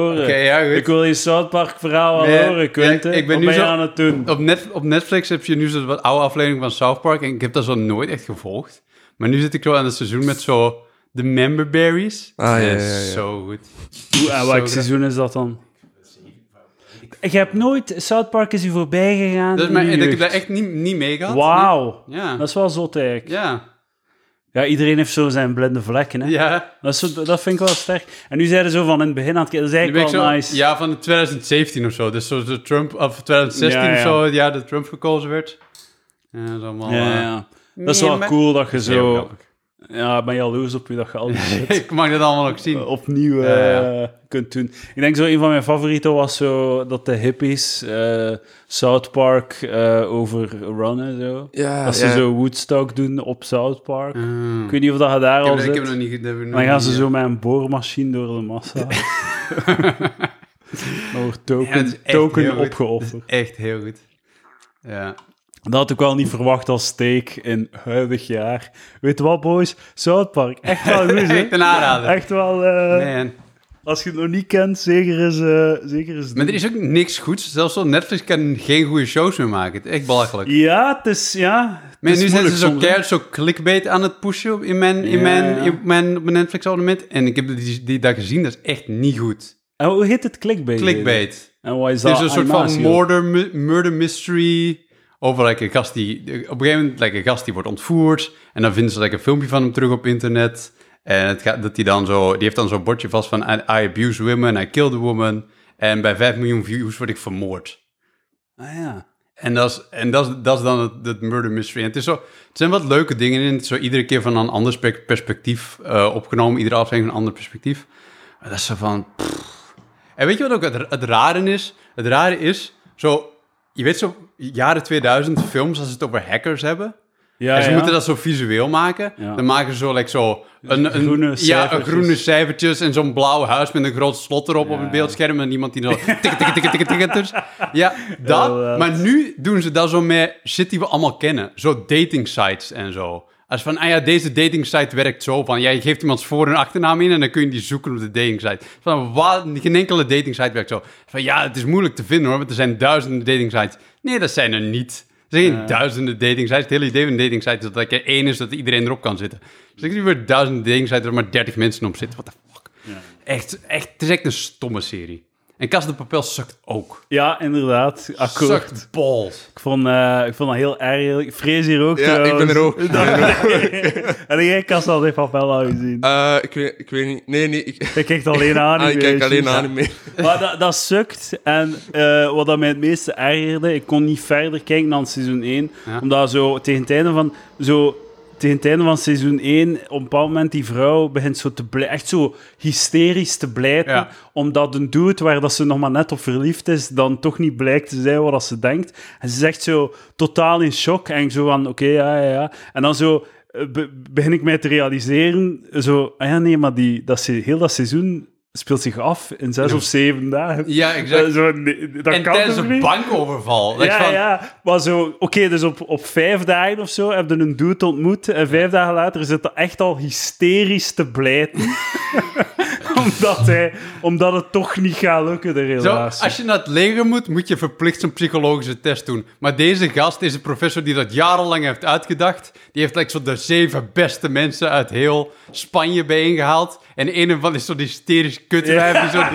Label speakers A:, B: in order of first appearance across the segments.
A: horen.
B: Oké, ja, goed.
A: Ik wil je South Park verhaal al
B: Nee,
A: horen, Quinten.
B: ja, ik ben
A: Wat
B: nu
A: ben je
B: zo-
A: aan het doen?
B: Op, net, op Netflix heb je nu zo'n wat oude aflevering van South Park. En ik heb dat zo nooit echt gevolgd. Maar nu zit ik zo aan het seizoen met zo de member berries.
C: Ah, ja,
B: En dat
C: ja,
B: is
C: ja.
B: Zo goed.
A: Hoe- en
B: Oh, Zo
A: welk
B: gra-
A: seizoen is dat dan? Ik heb nooit... South Park is u voorbij gegaan
B: Dat is
A: in
B: mijn-
A: de
B: en ik heb
A: jeugd.
B: daar echt niet, niet mee gehad.
A: Wauw.
B: Nee. Ja.
A: Dat is wel zot eigenlijk.
B: Ja.
A: Ja, iedereen heeft zo zijn blinde vlekken, hè.
B: Ja.
A: Dat, is zo- dat vind ik wel sterk. En nu zeiden ze zo van in het begin aan het kijken, dat is
B: Nu ben ik
A: eigenlijk wel
B: zo,
A: nice.
B: Ja, van 2017 of zo. Dus zo de Trump, of 2016
A: Ja,
B: of
A: ja.
B: zo, ja, dat Trump gekozen werd. Ja, dat is allemaal...
A: ja,
B: eh,
A: ja. Dat is
B: nee,
A: wel
B: maar-
A: cool dat je
B: heel
A: zo...
B: grappig.
A: Ja, ik ben jaloers op je dat je al die shit
B: Ik mag dat allemaal ook zien.
A: opnieuw eh,
B: Ja,
A: kunt doen. Ik denk zo, een van mijn favorieten was zo dat de hippies eh, South Park eh, overrunnen. Zo.
C: Ja,
A: Als ze
C: ja.
A: zo Woodstock doen op South Park.
B: Hmm.
A: Ik weet niet of dat je daar
B: Ik
A: al
B: heb,
A: zit.
B: ik heb nog niet... dat heb ik nog
A: dan gaan
B: niet-
A: ze zo met een boormachine door de massa. Dan wordt token,
B: Ja, dat is echt heel
A: token
B: goed.
A: opgeofferd.
B: Echt heel goed. Ja.
A: Dat had ik wel niet verwacht als steek in huidig jaar. Weet je wat, boys? South Park. Echt wel goed, hè?
B: Echt een aanrader.
A: Echt wel... eh,
B: Man.
A: Als je het nog niet kent, zeker is... eh zeker is
B: Maar er is ook niks goeds. Zelfs zo Netflix kan geen goede shows meer maken. Het is echt belachelijk.
A: Ja, het is... Ja, het
B: Maar
A: is
B: nu zijn
A: moeilijk
B: ze zo
A: soms, hè.
B: keihard zo clickbait aan het pushen op- in mijn, in
A: Ja,
B: mijn,
A: ja.
B: in mijn, op mijn Netflix abonnement. En ik heb die, die dat gezien, dat is echt niet goed.
A: En hoe heet het? Clickbait.
B: Clickbait.
A: En wat is
B: Het
A: dat?
B: is een soort van
A: Animatie, hoor.
B: murder, mu- murder mystery over like, een gast die... Op een gegeven moment, like, een gast die wordt ontvoerd. En dan vinden ze like, een filmpje van hem terug op internet. En het gaat, dat die, dan zo, die heeft dan zo'n bordje vast van... I, I abuse women, I kill the woman. En bij 5 miljoen views word ik vermoord.
A: Ah, ja.
B: En dat is, en dat is, dat is dan het, het murder mystery. En het, is zo, het zijn wat leuke dingen in. Het is zo iedere keer van een ander spe- perspectief eh, opgenomen. Iedere aflevering van een ander perspectief. Maar dat is zo van... pff. En weet je wat ook het, het rare is? Het rare is, zo... Je weet zo, jaren 2000 films, als ze het over hackers hebben...
A: Ja,
B: en
A: ja.
B: ze Dus moeten dat zo visueel maken.
A: Ja.
B: Dan maken ze zo, like, zo een, een,
A: Groene
B: ja, een
A: cijfertjes.
B: groene cijfertjes en zo'n blauw huis met een groot slot erop op
A: Ja.
B: het beeldscherm. En iemand die dan tikken, tikken, tikken, tikken, tikken. dus. Ja, dat.
A: Inderdaad.
B: Maar nu doen ze dat zo met shit die we allemaal kennen. Zo dating sites en zo. Als van, ah ja, deze dating site werkt zo van, jij geeft iemands voor- en achternaam in en dan kun je die zoeken op de dating site. Van, wat, geen enkele dating site werkt zo. Van, ja, het is moeilijk te vinden hoor, want er zijn duizenden dating sites. Nee, dat zijn er niet. Er zijn geen duizenden dating sites. Het hele idee van een dating site is dat er één is dat iedereen erop kan zitten. Dus ik zie weer duizenden dating sites waar maar 30 mensen op zitten. What the fuck? Echt, echt, het is echt een stomme serie. En Casa de Papel sukt ook.
A: Ja, inderdaad. Akkoord.
B: Sukt balls.
A: Ik vond, eh, ik vond dat heel erg. Ik vrees hier ook
C: Ja, ik ben er ook.
A: en jij kast al even wel al gezien.
C: Eh, ik, weet, ik weet niet. Nee, nee. Ik,
A: Ik kijk alleen aan.
C: ah, ik kijk alleen anime.
A: Maar dat, dat sukt. En eh, wat dat mij het meeste ergerde, ik kon niet verder kijken dan seizoen 1.
B: Ja.
A: Omdat zo tegen het einde van... Zo, tegen het einde van seizoen 1, op een bepaald moment, die vrouw begint zo te blij- echt zo hysterisch te blijten.
B: Ja.
A: Omdat een dude waar dat ze nog maar net op verliefd is, dan toch niet blijkt te zijn wat dat ze denkt. En ze zegt zo totaal in shock. En ik zo van, oké, ja, ja, ja. En dan zo... eh, be- begin ik mij te realiseren, zo, ah ja, nee, maar die, dat, se- heel dat seizoen speelt zich af in zes of zeven dagen.
B: Ja, exact.
A: Dat, is zo, nee, dat
B: en
A: kan
B: tijdens
A: toch
B: een
A: niet?
B: bankoverval. Dat is
A: ja,
B: van,
A: ja, maar zo, oké, dus op, op vijf dagen of zo heb je een dude ontmoet en vijf dagen later zit er echt al hysterisch te blijten. omdat, hij, omdat het toch niet gaat lukken, de
B: Zo,
A: relatie.
B: als je naar het leger moet, moet je verplicht zo'n psychologische test doen. Maar deze gast, deze professor die dat jarenlang heeft uitgedacht, die heeft like, zo de zeven beste mensen uit heel Spanje bijeengehaald. En een van is zo'n hysterisch kutwijf die zo'n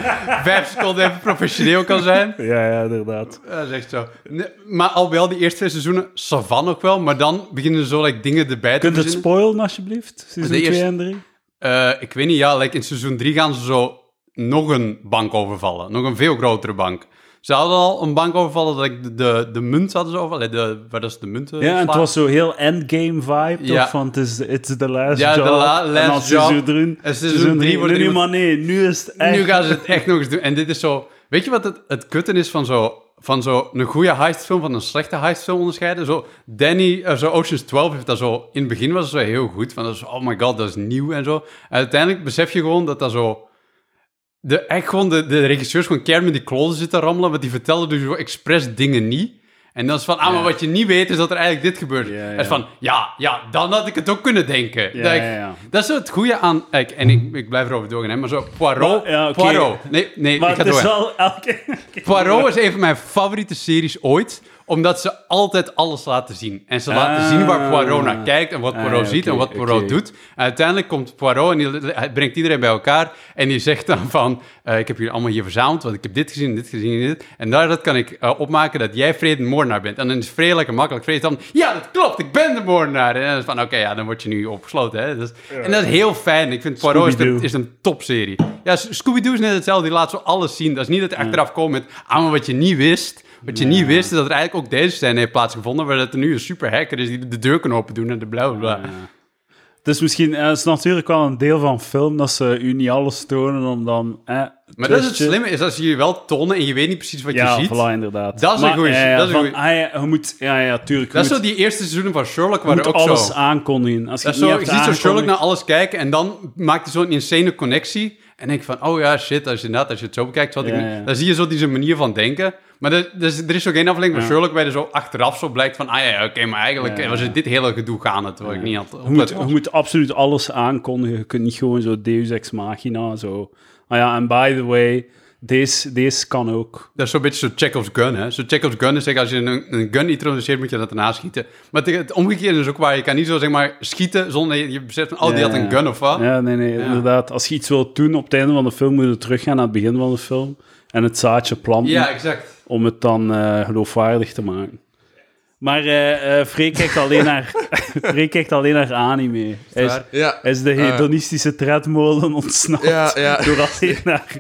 B: vijf seconden even professioneel kan zijn.
A: Ja, ja, inderdaad.
B: Dat is echt zo. Nee, maar al wel, die eerste twee seizoenen, savan ook wel, maar dan beginnen zo like, dingen erbij te
A: Kunt je het
B: verzinnen.
A: spoilen, alsjeblieft? Seizoen
B: De
A: 2
B: eerste-
A: en 3?
B: Eh, ik weet niet, ja, like in seizoen 3 gaan ze zo nog een bank overvallen. Nog een veel grotere bank. Ze hadden al een bank overvallen, dat ik de, de, de munt hadden ze overvallen. De, waar dat ze de munten
A: Ja, en het
B: slaan.
A: was zo heel endgame vibe,
B: Ja.
A: toch? Van het is it's the last
B: Ja, the
A: job.
B: la-
A: en dan
B: last
A: seizoen
B: job.
A: drie-
B: En seizoen drie
A: drie,
B: wordt
A: nu,
B: er-
A: maar nee, nu is het echt...
B: Nu gaan ze het echt nog eens doen. En dit is zo... Weet je wat het, het kutten is van zo... Van zo een goede heistfilm van een slechte heistfilm onderscheiden. Zo Danny, eh, zo Ocean's 12 heeft dat zo... In het begin was het zo heel goed. Van dat is, oh my god, dat is nieuw en zo. En uiteindelijk besef je gewoon dat dat zo... De, echt gewoon de, de regisseurs gewoon keihard met die klozen zitten rammelen. Want die vertelden dus zo expres dingen niet. En En dan is van, ah, maar wat je niet weet is dat er eigenlijk dit gebeurt.
A: Ja,
B: En
A: ja.
B: is van, ja, ja, dan had ik het ook kunnen denken.
A: Ja,
B: dat, ik-
A: ja, ja.
B: dat is zo het goede aan... Kijk, en ik, ik blijf erover doorgaan, hè, maar zo Poirot...
A: Maar- ja, oké.
B: Poirot. Nee, nee,
A: Maar
B: ik ga
A: het
B: door.
A: is wel elke... elke-
B: Poirot is een van mijn favoriete series ooit, omdat ze altijd alles laten zien. En ze laten
A: Ah.
B: zien waar Poirot naar kijkt en wat
A: Ah,
B: Poirot
A: ja,
B: ziet en
A: oké,
B: wat Poirot
A: oké.
B: doet. En uiteindelijk komt Poirot en die, hij brengt iedereen bij elkaar en die zegt dan van, eh, ik heb jullie allemaal hier verzameld, want ik heb dit gezien, dit gezien en dit. En daaruit kan ik eh, opmaken dat jij Fred de moordenaar bent. En dan is Fred lekker makkelijk. Fred is dan, ja, dat klopt, ik ben de moordenaar. En dan is van, oké, ja, dan word je nu opgesloten. Hè? Dus, En dat is heel fijn. Ik vind Poirot is de,
A: Scooby-Doo.
B: is een topserie. Ja, S- Scooby-Doo is net hetzelfde. Die laat zo alles zien. Dat is niet dat hij achteraf komt met... Ah, maar wat je niet wist... Wat je niet wist, is dat er eigenlijk ook deze scène heeft plaatsgevonden... waar dat er nu een superhacker is die de deur kan open doen en de bla bla bla.
A: Het is misschien... eh, het is natuurlijk wel een deel van film dat ze u niet alles tonen om dan... eh,
B: Maar dat is het
A: twistje-
B: slimme, is als ze je wel tonen... en je weet niet precies wat
A: Ja,
B: je ziet.
A: voilà, inderdaad.
B: Dat is een
A: Maar,
B: goeie-
A: ja, ja,
B: dat is een
A: van,
B: goeie.
A: ah, ja, je moet... Ja, ja, tuurlijk. je
B: Dat is
A: moet-
B: zo die eerste seizoenen van Sherlock...
A: Je
B: waren
A: moet
B: ook
A: alles
B: zo...
A: aankondigen. Als je het
B: Dat is
A: niet
B: zo,
A: hebt
B: je ziet zo Sherlock naar
A: aangekondigd-
B: alles kijken en dan maakt hij zo'n insane connectie. En denk ik van, oh ja, shit, als je, inderdaad, als je het zo bekijkt, zat ik
A: Ja,
B: nu-
A: ja.
B: dan zie je zo die zijn manier van denken. Maar er, dus, er is ook één aflevering van Sherlock waar er zo achteraf zo blijkt van, ah ja, oké, maar eigenlijk
A: Ja, ja.
B: was het dit hele gedoe gaande, terwijl ik niet had
A: Je moet,
B: opgelet.
A: je moet absoluut alles aankondigen. Je kunt niet gewoon zo Deus Ex Machina, zo... Ah ja, en by the way, deze, deze kan ook.
B: Dat is zo'n beetje zo'n Chekhov's gun, hè. Zo'n Chekhov's gun is zeg, als je een, een gun introduceert, moet je dat daarna schieten. Maar het, het omgekeerde is ook waar, je kan niet zo, zeg maar, schieten zonder dat je, je beseft van, oh, die
A: Ja,
B: had een
A: ja.
B: gun of wat.
A: Ja, nee, nee, inderdaad. Als je iets wilt doen op het einde van de film, moet je teruggaan naar het begin van de film en het zaadje planten
B: ja exact.
A: om het dan eh, geloofwaardig te maken. Maar eh eh Freek kijkt alleen naar, Freek kijkt alleen naar anime. Hij is,
B: waar.
C: Ja.
A: hij is de hedonistische tredmolen ontsnapt
C: Ja, ja.
A: door alleen naar,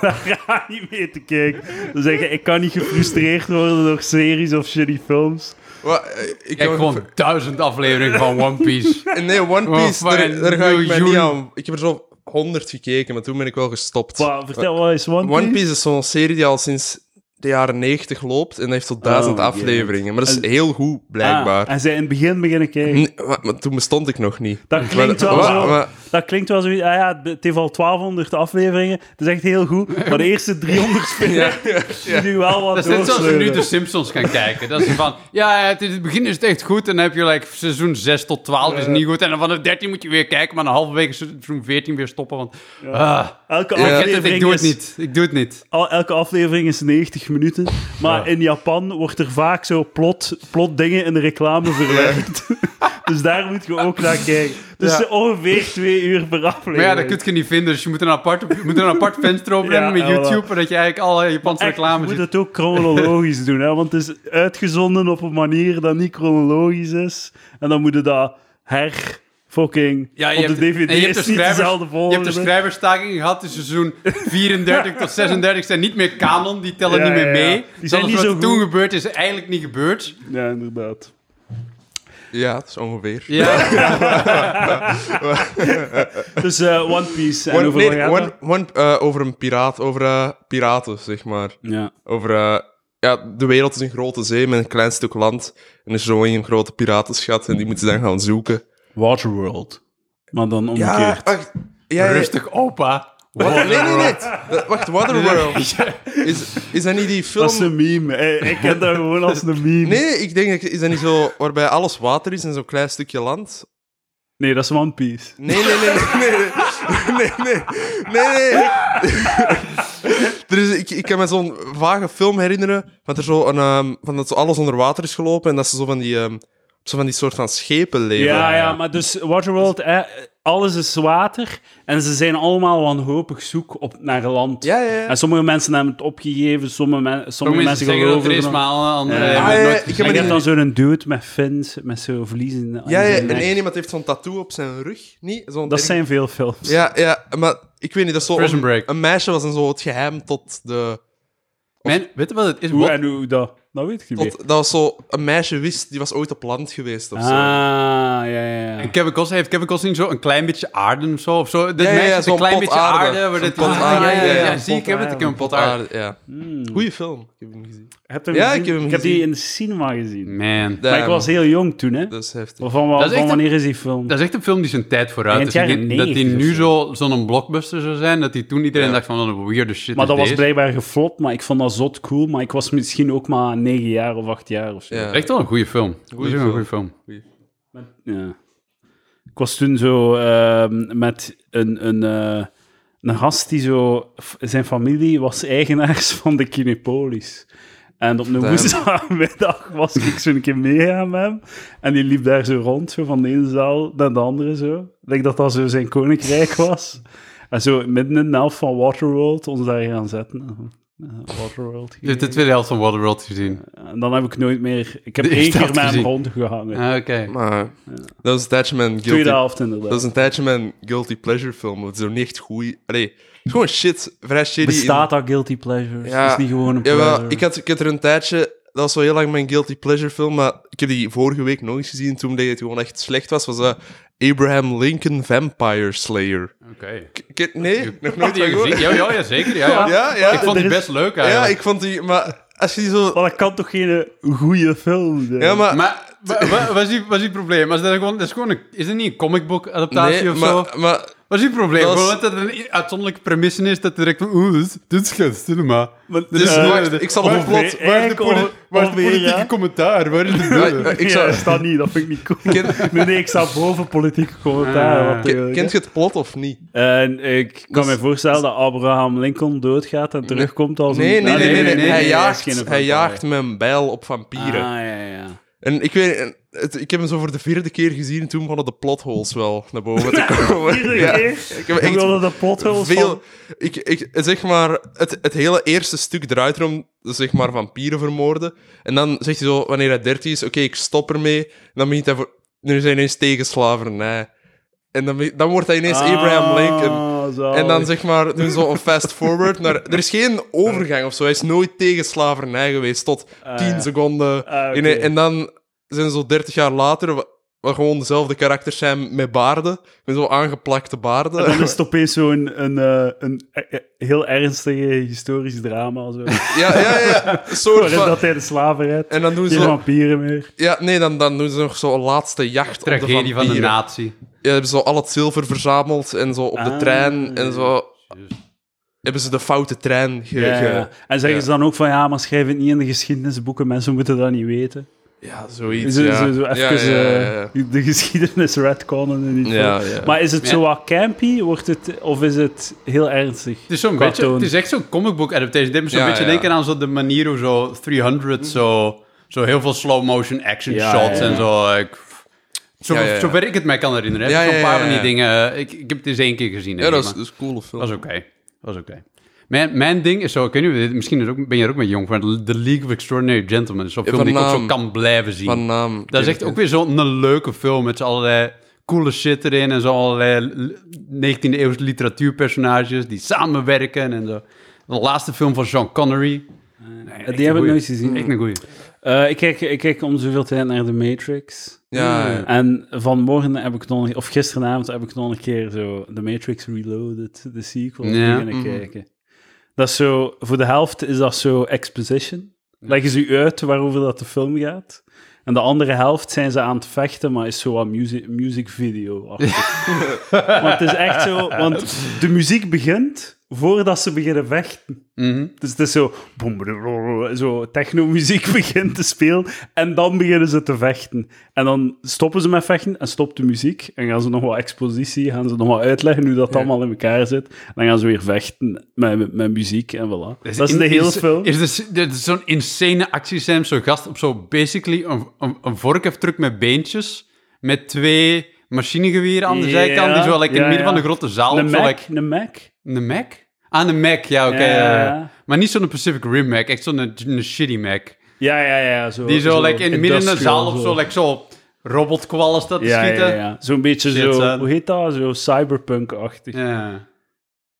A: naar anime te kijken. Dus zeggen, ik kan niet gefrustreerd worden door series of shitty films.
C: Wa- eh, ik
B: Kijk
C: kan-
B: gewoon duizend afleveringen van One Piece.
C: Nee, One
B: Oh,
C: Piece, daar,
B: fucking
C: daar ga ik mij niet
B: miljoen.
C: aan... Ik heb er zo 100 gekeken, maar toen ben ik wel gestopt.
A: Maar vertel, wat is One Piece?
C: One Piece is zo'n serie die al sinds de jaren 90 loopt en dat heeft tot duizend
A: Oh,
C: afleveringen. Maar dat is heel goed,
A: Ah,
C: blijkbaar. Mm.
A: en zij in het begin beginnen kijken.
C: Nee, maar, maar toen bestond ik nog niet.
A: Dat klinkt wel
C: Maar-
A: zo.
C: maar-
A: Dat klinkt wel zoiets. Ah ja, het heeft al 1200 afleveringen. Dat is echt heel goed. Maar de eerste 300 spelen
C: ja, ja, ja.
A: nu wel wat
B: Dat is net zoals we nu
A: doorsleuren.
B: de Simpsons gaan kijken. Dat is van, ja, het is- in het begin is het echt goed. En dan heb je like, seizoen 6 tot 12 is niet goed. En dan vanaf 13 moet je weer kijken. Maar een halve week is seizoen 14 weer stoppen. Want, ah,
A: Elke
C: Ja.
B: ik,
A: aflevering
B: ik doe het
A: is-
B: niet. Ik doe het niet.
A: al- elke aflevering is 90 minuten. Maar in Japan wordt er vaak zo plot, plot dingen in de reclame verwerkt. dus daar moet je ook naar kijken. Dus
B: Ja.
A: ongeveer twee uur per aflevering.
B: Maar ja, dat kun je niet vinden. Dus je moet een apart, je moet een apart venster opnemen
A: Ja,
B: met
A: voilà.
B: YouTube. Zodat je eigenlijk alle Japanse
A: Echt, je
B: reclame
A: moet
B: ziet.
A: het ook chronologisch doen, hè? want het is uitgezonden op een manier dat niet chronologisch is. En dan moet je dat her fucking
B: je
A: op de
B: hebt-
A: DVD
B: en je hebt
A: is niet
B: schrijvers-
A: dezelfde
B: Je
A: volgorde.
B: hebt de schrijverstaking gehad. Dus seizoen 34 tot 36 zijn niet meer kanon. Die tellen
A: Ja,
B: niet meer
A: ja, ja.
B: mee.
A: Die
B: Dus
A: zijn
B: alles
A: niet
B: wat
A: zo
B: er toen
A: goed.
B: gebeurd is, is eigenlijk niet gebeurd.
A: Ja, inderdaad.
C: ja, dat is ongeveer.
B: Ja.
A: Dus eh, One Piece en
C: One-
A: over
C: nee,
A: wat gaat
C: one,
A: dat?
C: one, eh, over een piraat, over eh, piraten, zeg maar.
A: Ja.
C: Over, eh, ja, de wereld is een grote zee met een klein stuk land. En er is zo een grote piratenschat en die moeten ze dan gaan zoeken.
A: Waterworld. Maar dan omgekeerd.
C: Ja, wacht. Ja, ja.
B: Rustig, opa.
C: Wat? Nee, nee, nee. Dat- Wacht, Waterworld. Is, is dat niet die film...
A: Dat is een meme. Eh, Ik ken dat gewoon als een meme.
C: Nee, nee, ik denk dat... Is dat niet zo waarbij alles water is en zo'n klein stukje land?
A: Nee, dat is One Piece.
C: Nee, nee, nee, nee, nee, nee, nee, nee, nee. Er is, ik, ik kan me zo'n vage film herinneren, want er zo een, ehm, van dat zo alles onder water is gelopen en dat ze zo van die, ehm, zo van die soort van schepen leven.
A: Ja, ja, maar dus Waterworld, eh, alles is water en ze zijn allemaal wanhopig zoek op, naar land.
C: Ja, ja, ja.
A: En sommige mensen hebben het opgegeven, sommige, men- sommige
B: Sommige
A: mensen
B: mensen zeggen dat
A: geloven
B: er is,
A: er nog.
B: maar anderen
A: Ja.
B: hebben
C: Ah,
B: het
C: ja,
B: nooit
C: ik heb
B: gezien.
A: En
C: maar
A: je
C: die-
A: hebt dan zo'n dude met fins, met zo'n vliezen. aan
C: Ja, ja,
A: zijn
C: en
A: nek.
C: één iemand heeft zo'n tattoo op zijn rug, niet? Zo'n
A: Dat
C: erg-
A: zijn veel films.
C: Ja, ja, maar ik weet niet, dat is zo...
B: Prison
C: een-
B: Break.
C: Een meisje was en zo het geheim tot de...
B: Men, weet je wat het is?
A: Hoe
B: Wat,
A: en hoe dat? Dat weet ik niet
C: Tot,
A: meer.
C: dat was zo... Een meisje wist, die was ooit op land geweest of
A: Ah,
C: zo.
A: ja, Ah, ja, ja, ja.
B: En Kevin Costner heeft Kevin Costner niet zo een klein beetje aarde of zo? Of zo? Dat
C: Ja, ja,
B: meisje
C: ja,
B: heeft
C: zo'n
B: een klein
C: pot
B: beetje
C: aarde.
B: aarde. waar
C: Zo'n
B: dat-
C: pot aarde,
B: ja,
C: ja, ja,
B: zie, ik heb het. Ik heb een pot aarde.
C: Potaarde, ja.
A: Hmm.
C: Goeie film. Ik heb hem gezien.
A: Heb je hem
C: Ja,
A: gezien?
C: ik heb hem gezien.
A: die in de cinema gezien.
B: Man.
A: Maar ik was heel jong toen, hè.
C: Dat is heftig.
A: Van, wa-
B: Dat is
A: van
B: echt
A: wanneer is die film?
B: Dat is echt een film die zijn tijd vooruit is.
A: Eind jaren
B: Ik denk Dat die
A: 90
B: nu
A: of
B: zo- zo'n blockbuster zou zijn, dat die toen iedereen
C: Ja.
B: dacht van, wat een weirde shit
A: Maar
B: is
A: dat was
B: deze.
A: blijkbaar geflopt, maar ik vond dat zot cool. Maar ik was misschien ook maar 9 jaar of 8 jaar of zo.
C: Ja.
B: Echt wel een goede film. dat is wel een
C: film.
B: goede film.
A: Ja. Ik was toen zo ehm, met een, een, eh, een gast die zo... f- Zijn familie was eigenaars van de Kinepolis. En op een
C: Damn.
A: woensdagmiddag was ik zo'n keer meegaan met hem. En die liep daar zo rond, zo van de ene zaal naar de andere zo. Ik denk dat dat zo zijn koninkrijk was. En zo midden in de helft van Waterworld ons daar gaan zetten. Eh, Waterworld.
B: Je hebt de tweede helft van Waterworld gezien.
A: En dan heb ik nooit meer... Ik heb
B: Is
A: één
B: dat
A: keer met hem
B: gezien?
A: rondgehangen.
B: Ah, Oké.
C: Maar dat is een tijdje mijn
A: Tweede
C: guilty...
A: helft inderdaad.
C: Dat is een tijdje mijn guilty pleasure film. Het is ook niet echt goed. Allee, het is gewoon shit. Vrij shitty.
A: Bestaat dat guilty pleasures?
C: Ja,
A: is niet gewoon een pleasure.
C: Jawel, ik had, ik had er een tijdje... Dat was wel heel lang mijn guilty pleasure film, maar ik heb die vorige week nog eens gezien. Toen deed het gewoon echt slecht was, was dat Abraham Lincoln Vampire Slayer.
B: Oké.
C: Ik- ik- nee, nog
B: Heb
C: nooit
B: je die
C: van gehoord.
B: gezien? Ja, ja, ja, zeker. Ja, ja.
C: Ja, ja.
B: Ik vond die
A: Er is-
B: best leuk
C: Ja,
B: eigenlijk.
C: ik vond die... Maar als je die zo...
A: Maar Oh, dat kan toch geen eh, goede film zijn?
C: Ja, maar...
B: Maar wa- wa- wat is die- wat is het probleem? Is dat, gewoon, dat is, gewoon een, is dat niet een comic book adaptatie
C: Nee,
B: of
C: maar,
B: zo?
C: maar
B: Wat is het probleem?
C: Dat is-
B: Gewoon dat het een i- uitzonderlijke premisse is dat direct van... Oeh, dit, is- dit is geen cinema.
A: Maar-
B: Dit
A: dus
B: is-
A: wacht,
B: waar-
C: ik zal het
B: waar-
C: plot-
B: Waar is de,
A: eigenlijk
B: poli-
A: al-
B: waar is de
A: alweer,
B: politieke
A: ja?
B: commentaar? Waar is de
C: maar-
B: blur?
C: ik
A: Ja,
C: zou...
A: sta niet, dat vind ik niet cool. Nee, nee, ik sta boven politieke
B: Ah.
A: commentaar. wat
C: Ken-
A: wil ik,
C: Kent
A: hè?
C: je het plot of niet?
A: En ik kan
C: Dus-
A: me voorstellen dat Abraham Lincoln doodgaat en terugkomt als een...
C: Nee, nee,
A: Ah,
C: nee, nee, nee,
B: nee,
C: Hij
B: nee,
C: jaagt,
A: is geen
C: hij
A: vampire.
C: jaagt met een bijl op
A: Ah,
C: vampieren.
A: ja, ja.
C: En ik weet, en het- ik heb hem zo voor de vierde keer gezien. Toen begonnen de plotholes wel naar boven te komen.
A: Iedere
C: Ja.
A: keer
C: Ik heb
A: Hoe
C: echt
A: willen de potholes
C: veel.
A: van...
C: Ik, ik, zeg maar, het, het hele eerste stuk draait erom, zeg maar, vampieren vermoorden. En dan zegt hij zo, wanneer hij 30 is, oké, ik stop ermee. En dan begint hij voor. Nu zijn ineens tegen slavernij. En dan, be- dan wordt hij ineens Abraham Lincoln.
A: Ah, zalig.
C: En dan zeg maar, doen zo een fast forward naar... Er is geen overgang of zo. Hij is nooit tegen slavernij geweest tot 10
A: Ah, ja.
C: seconden.
A: Ah, oké.
C: in een- en dan zijn ze zo 30 jaar later, wa- wat gewoon dezelfde karakters zijn met baarden. Met zo aangeplakte baarden.
A: Dan is het opeens zo'n een, eh, een, eh, heel ernstige historisch drama. Zo.
C: Ja, ja, ja. Een soort
A: Waarin
C: van-
A: dat hij de slaven redt.
C: En dan doen ze,
A: Geen
C: zo-
A: vampieren meer.
C: ja, nee, dan, dan doen ze nog zo'n laatste jacht op de
B: Tragedie van de
C: vampieren.
B: natie.
C: Ja, hebben ze zo al het zilver verzameld en zo op de
A: Ah,
C: trein. En zo
B: Juist.
C: hebben ze de foute trein ge...
A: Ja,
C: ge-
A: ja. En zeggen
C: ja.
A: ze dan ook van, ja, maar schrijf het niet in de geschiedenisboeken, mensen moeten dat niet weten.
C: Ja, zoiets,
A: Zo,
C: ja.
A: zo, zo even
C: Ja, ja, ja, ja.
A: eh, de geschiedenis retconnen en niet
C: Ja,
A: veel.
C: ja.
A: Maar is het zo
B: Ja.
A: wat campy, wordt het, of is het heel ernstig?
B: Het is zo'n
A: Qua
B: beetje,
A: toon.
B: het is echt zo'n comic book adaptation. Dit moet zo'n
C: Ja,
B: beetje
C: ja.
B: denken aan zo de manier hoe zo 300 zo, zo heel veel slow motion action
A: Ja,
B: shots
A: ja, ja.
B: en zo. Ik, zo
C: Ja, ja, ja.
B: Zover ik het mij kan herinneren.
C: Ja,
B: heb ik
C: ja,
B: zo'n paar
C: ja,
B: van die
C: ja.
B: dingen. eh, Ik, ik heb het eens één keer gezien.
C: Ja,
B: denk ik,
C: dat is,
B: maar
C: dat is een coole film.
B: was oké. was oké. Mijn, mijn ding is zo, ik weet niet, of dit- misschien is ook, ben je er ook mee jong, maar The League of Extraordinary Gentlemen is zo'n film
C: van
B: die ik ook zo
C: naam.
B: kan blijven zien.
C: Van naam.
B: Dat is echt ook weer zo'n leuke film met z'n allerlei coole shit erin en zo allerlei 19e eeuwse literatuurpersonages die samenwerken en zo. De laatste film van Sean Connery. Nee, echt
A: Eh, die heb
B: een
A: ik
B: goeie.
A: nooit gezien.
B: Echt een goeie.
A: Eh, ik, kijk, ik kijk om zoveel tijd naar The Matrix.
C: Ja, ja.
A: En vanmorgen heb ik nog, of gisteravond heb ik nog een keer zo The Matrix Reloaded, de sequel,
B: Ja.
A: beginnen kijken. Dat is zo, voor de helft is dat zo exposition. Leggen ze u uit waarover dat de film gaat. En de andere helft zijn ze aan het vechten, maar is zo wat music, music video. want het is echt zo, want de muziek begint voordat ze beginnen vechten.
B: Mhm.
A: Dus het is zo, boem, boem, boem, boem, zo technomuziek begint te spelen en dan beginnen ze te vechten. En dan stoppen ze met vechten en stopt de muziek en gaan ze nog wat expositie, gaan ze nog wat uitleggen hoe dat allemaal in elkaar zit. En dan gaan ze weer vechten met, met, met muziek en voilà. dat is
B: Dus in-
A: de hele
B: is-
A: film.
B: Is, dus- dit is zo'n insane actiescène, zo'n gast op zo basically een, een, een vorkheftruck met beentjes, met twee machinegeweren aan de
A: Ja,
B: zijkant, die zo like, in
A: ja,
B: het midden
A: ja.
B: van de grote zaal
A: een
B: zo,
A: Mac,
B: like,
A: een Mac.
B: Een Mac? Ah, een Mac, ja, oké.
A: Ja, ja, ja.
B: ja, ja. Maar niet zo'n Pacific Rim Mac, echt zo'n een shitty Mac.
A: Ja, ja, ja. Zo,
B: Die zo, like, in het midden in de
A: industrial,
B: zaal of zo, like, zo robotkwallen staat te
A: ja,
B: schieten.
A: ja, ja. Zo'n beetje
B: Shit,
A: zo,
B: son.
A: hoe heet dat? Zo cyberpunk-achtig.
B: Ja.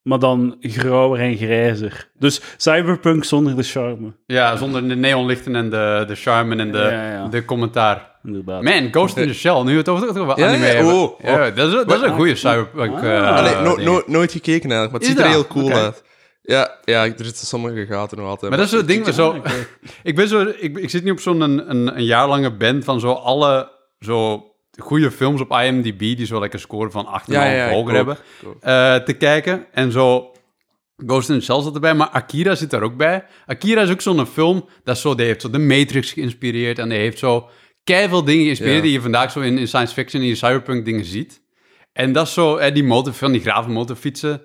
A: Maar dan grauwer en grijzer. Dus cyberpunk zonder de charme.
B: Ja, zonder de neonlichten en de, de charme en de,
A: Ja, ja.
B: de commentaar.
A: inderdaad.
B: Man, Ghost in the Shell, nu we het over over
C: Ja,
B: anime
C: ja,
B: hebben.
C: oh,
B: Ja, dat, is, dat is een goede cyberpunk... eh,
C: Allee, no-
B: ding.
C: no- nooit gekeken eigenlijk, maar het
B: Is
C: ziet er
B: dat?
C: heel cool
B: Oké.
C: uit. Ja, ja, er zitten sommige gaten nog altijd.
B: Maar dat is het ding, zo, ik, ben zo, ik, ik zit nu op zo'n een, een jaarlange band van zo alle zo goede films op IMDb, die zo lekker scoren van 8,5
C: Ja, ja, ik
B: hoger
C: ook,
B: hebben,
C: ik ook.
B: eh, te kijken. En zo, Ghost in the Shell zat erbij, maar Akira zit daar ook bij. Akira is ook zo'n film, dat is zo, die heeft zo de Matrix geïnspireerd en die heeft zo keiveel dingen geïnspireerd
C: Ja.
B: die je vandaag zo in, in science fiction en in cyberpunk dingen ziet. En dat is zo, hè, die motor van die graven motorfietsen.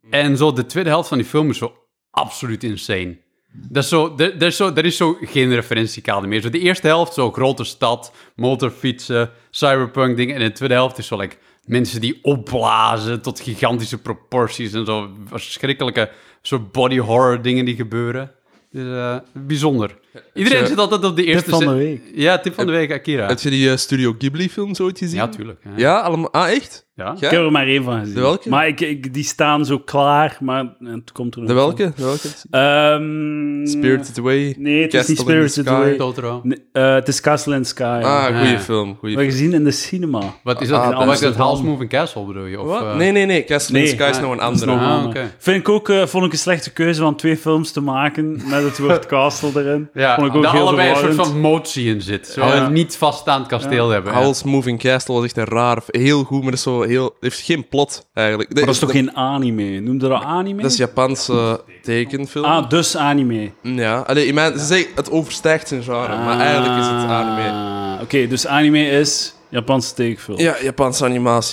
C: Mm.
B: En zo, de tweede helft van die film is zo absoluut insane. Dat is zo, er, er is zo, er is zo geen referentiekader meer. Zo de eerste helft, zo grote stad, motorfietsen, cyberpunk dingen. En de tweede helft is zo like, mensen die opblazen tot gigantische proporties. En zo verschrikkelijke zo body horror dingen die gebeuren. Dus eh, bijzonder. Iedereen
C: Zo,
B: zit altijd op de eerste...
A: van de
B: zin-
A: week.
B: Ja, tip van de week, Akira.
C: Heb je die eh, Studio Ghibli-films ooit gezien?
B: Ja, tuurlijk. hè.
C: Ja, allemaal. Ah, echt?
B: Ja?
C: Ja?
A: Ik heb er maar één van gezien.
C: De welke?
A: Maar ik, ik, die staan zo klaar, maar eh, het komt er nog
C: De welke? De welke?
A: van. Ehm,
C: Spirited Away.
A: Mm, Nee, het is
C: Castle
A: niet
C: in
A: Spirited
C: the Sky.
A: Away.
B: Totoro.
A: Nee, eh, het is Castle in the Sky.
C: Ah, goede
B: Ja.
C: film. Goeie
A: We hebben gezien in de cinema.
B: Wat is dat?
C: Ah,
B: Ah,
C: dat
B: was
A: is
B: dat
A: het
B: House
A: wel.
B: Moving Castle bedoel je? Of,
C: Wat?
B: eh,
C: nee, nee, nee. Castle in the Sky is
A: ah,
C: nog een
A: dat is
C: andere.
A: nog een
B: Ah,
A: andere.
B: oké.
A: Vind ik ook, eh, vond ik een slechte keuze van twee films te maken met het woord castle erin.
B: Ja,
A: vond ik
B: dat
A: heel
B: allebei een soort
A: verwarrend.
B: van motie in zit. Zo
A: Ja.
B: een niet vaststaand kasteel hebben. ja.
C: Howl's Moving Castle was echt een raar... Heel goed, maar dat is zo heel... Heeft geen plot, eigenlijk.
A: Maar dat is toch geen anime? Noemde dat anime?
C: Dat is Japanse tekenfilm.
A: Ah, dus anime.
C: Ja. Allee, in mijn, ze zeggen, het overstijgt zijn genre, maar eigenlijk is het anime.
A: Ah, Oké, dus anime is Japanse tekenfilm.
C: Ja, Japanse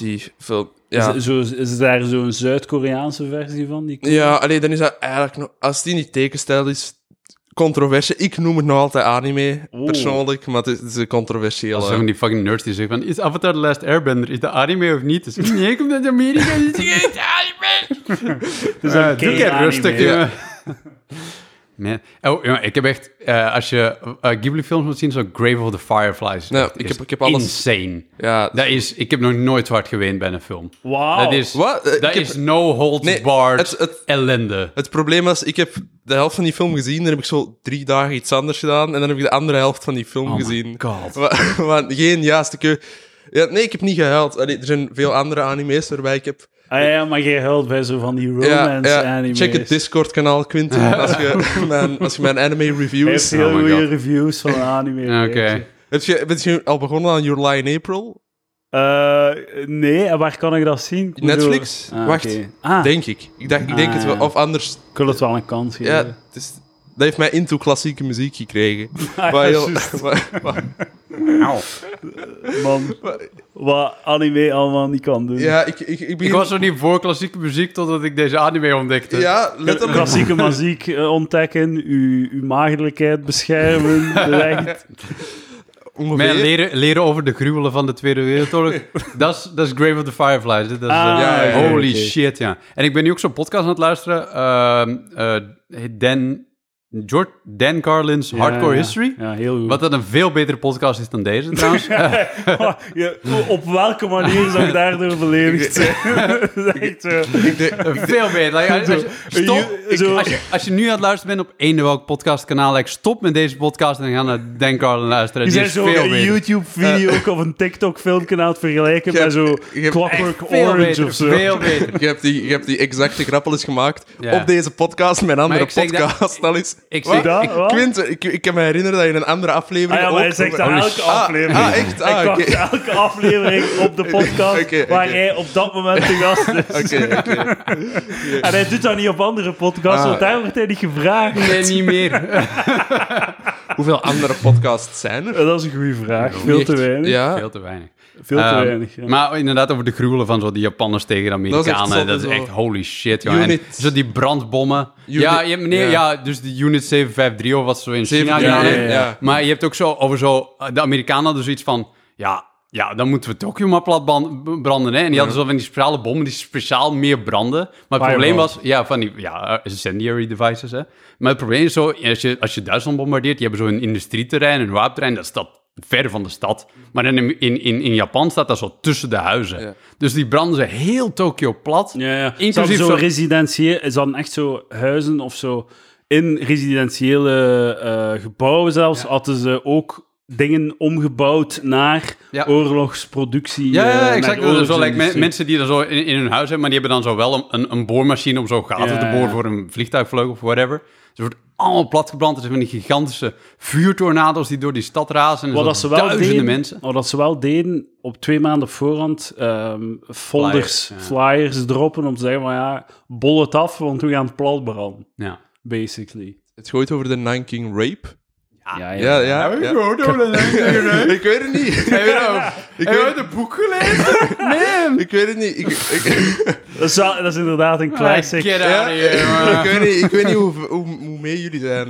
C: animatiefilm. Ja.
A: Is, zo, is daar zo'n Zuid-Koreaanse versie van? Die...
C: Ja, alleen dan is dat eigenlijk nog, als die niet tekenstijl is, controversie. Ik noem het nog altijd anime,
A: Oeh.
C: persoonlijk, maar het is, het is een
B: Dat
C: controversieel.
B: is van die fucking nerds die zeggen van... Is Avatar The Last Airbender, is de anime of niet? Dus, nee, ik kom uit Amerika, dit is geen anime!
A: Dus
B: Eh,
A: dat ken
B: doe ik even
A: anime.
B: rustig, jongen. Man. Oh, jongen, ik heb echt... eh, als je eh, Ghibli-films moet zien, zo Grave of the Fireflies.
C: Nou,
B: echt-
C: ik
B: is
C: heb- ik heb alles-
B: Insane.
C: Ja,
B: Dat is... Ik heb nog nooit zo hard geweend bij een film.
A: Wauw.
B: Dat is...
C: Wat? Eh, ik
B: Dat
C: heb-
B: is no holds
C: Nee,
B: barred
C: het- het-
B: ellende.
C: het probleem is, ik heb de helft van die film gezien, dan heb ik zo drie dagen iets anders gedaan, en dan heb ik de andere helft van die film
B: my
C: gezien.
B: God.
C: Wa- Want geen juiste keu... Ja, nee, ik heb niet gehuild. Allee, er zijn veel andere anime's waarbij ik heb...
A: Ah ja, maar jij huilt bij zo van die
C: Ja,
A: romance
C: ja,
A: animes.
C: check het Discord-kanaal, Quinten, als je mijn, als je mijn anime
A: Hij
C: reviews...
A: heeft heel
B: Oh my
A: goede
B: God.
A: reviews van anime.
B: Oké.
A: weet je.
C: Heb je, ben je al begonnen aan Your Lie in April?
A: Eh, nee, en waar kan ik dat zien? Ik moet
C: Netflix?
A: door- Ah,
C: Wacht.
A: oké. Ah,
C: Denk ik. Ik, dacht, ik denk
A: Ah,
C: het wel.
A: ja.
C: Of anders...
A: ik wil het wel een kans
C: Ja,
A: geven.
C: het is, dat heeft mij into klassieke muziek gekregen.
A: Ah,
C: Wat heel-
A: juist.
C: wat- wat- Nou.
A: Man, wat anime allemaal niet kan doen.
C: ja, ik, ik, ik
B: Ik
C: begin...
B: was er niet voor klassieke muziek totdat ik deze anime ontdekte.
C: Ja, letterlijk.
A: Klassieke muziek eh, ontdekken, uw, uw maagdelijkheid beschermen, de weg-
C: Ongeveer.
B: Mijn leren, leren over de gruwelen van de Tweede Wereldoorlog. dat is- dat is Grave of the Fireflies. hè. Dat is, eh,
A: Ah,
C: ja, ja,
B: holy
C: ja,
A: oké.
B: shit, ja. En ik ben nu ook zo'n podcast aan het luisteren. ehm, eh, heet Dan, George, Dan Carlin's
A: Ja,
B: Hardcore
A: ja.
B: History.
A: Ja, heel goed.
B: Wat dat een veel betere podcast is dan deze, trouwens. Eh,
A: Je- Ah, op welke manier zou ik daardoor beledigd zijn? Dat is echt zo.
C: Ik denk-
B: veel beter. Like, als, als je, stop.
A: Zo.
B: Ik- als, je, als je nu aan het luisteren bent op één welk podcastkanaal, like, stop met deze podcast en ga naar Dan Carlin luisteren.
A: Je
B: Die
A: zijn
B: is
A: zo
B: veel
A: een
B: beter.
A: YouTube-video of een TikTok-filmpje aan het vergelijken
C: Je
A: met zo
C: hebt- je hebt
A: Clockwork
B: Veel
A: Orange
B: beter,
A: of zo.
B: veel beter.
C: Je hebt, die, je hebt die exacte grappelis gemaakt
B: Ja.
C: op deze podcast, mijn andere
B: ik zeg dat-
C: podcast. Dat, is...
B: Ik
C: Wat?
B: zeg
A: Dat,
B: ik-
A: wat?
C: Quinten, ik, ik kan me herinneren dat je in een andere aflevering
A: Ah ja, maar hij
C: ook- Oh,
A: zegt dat
B: Holy
A: elke
B: shit.
A: aflevering.
C: Ah, echt? Ah,
A: hij kwam
C: oké.
A: elke aflevering op de podcast
C: Oké, oké.
A: waar hij op dat moment de gast is.
C: Oké, oké.
A: En hij doet dat niet op andere podcasts,
C: Ah.
A: want daar wordt hij niet gevraagd.
B: Nee, niet meer.
C: Hoeveel andere podcasts zijn er?
A: Dat is een goede vraag. Veel te
C: Echt?
A: weinig.
C: Ja. Ah.
B: Veel te weinig.
A: Veel te
B: Ehm,
A: weinig. ja.
B: Maar inderdaad, over de gruwelen van zo die Japanners tegen de
C: echt
B: Amerikanen.
C: zot,
B: Dat is
C: zo.
B: echt holy shit, joh. En
C: Unit.
B: zo die brandbommen.
C: Unit,
B: ja, je hebt- nee,
C: ja.
B: ja. dus de Unit 753 of wat ze zo in China
C: 753,
B: gedaan
A: ja,
B: hebben.
A: ja,
C: ja.
B: Maar je hebt ook zo over zo... eh, De Amerikanen hadden zoiets van... Ja, ja dan moeten we Tokio maar plat ban- b- branden, hè. En die hadden zo van die speciale bommen die speciaal meer branden. Maar het probleem
A: Fireball.
B: was... Ja, van die ja, eh, incendiary devices, hè. Maar het probleem is zo... Als je, als je Duitsland bombardeert, die hebben zo'n industrieterrein, een wapenterrein. Dat staat ver van de stad. Maar in, in, in, in Japan staat dat zo tussen de huizen.
C: Ja.
B: Dus die branden ze heel Tokio plat.
A: Ja, ja.
B: Inclusief
A: zo'n
B: zo-
A: residentieel, is dan echt zo huizen of zo in residentiële eh, gebouwen zelfs, hadden ze ook dingen omgebouwd naar
B: Ja.
A: oorlogsproductie.
B: Ja,
A: eh,
B: ja,
A: naar
B: exact. Dat is wel, like, me-
A: oorlogsindustrie.
B: mensen die dat zo in, in hun huis hebben, maar die hebben dan zo wel een, een, een boormachine om zo gaten
A: Ja,
B: te boren
A: ja.
B: voor een vliegtuigvleugel of whatever. Ze wordt allemaal platgebrand. Er zijn van die gigantische vuurtornado's die door die stad razen. En
A: Wat
B: zo
A: dat ze wel
B: duizenden
A: deden,
B: mensen.
A: Wat dat ze wel deden, op twee maanden voorhand ehm, folders,
B: Flyers, ja.
A: flyers, droppen om te zeggen van ja, bol het af, want we gaan het plat branden,
B: Ja.
A: basically.
C: Het gooit over de Nine King Rape.
A: Ja,
C: Ja, ja. ja. ik weet het niet.
B: Heb je ooit een boek gelezen? Nee.
C: Ik weet het niet. Ik, ik,
A: Dat, is, wel- dat is inderdaad een classic.
B: Get out
C: Ja.
B: of
C: eh,
B: here, man.
C: ik weet niet, ik weet niet hoe, hoe, hoe mee jullie zijn.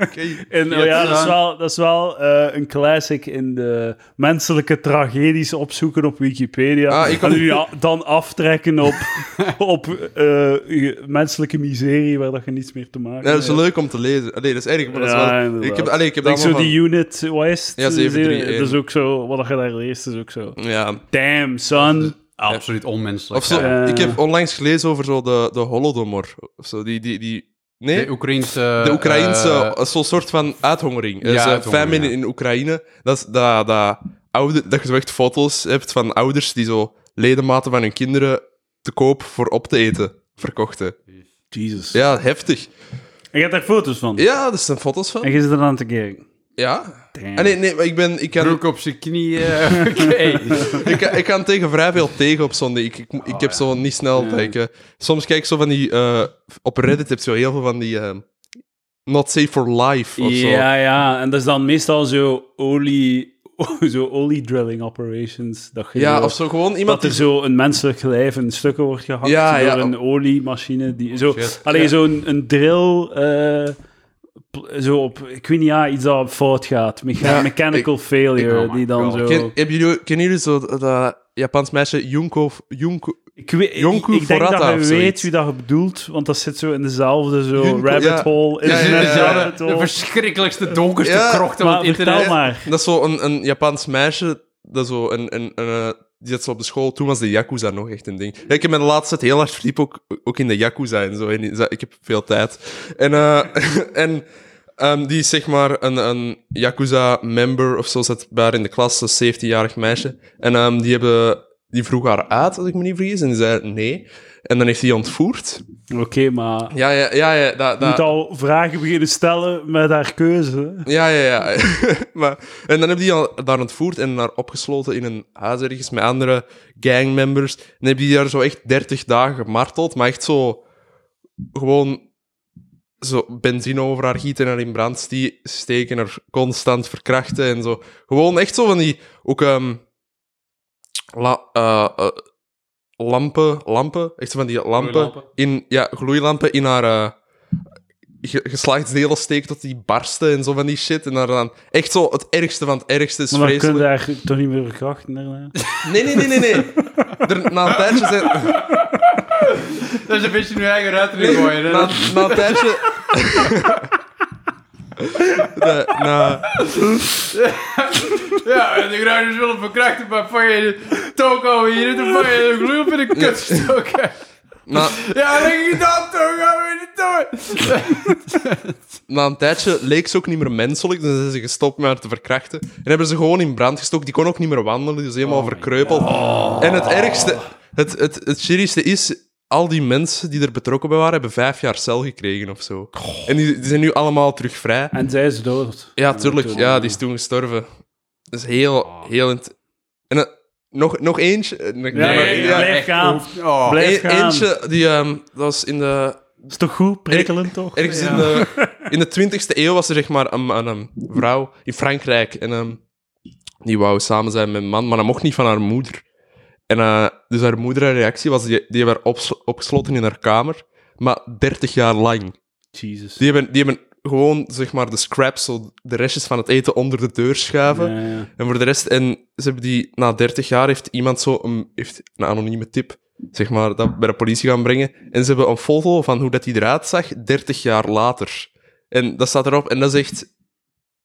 C: Oké.
A: En, oh
B: Ja,
A: ja,
B: het is
A: dat is
B: wel-
A: wel, dat is wel eh, een classic in de menselijke tragedies opzoeken op Wikipedia.
C: Ah, ik
A: en
C: ook.
A: u a- dan aftrekken op, op eh, je menselijke miserie waar dat je niets meer te maken
C: Ja, dat is
A: hebt.
C: leuk om te lezen. Allee, dat is erg, maar dat is
A: Ja,
C: wel...
A: inderdaad.
C: Ik heb, allee, ik heb
A: Like
C: daar
A: zo
C: allemaal
A: die unit, wat is het? Eh,
C: Ja, 731.
A: Dat is ook zo, wat je daar leest, is ook zo.
C: van- Ja.
A: Damn, son.
B: Absoluut onmenselijk.
C: Of zo,
A: Ja.
C: ik heb onlangs gelezen over zo de, de Holodomor. Of zo, die, die, die... Nee,
B: De Oekraïense...
C: de Oekraïense...
B: eh,
C: Zo'n soort van uithongering. Dus, eh,
B: uithongering,
C: famine
B: ja.
C: in Oekraïne. Dat, is, dat, dat, oude, dat je zo echt foto's hebt van ouders die zo ledematen van hun kinderen te koop voor op te eten verkochten.
A: Jesus.
C: Ja, heftig.
A: En je hebt daar foto's van.
C: Ja, dat zijn foto's van.
A: En je zit er aan te kijken.
C: Ja.
A: Damn.
C: Ah, nee, nee, maar ik ben... Ik kan,
B: Broek op zijn knieën. Oké.
C: ik, kan- ik kan tegen vrij veel tegen op zondag. Ik, ik, ik heb
B: ja.
C: zo niet snel... dat ik, eh, soms kijk ik zo van die... eh, op Reddit heb je zo heel veel van die... eh, not safe for life of zo.
A: Ja, ja. En dat is dan meestal zo olie... Zo olie-drilling operations. Dat je
C: Ja,
A: zo-
C: of zo gewoon iemand
A: Dat
C: die...
A: er zo een menselijk lijf in stukken wordt gehakt
C: Ja,
A: door
C: ja.
A: een oliemachine. Die, zo,
B: Shit.
A: alleen
C: Ja.
A: zo'n een drill... eh, pl- zo op, ik weet niet, ja, iets dat fout gaat. Mecha-
C: Ja,
A: mechanical failure,
B: oh my
A: die dan
B: God.
A: zo...
C: Ken, hebben jullie, kennen jullie zo dat- dat Japans meisje Junko... Junko
A: Ik, weet,
C: Jonko
A: ik denk
C: Forata
A: dat je
C: of
A: weet
C: zoiets.
A: wie dat je bedoelt, want dat zit zo in dezelfde zo
C: Jonko,
A: rabbit
C: ja.
A: hole.
C: Ja, ja, ja,
A: internet
C: ja.
A: rabbit
B: De
A: hole.
B: verschrikkelijkste, donkerste
C: Ja,
B: krochten van
A: Maar
B: het internet.
A: vertel maar.
C: dat is zo een, een Japans meisje dat zo een... een, een eh, die zat zo op de school. Toen was de Yakuza nog echt een ding. Ja, ik heb me de laatste tijd heel hard verdiept ook, ook in de Yakuza en zo. En in- ik heb veel tijd. En, eh, en ehm, die is zeg maar een, een Yakuza-member of zo. Zat bij haar in de klas, een 17-jarig meisje. En ehm, die, hebben, die vroeg haar uit, als ik me niet vergis. En die zei nee. En dan heeft hij ontvoerd.
A: Oké, maar...
C: Ja, ja, ja. ja dat,
A: Je
C: dat,
A: moet al vragen beginnen stellen met haar keuze.
C: Ja, ja, ja. maar, en dan heb die al daar ontvoerd en daar opgesloten in een huis ergens met andere gangmembers. En dan heb die daar zo echt 30 dagen gemarteld, maar echt zo gewoon zo benzine over haar gieten, haar in brand stie- steken, haar constant verkrachten en zo. Gewoon echt zo van die ook ehm, la- eh, eh, lampen, lampen, echt zo van die lampen,
B: Gloeilampen.
C: in ja gloeilampen in haar eh, ge- geslachtsdelen steekt tot die barsten en zo van die shit en daar dan echt zo het ergste van het ergste is
A: Maar dan kun
C: vreselijk.
A: je haar toch niet meer verkrachten daarna.
C: Nee nee nee nee nee. Er, na een tijdje zijn
B: Dat is een beetje nu eigen ruimte in gooien. hè.
C: na, na een tijdje. Nee, na-
B: Ja, en dus de Gruiners willen verkrachten, maar van je toko hier, dan van je de gloeilamp in de kut stoken.
C: na,
B: Ja, dan ging je dat toko in de toren.
C: na een tijdje leek ze ook niet meer menselijk, dus zijn ze gestopt met haar te verkrachten. En hebben ze gewoon in brand gestoken. Die kon ook niet meer wandelen, die was helemaal verkreupeld. En het ergste, het, het, het shittigste is, al die mensen die er betrokken bij waren, hebben vijf jaar cel gekregen of zo. En die, die zijn nu allemaal terug vrij.
A: En zij is dood.
C: Ja, tuurlijk. Ja, die is toen gestorven. Dat is heel, heel... int- En eh, nog, nog eentje... eh, nog-
A: Ja,
C: nog-
A: maar-
B: Nee,
A: ja,
B: ja,
A: blijf
B: echt,
A: gaan.
B: oef. Oh.
A: Blijf-
C: E-
A: gaan.
C: Eentje, die, ehm, dat was in de,
A: Is toch goed? Prikkelend toch?
C: ergens in, de, in de 20e eeuw was er zeg maar een, een, een vrouw in Frankrijk. En ehm, die wou samen zijn met een man, maar dat mocht niet van haar moeder. En eh, dus haar moeder, haar reactie was, die, die werd opslo- opgesloten in haar kamer, maar 30 jaar lang.
A: Jesus.
C: Die hebben, die hebben gewoon zeg maar de scraps, zo de restjes van het eten onder de deur schuiven.
A: Ja, ja.
C: En voor de rest, en ze hebben die, na 30 jaar heeft iemand zo een, heeft een anonieme tip, zeg maar, dat bij de politie gaan brengen. En ze hebben een foto van hoe dat die eruit zag, 30 jaar later. En dat staat erop, en dat is echt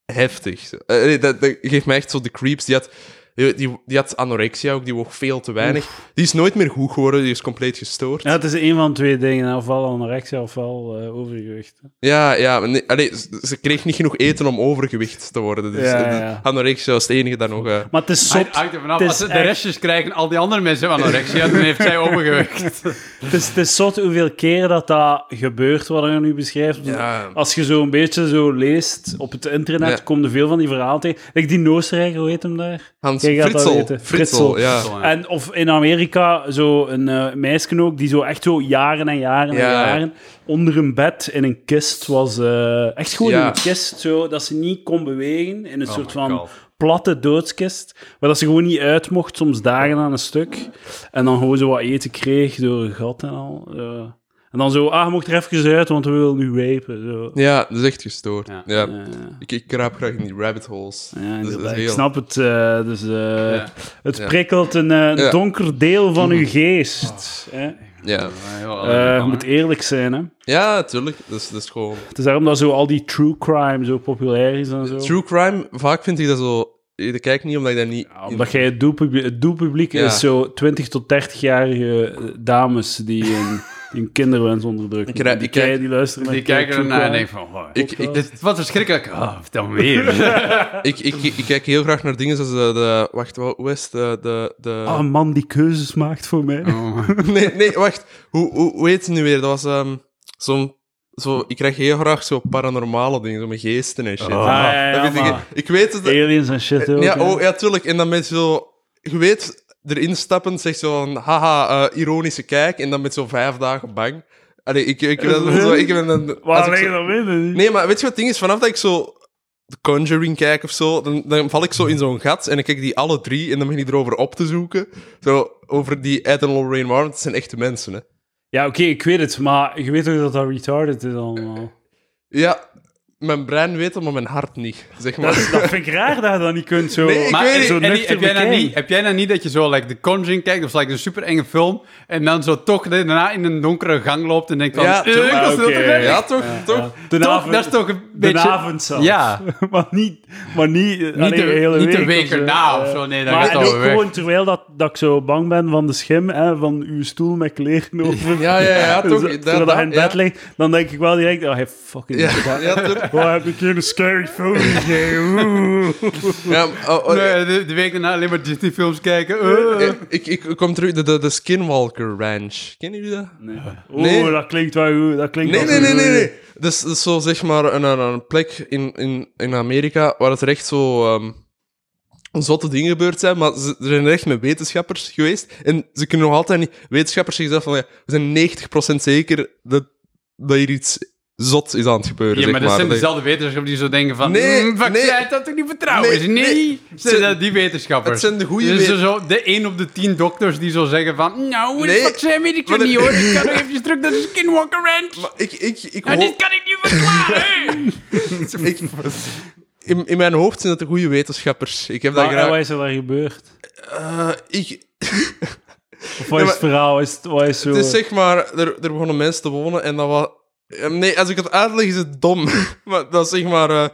C: heftig. Eh, nee, dat, dat geeft mij echt zo de creeps. Die had, Die, die, die had anorexia ook, die woog veel te weinig. Die is nooit meer goed geworden, die is compleet gestoord.
A: Ja, het is een van twee dingen. Ofwel anorexia, ofwel eh, overgewicht.
C: Ja, ja. maar nee, allee, ze ze kreeg niet genoeg eten om overgewicht te worden. Dus
A: Ja,
C: eh,
A: ja, ja.
C: anorexia was het enige dat nog... eh,
A: Maar het is zot.
B: Het hangt er vanaf.
A: Het
B: Als
A: is
B: ze de
A: echt-
B: restjes krijgen, al die andere mensen hebben anorexia, dan heeft zij overgewicht.
A: Het is, het is zot hoeveel keer dat dat gebeurt, wat je nu beschrijft.
C: Ja.
A: Als je zo een beetje zo leest op het internet,
C: Ja.
A: komen er veel van die verhalen tegen. Like die Oostenrijker, hoe heet hem daar?
C: Hans
A: Jij gaat dat
C: Fritzel.
A: weten.
C: Fritzel,
A: Fritzel.
C: ja.
A: En, of in Amerika, zo een eh meisje ook, die zo echt zo jaren en jaren en
C: Ja.
A: jaren onder een bed in een kist was. eh, echt gewoon
C: Ja.
A: in een kist, zo, dat ze niet kon bewegen. In een
B: Oh
A: soort
B: my
A: van
B: God.
A: platte doodskist. Waar dat ze gewoon niet uit mocht, soms dagen aan een stuk. En dan gewoon zo wat eten kreeg door een gat en al. eh. en dan zo, ah, je mocht er even uit, want we willen nu wijpen. Zo.
C: Ja, dat is echt gestoord.
B: Ja.
C: Ja.
A: Eh,
C: Ik, ik kruip graag in die rabbit holes.
A: ja,
C: Dat is- dat is
A: inderdaad. ik
C: heel-
A: snap het. eh, dus, eh,
B: Ja.
A: Het
C: Ja.
A: prikkelt een eh,
C: Ja.
A: donker deel van uw geest. hè.
C: Ja.
A: Eh, je moet eerlijk zijn, hè.
C: ja, tuurlijk. Dat is, dat is gewoon...
A: Het is daarom dat zo al die true crime zo populair is en zo.
C: True crime, vaak vind ik dat zo... Ik kijk niet omdat ik daar niet...
A: Ja, Omdat jij het doelpubliek, het doelpubliek
C: Ja.
A: is zo 20 tot 30-jarige eh, dames die een, die een kinderwens onderdrukken.
C: Ik ra-
A: die,
C: ik kijk-
A: kei- die luisteren naar
B: Die kijken
A: true
B: ernaar en
A: crime.
B: denken van... wow,
C: Ik- ik-
B: dit is wat verschrikkelijk. Ah, vertel me meer.
C: ik, ik, ik, ik kijk heel graag naar dingen zoals de... de wacht, wa- hoe is het? De... de, de-
A: Ah, een man die keuzes maakt voor mij.
B: Oh.
C: Nee, nee, wacht. Hoe, hoe, hoe heet het nu weer? Dat was ehm, zo'n... Zo, ik krijg heel graag zo paranormale dingen, zo met geesten en shit.
B: Oh.
A: Ah, ja, ja,
C: Dat vind ik,
A: maar
C: ik weet het...
A: Aliens en shit ook.
C: Ja,
A: hè.
C: oh, ja, tuurlijk. En dan met zo... Je weet, erin stappend zegt zo van... Haha, eh, ironische kijk. En dan met zo vijf dagen bang. Allee, ik, ik, heb dat zo... Ik heb een, als
A: Waar
C: ik
A: leg je
C: zo-
A: dan in?
C: Nee, maar weet je wat het ding is? Vanaf dat ik zo... The Conjuring kijk of zo, dan, dan val ik zo in zo'n gat en ik kijk die alle drie en dan begin ik erover op te zoeken. Zo, over die Ed en Lorraine Warren, het zijn echte mensen, hè.
A: Ja, oké, ik weet het, maar je weet ook dat dat retarded is allemaal.
C: Ja, mijn brein weet het, maar mijn hart niet, zeg maar.
A: Dat, is- dat vind ik raar dat je dat niet kunt zo...
C: Nee, ik
B: Maar
C: weet
B: en-
C: niet.
A: zo
B: en die-
A: nuchter
B: heb, jij nou
A: bekijken.
B: niet, heb jij nou niet dat je zo like, The Conjuring kijkt, of like, een super enge film, en dan zo toch daarna in een donkere gang loopt en denkt van...
C: Ja,
B: eh,
C: tuurlijk.
B: ik was
A: Ah,
B: heel
A: oké.
B: tevreden.
C: ja, toch? toch?
A: De
B: Toch,
A: avond-
B: dat is toch een
A: De
B: beetje-
A: avond zelfs.
B: Ja.
A: maar niet, maar niet, niet
B: de-
A: de hele
B: niet de
A: week.
B: week
A: of zo.
B: erna of
A: Eh,
B: zo, nee, dan
A: maar
B: gaat
A: en
B: het
A: ook
B: alweer
A: gewoon terwijl dat, dat ik zo bang ben van de schim, hè, van uw stoel met kleren over.
C: Ja, ja, ja, toch?
A: Zo-
C: Dat-
A: Terwijl dat
C: dat-
A: hij in bed
C: ja.
A: ligt, dan denk ik wel direct, oh, hey, fucking...
C: Ja, ja, tuurlijk.
A: Oh, heb ik hier een scary film gegeven? Oeh.
C: Ja, oh, oh,
B: Nee,
A: eh,
B: de, de week daarna alleen maar Disney-films kijken. eh.
C: eh, ik, ik, ik kom terug, de, de, de Skinwalker Ranch. Kennen jullie dat?
A: Nee.
C: Nee.
A: Oeh, dat klinkt wel goed. Dat klinkt
C: Nee,
A: wel
C: nee,
A: goed.
C: nee, nee. nee. Dus, dus zo zeg maar een, een, een plek in, in, in Amerika waar het er echt zo ehm, zotte dingen gebeurd zijn, maar ze er zijn er echt met wetenschappers geweest en ze kunnen nog altijd niet. Wetenschappers zeggen zelf van ja, we zijn 90% zeker dat, dat hier iets zot is aan het gebeuren.
B: Ja,
C: zeg
B: maar dat zijn
C: Dat-
B: dezelfde wetenschappers die zo denken van... "Mm,
C: Nee,
B: Nee, vaccin,
C: nee.
B: dat ik niet vertrouwen
C: Nee,
B: is. Nee,
C: nee.
B: zijn
C: Het-
B: dat die wetenschappers.
C: het zijn de goeie
B: Dus
C: wet-
B: zo, de 1 op de 10 dokters die zo zeggen van... Nou, het
C: Nee,
B: vaccin weet ik
C: maar
B: nog
C: de-
B: niet hoor. Ik kan nog eventjes terug naar de Skinwalker Ranch.
C: Maar ik, ik, ik,
B: Nou,
C: hoop-
B: dit kan ik niet verklaren.
C: ik- in, in mijn hoofd zijn dat de goede wetenschappers. Ik heb dat
A: Maar, en wat
C: graag.
A: is er daar gebeurd?
C: Eh, ik,
A: Of wat is
C: maar-
A: het verhaal? Wat Is het, wat is zo...
C: Het is zeg maar, er, er begonnen mensen te wonen en dat was. Eh, Nee, als ik het uitleg is het dom. maar dat is zeg maar, eh,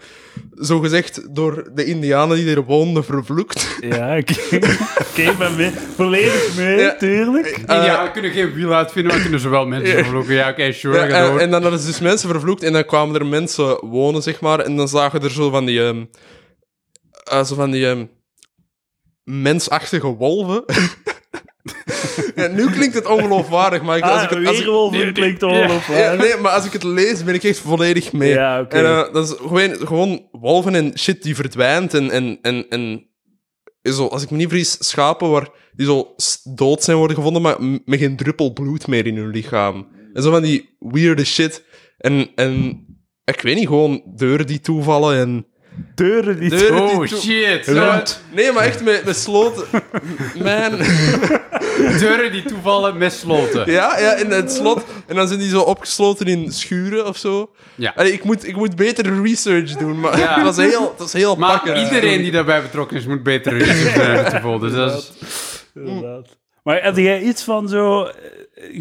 C: zo gezegd, door de Indianen die er woonden, vervloekt.
A: Ja, oké. Oké, ik ben mee. Volledig mee,
C: Ja.
A: tuurlijk.
C: Eh,
B: ja, we kunnen geen wiel uitvinden, maar we kunnen zowel mensen vervloeken. Ja, oké, sure,
C: Ja,
B: ga door.
C: en, en dan hadden ze dus mensen vervloekt en dan kwamen er mensen wonen, zeg maar. En dan zagen er zo van die. ehm, eh, zo van die. ehm, mensachtige wolven. ja, nu klinkt het ongeloofwaardig, maar ik,
A: Ah,
C: als ik het. als ik-
A: weerwolven klinkt
C: Ja,
A: ongelooflijk.
C: nee, maar als ik het lees, ben ik echt volledig mee.
A: Ja, oké.
C: En eh, dat is gewoon, gewoon wolven en shit die verdwijnt. En, en, en, en zo, als ik me niet vergis, schapen waar die zo s- dood zijn worden gevonden, maar m- met geen druppel bloed meer in hun lichaam. En zo van die weirde shit. En, en ik weet niet, gewoon deuren die toevallen en...
A: Deuren die...
C: Deuren die
B: Oh
C: toe-
B: shit,
A: Ja.
B: Zo,
C: Nee, maar echt met, met sloten. Man.
B: deuren die toevallen met sloten.
C: Ja, ja, in het slot. En dan zijn die zo opgesloten in schuren of zo.
B: Ja.
C: Allee, ik, moet, ik moet beter research doen, maar
B: Ja.
C: het was heel, het was heel
B: Maar
C: pakken.
B: iedereen die daarbij betrokken is, moet beter research doen. Dus dat is...
C: Oh.
A: Inderdaad. Maar had jij iets van zo... eh,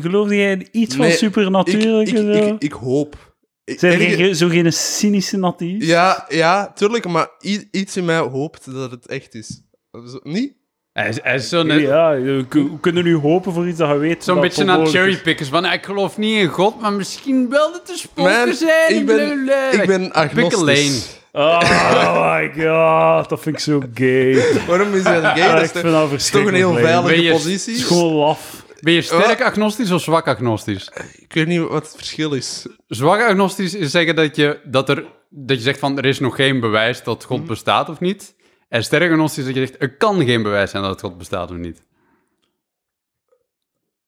A: Geloofde jij in iets van
C: Nee,
A: supernatuurlijk?
C: Ik,
A: en
C: ik,
A: zo?
C: ik, ik hoop. Ik-
A: Zijn
C: ergens-
A: jij zo geen cynische natie?
C: ja, ja, tuurlijk, maar i- iets in mij hoopt dat het echt is. Zo- Niet?
B: Hij is, hij is zo'n eh,
A: Ja, we k- we kunnen nu hopen voor iets dat je weet.
B: zo'n
A: dat
B: beetje aan
A: onmogelijk is.
B: cherrypickers. Van, ik geloof niet in God, maar misschien wel dat er
C: Man,
B: spoken zijn.
C: ik ben, ik ben
B: Pickle
C: agnostisch.
A: Oh my god, dat vind ik zo gay.
C: Waarom is dat gay?
A: Ja,
C: Dat
A: ik
C: is toch-
A: vind dat
C: is toch een heel
A: verschrikkelijk. lelijk.
B: Ben
C: veilige
B: je-
A: Het is
C: positie?
A: gewoon laf.
B: Ben
C: Oh.
B: je sterk agnostisch of zwak agnostisch?
C: Ik weet niet wat het verschil is.
B: Zwak agnostisch is zeggen dat je, dat, er, dat je zegt van er is nog geen bewijs dat
C: Mhm.
B: God bestaat of niet. En sterk agnostisch is dat je zegt er kan geen bewijs zijn dat God bestaat of niet.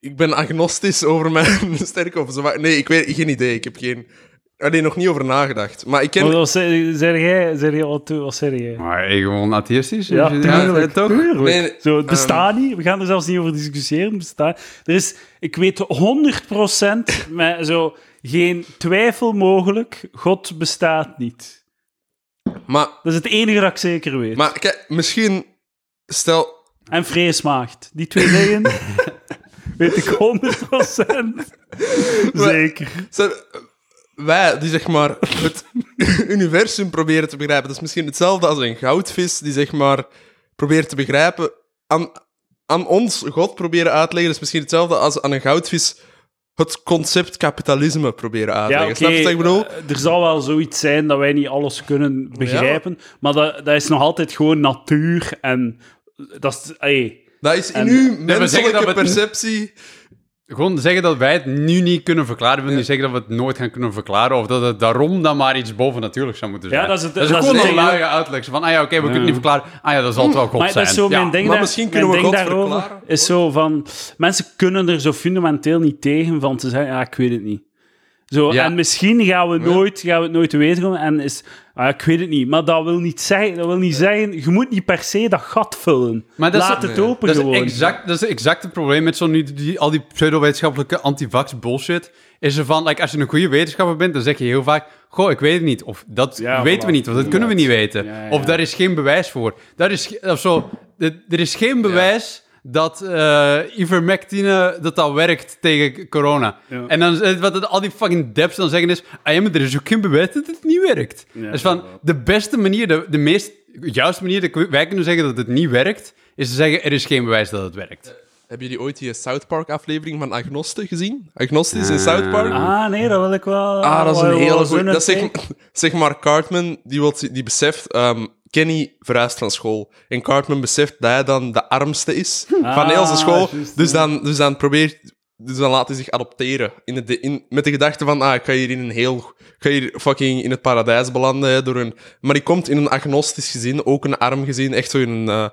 C: Ik ben agnostisch over mijn sterke of zwak. Nee, ik weet geen idee. Ik heb geen... Alleen nog niet over nagedacht. Maar ik
A: Maar
C: ken...
A: wat zei zei jij? Zei jij al toe? Wat zei jij?
B: Maar ik gewoon atheïstisch.
A: Ja,
B: Dus-
A: tuurlijk.
B: toch?
A: tuurlijk.
C: Nee,
A: zo, het bestaat niet. We gaan er zelfs niet over discussiëren. Bestaat. Er is, ik weet 100% met zo geen twijfel mogelijk. God bestaat niet.
C: Maar,
A: Dat is het enige dat ik zeker weet.
C: maar kijk, misschien... Stel,
A: En vreesmaagd. Die twee dingen weet ik 100% zeker.
C: Zijn- eh, wij die zeg maar het universum proberen te begrijpen, dat is misschien hetzelfde als een goudvis die zeg maar probeert te begrijpen. Aan, aan ons God proberen uit te leggen, dat is misschien hetzelfde als aan een goudvis het concept kapitalisme proberen uit te leggen. Snap je wat ik bedoel?
A: eh, Er zal wel zoiets zijn dat wij niet alles kunnen begrijpen, maar dat, dat is nog altijd gewoon natuur en dat is... ey,
C: Dat is in
A: en-
C: uw
B: zeggen
C: menselijke
B: dat we het-
C: perceptie.
B: Gewoon zeggen dat wij het nu niet kunnen verklaren, wil niet zeggen dat we het nooit gaan kunnen verklaren, of dat het daarom dan maar iets bovennatuurlijks zou moeten
A: Ja,
B: zijn.
A: dat is het-
B: dat is
A: dat is
B: gewoon
A: het
B: een
A: ding, hè.
B: luie uitleg. Zo Van, ah ja, oké, we kunnen het niet verklaren. Ah ja, dat zal het wel God
A: maar
B: zijn.
A: dat is zo
B: Ja.
A: mijn ding,
C: maar
A: daar-
C: misschien
A: mijn
C: kunnen we
A: ding
C: God
A: daarover
C: verklaren.
A: is zo van... Mensen kunnen er zo fundamenteel niet tegen van te zeggen, ja, ik weet het niet. Zo,
B: Ja.
A: En misschien gaan we, nooit, gaan we het nooit te weten komen en is... ah, ik weet het niet, maar dat wil niet, zeggen, dat wil niet zeggen... Je moet niet per se dat gat vullen.
B: Maar dat is-
A: Laat het open
B: Dat is,
A: gewoon.
B: exact, dat is exact het probleem met zo'n, die, die- al die pseudowetenschappelijke anti-vax bullshit. Is er van, like, als je een goede wetenschapper bent, dan zeg je heel vaak... Goh, ik weet het niet. Of dat
A: Ja,
B: weten
A: voilà.
B: we niet, of dat kunnen we niet weten.
A: Ja, ja.
B: Of daar is geen bewijs voor. Daar is, ge- of zo, er er is geen bewijs dat eh ivermectine dat dat werkt tegen corona.
A: Ja.
B: En dan, is het- wat het- al die fucking deps dan zeggen is... Ah ja, maar er is ook geen bewijs dat het niet werkt.
A: Ja,
B: dus van, de beste manier, de, de meest juiste manier dat wij kunnen zeggen dat het niet werkt, is te zeggen er is geen bewijs dat het werkt.
C: Hebben jullie ooit die South Park aflevering van Agnosten gezien? Agnostisch in South Park?
A: Ah, nee, dat wil ik wel...
C: Ah, dat is
A: wel-
C: een
A: wel
C: hele
A: zo'n
C: goeie. Dat zeg,
A: take.
C: zeg maar, Cartman, die, wil, die beseft... ehm, Kenny verhuist van school. En Cartman beseft dat hij dan de armste is van heel zijn school.
A: juist,
C: dus, dan, dus dan probeert... Dus dan laat hij zich adopteren. In de, in, met de gedachte van, ah, ik ga hier in een heel... Ik ga hier fucking in het paradijs belanden. Hè, door een, maar die komt in een agnostisch gezin, ook een arm gezin. Echt zo in, een, eh,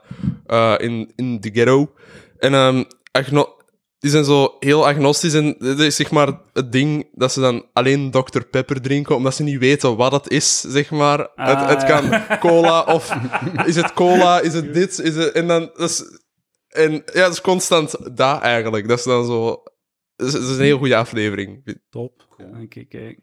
C: eh, in, in de ghetto. En ehm, agno- die zijn zo heel agnostisch en dat is zeg maar het ding dat ze dan alleen Dr. Pepper drinken, omdat ze niet weten wat het is, zeg maar. het, het
A: ja.
C: kan cola of is het cola, is het dit, is het... En dan... Dat is, en ja, dat is constant dat eigenlijk. Dat is dan zo... Dat is, dat is een heel goede aflevering.
A: Top. Kijk, kijk.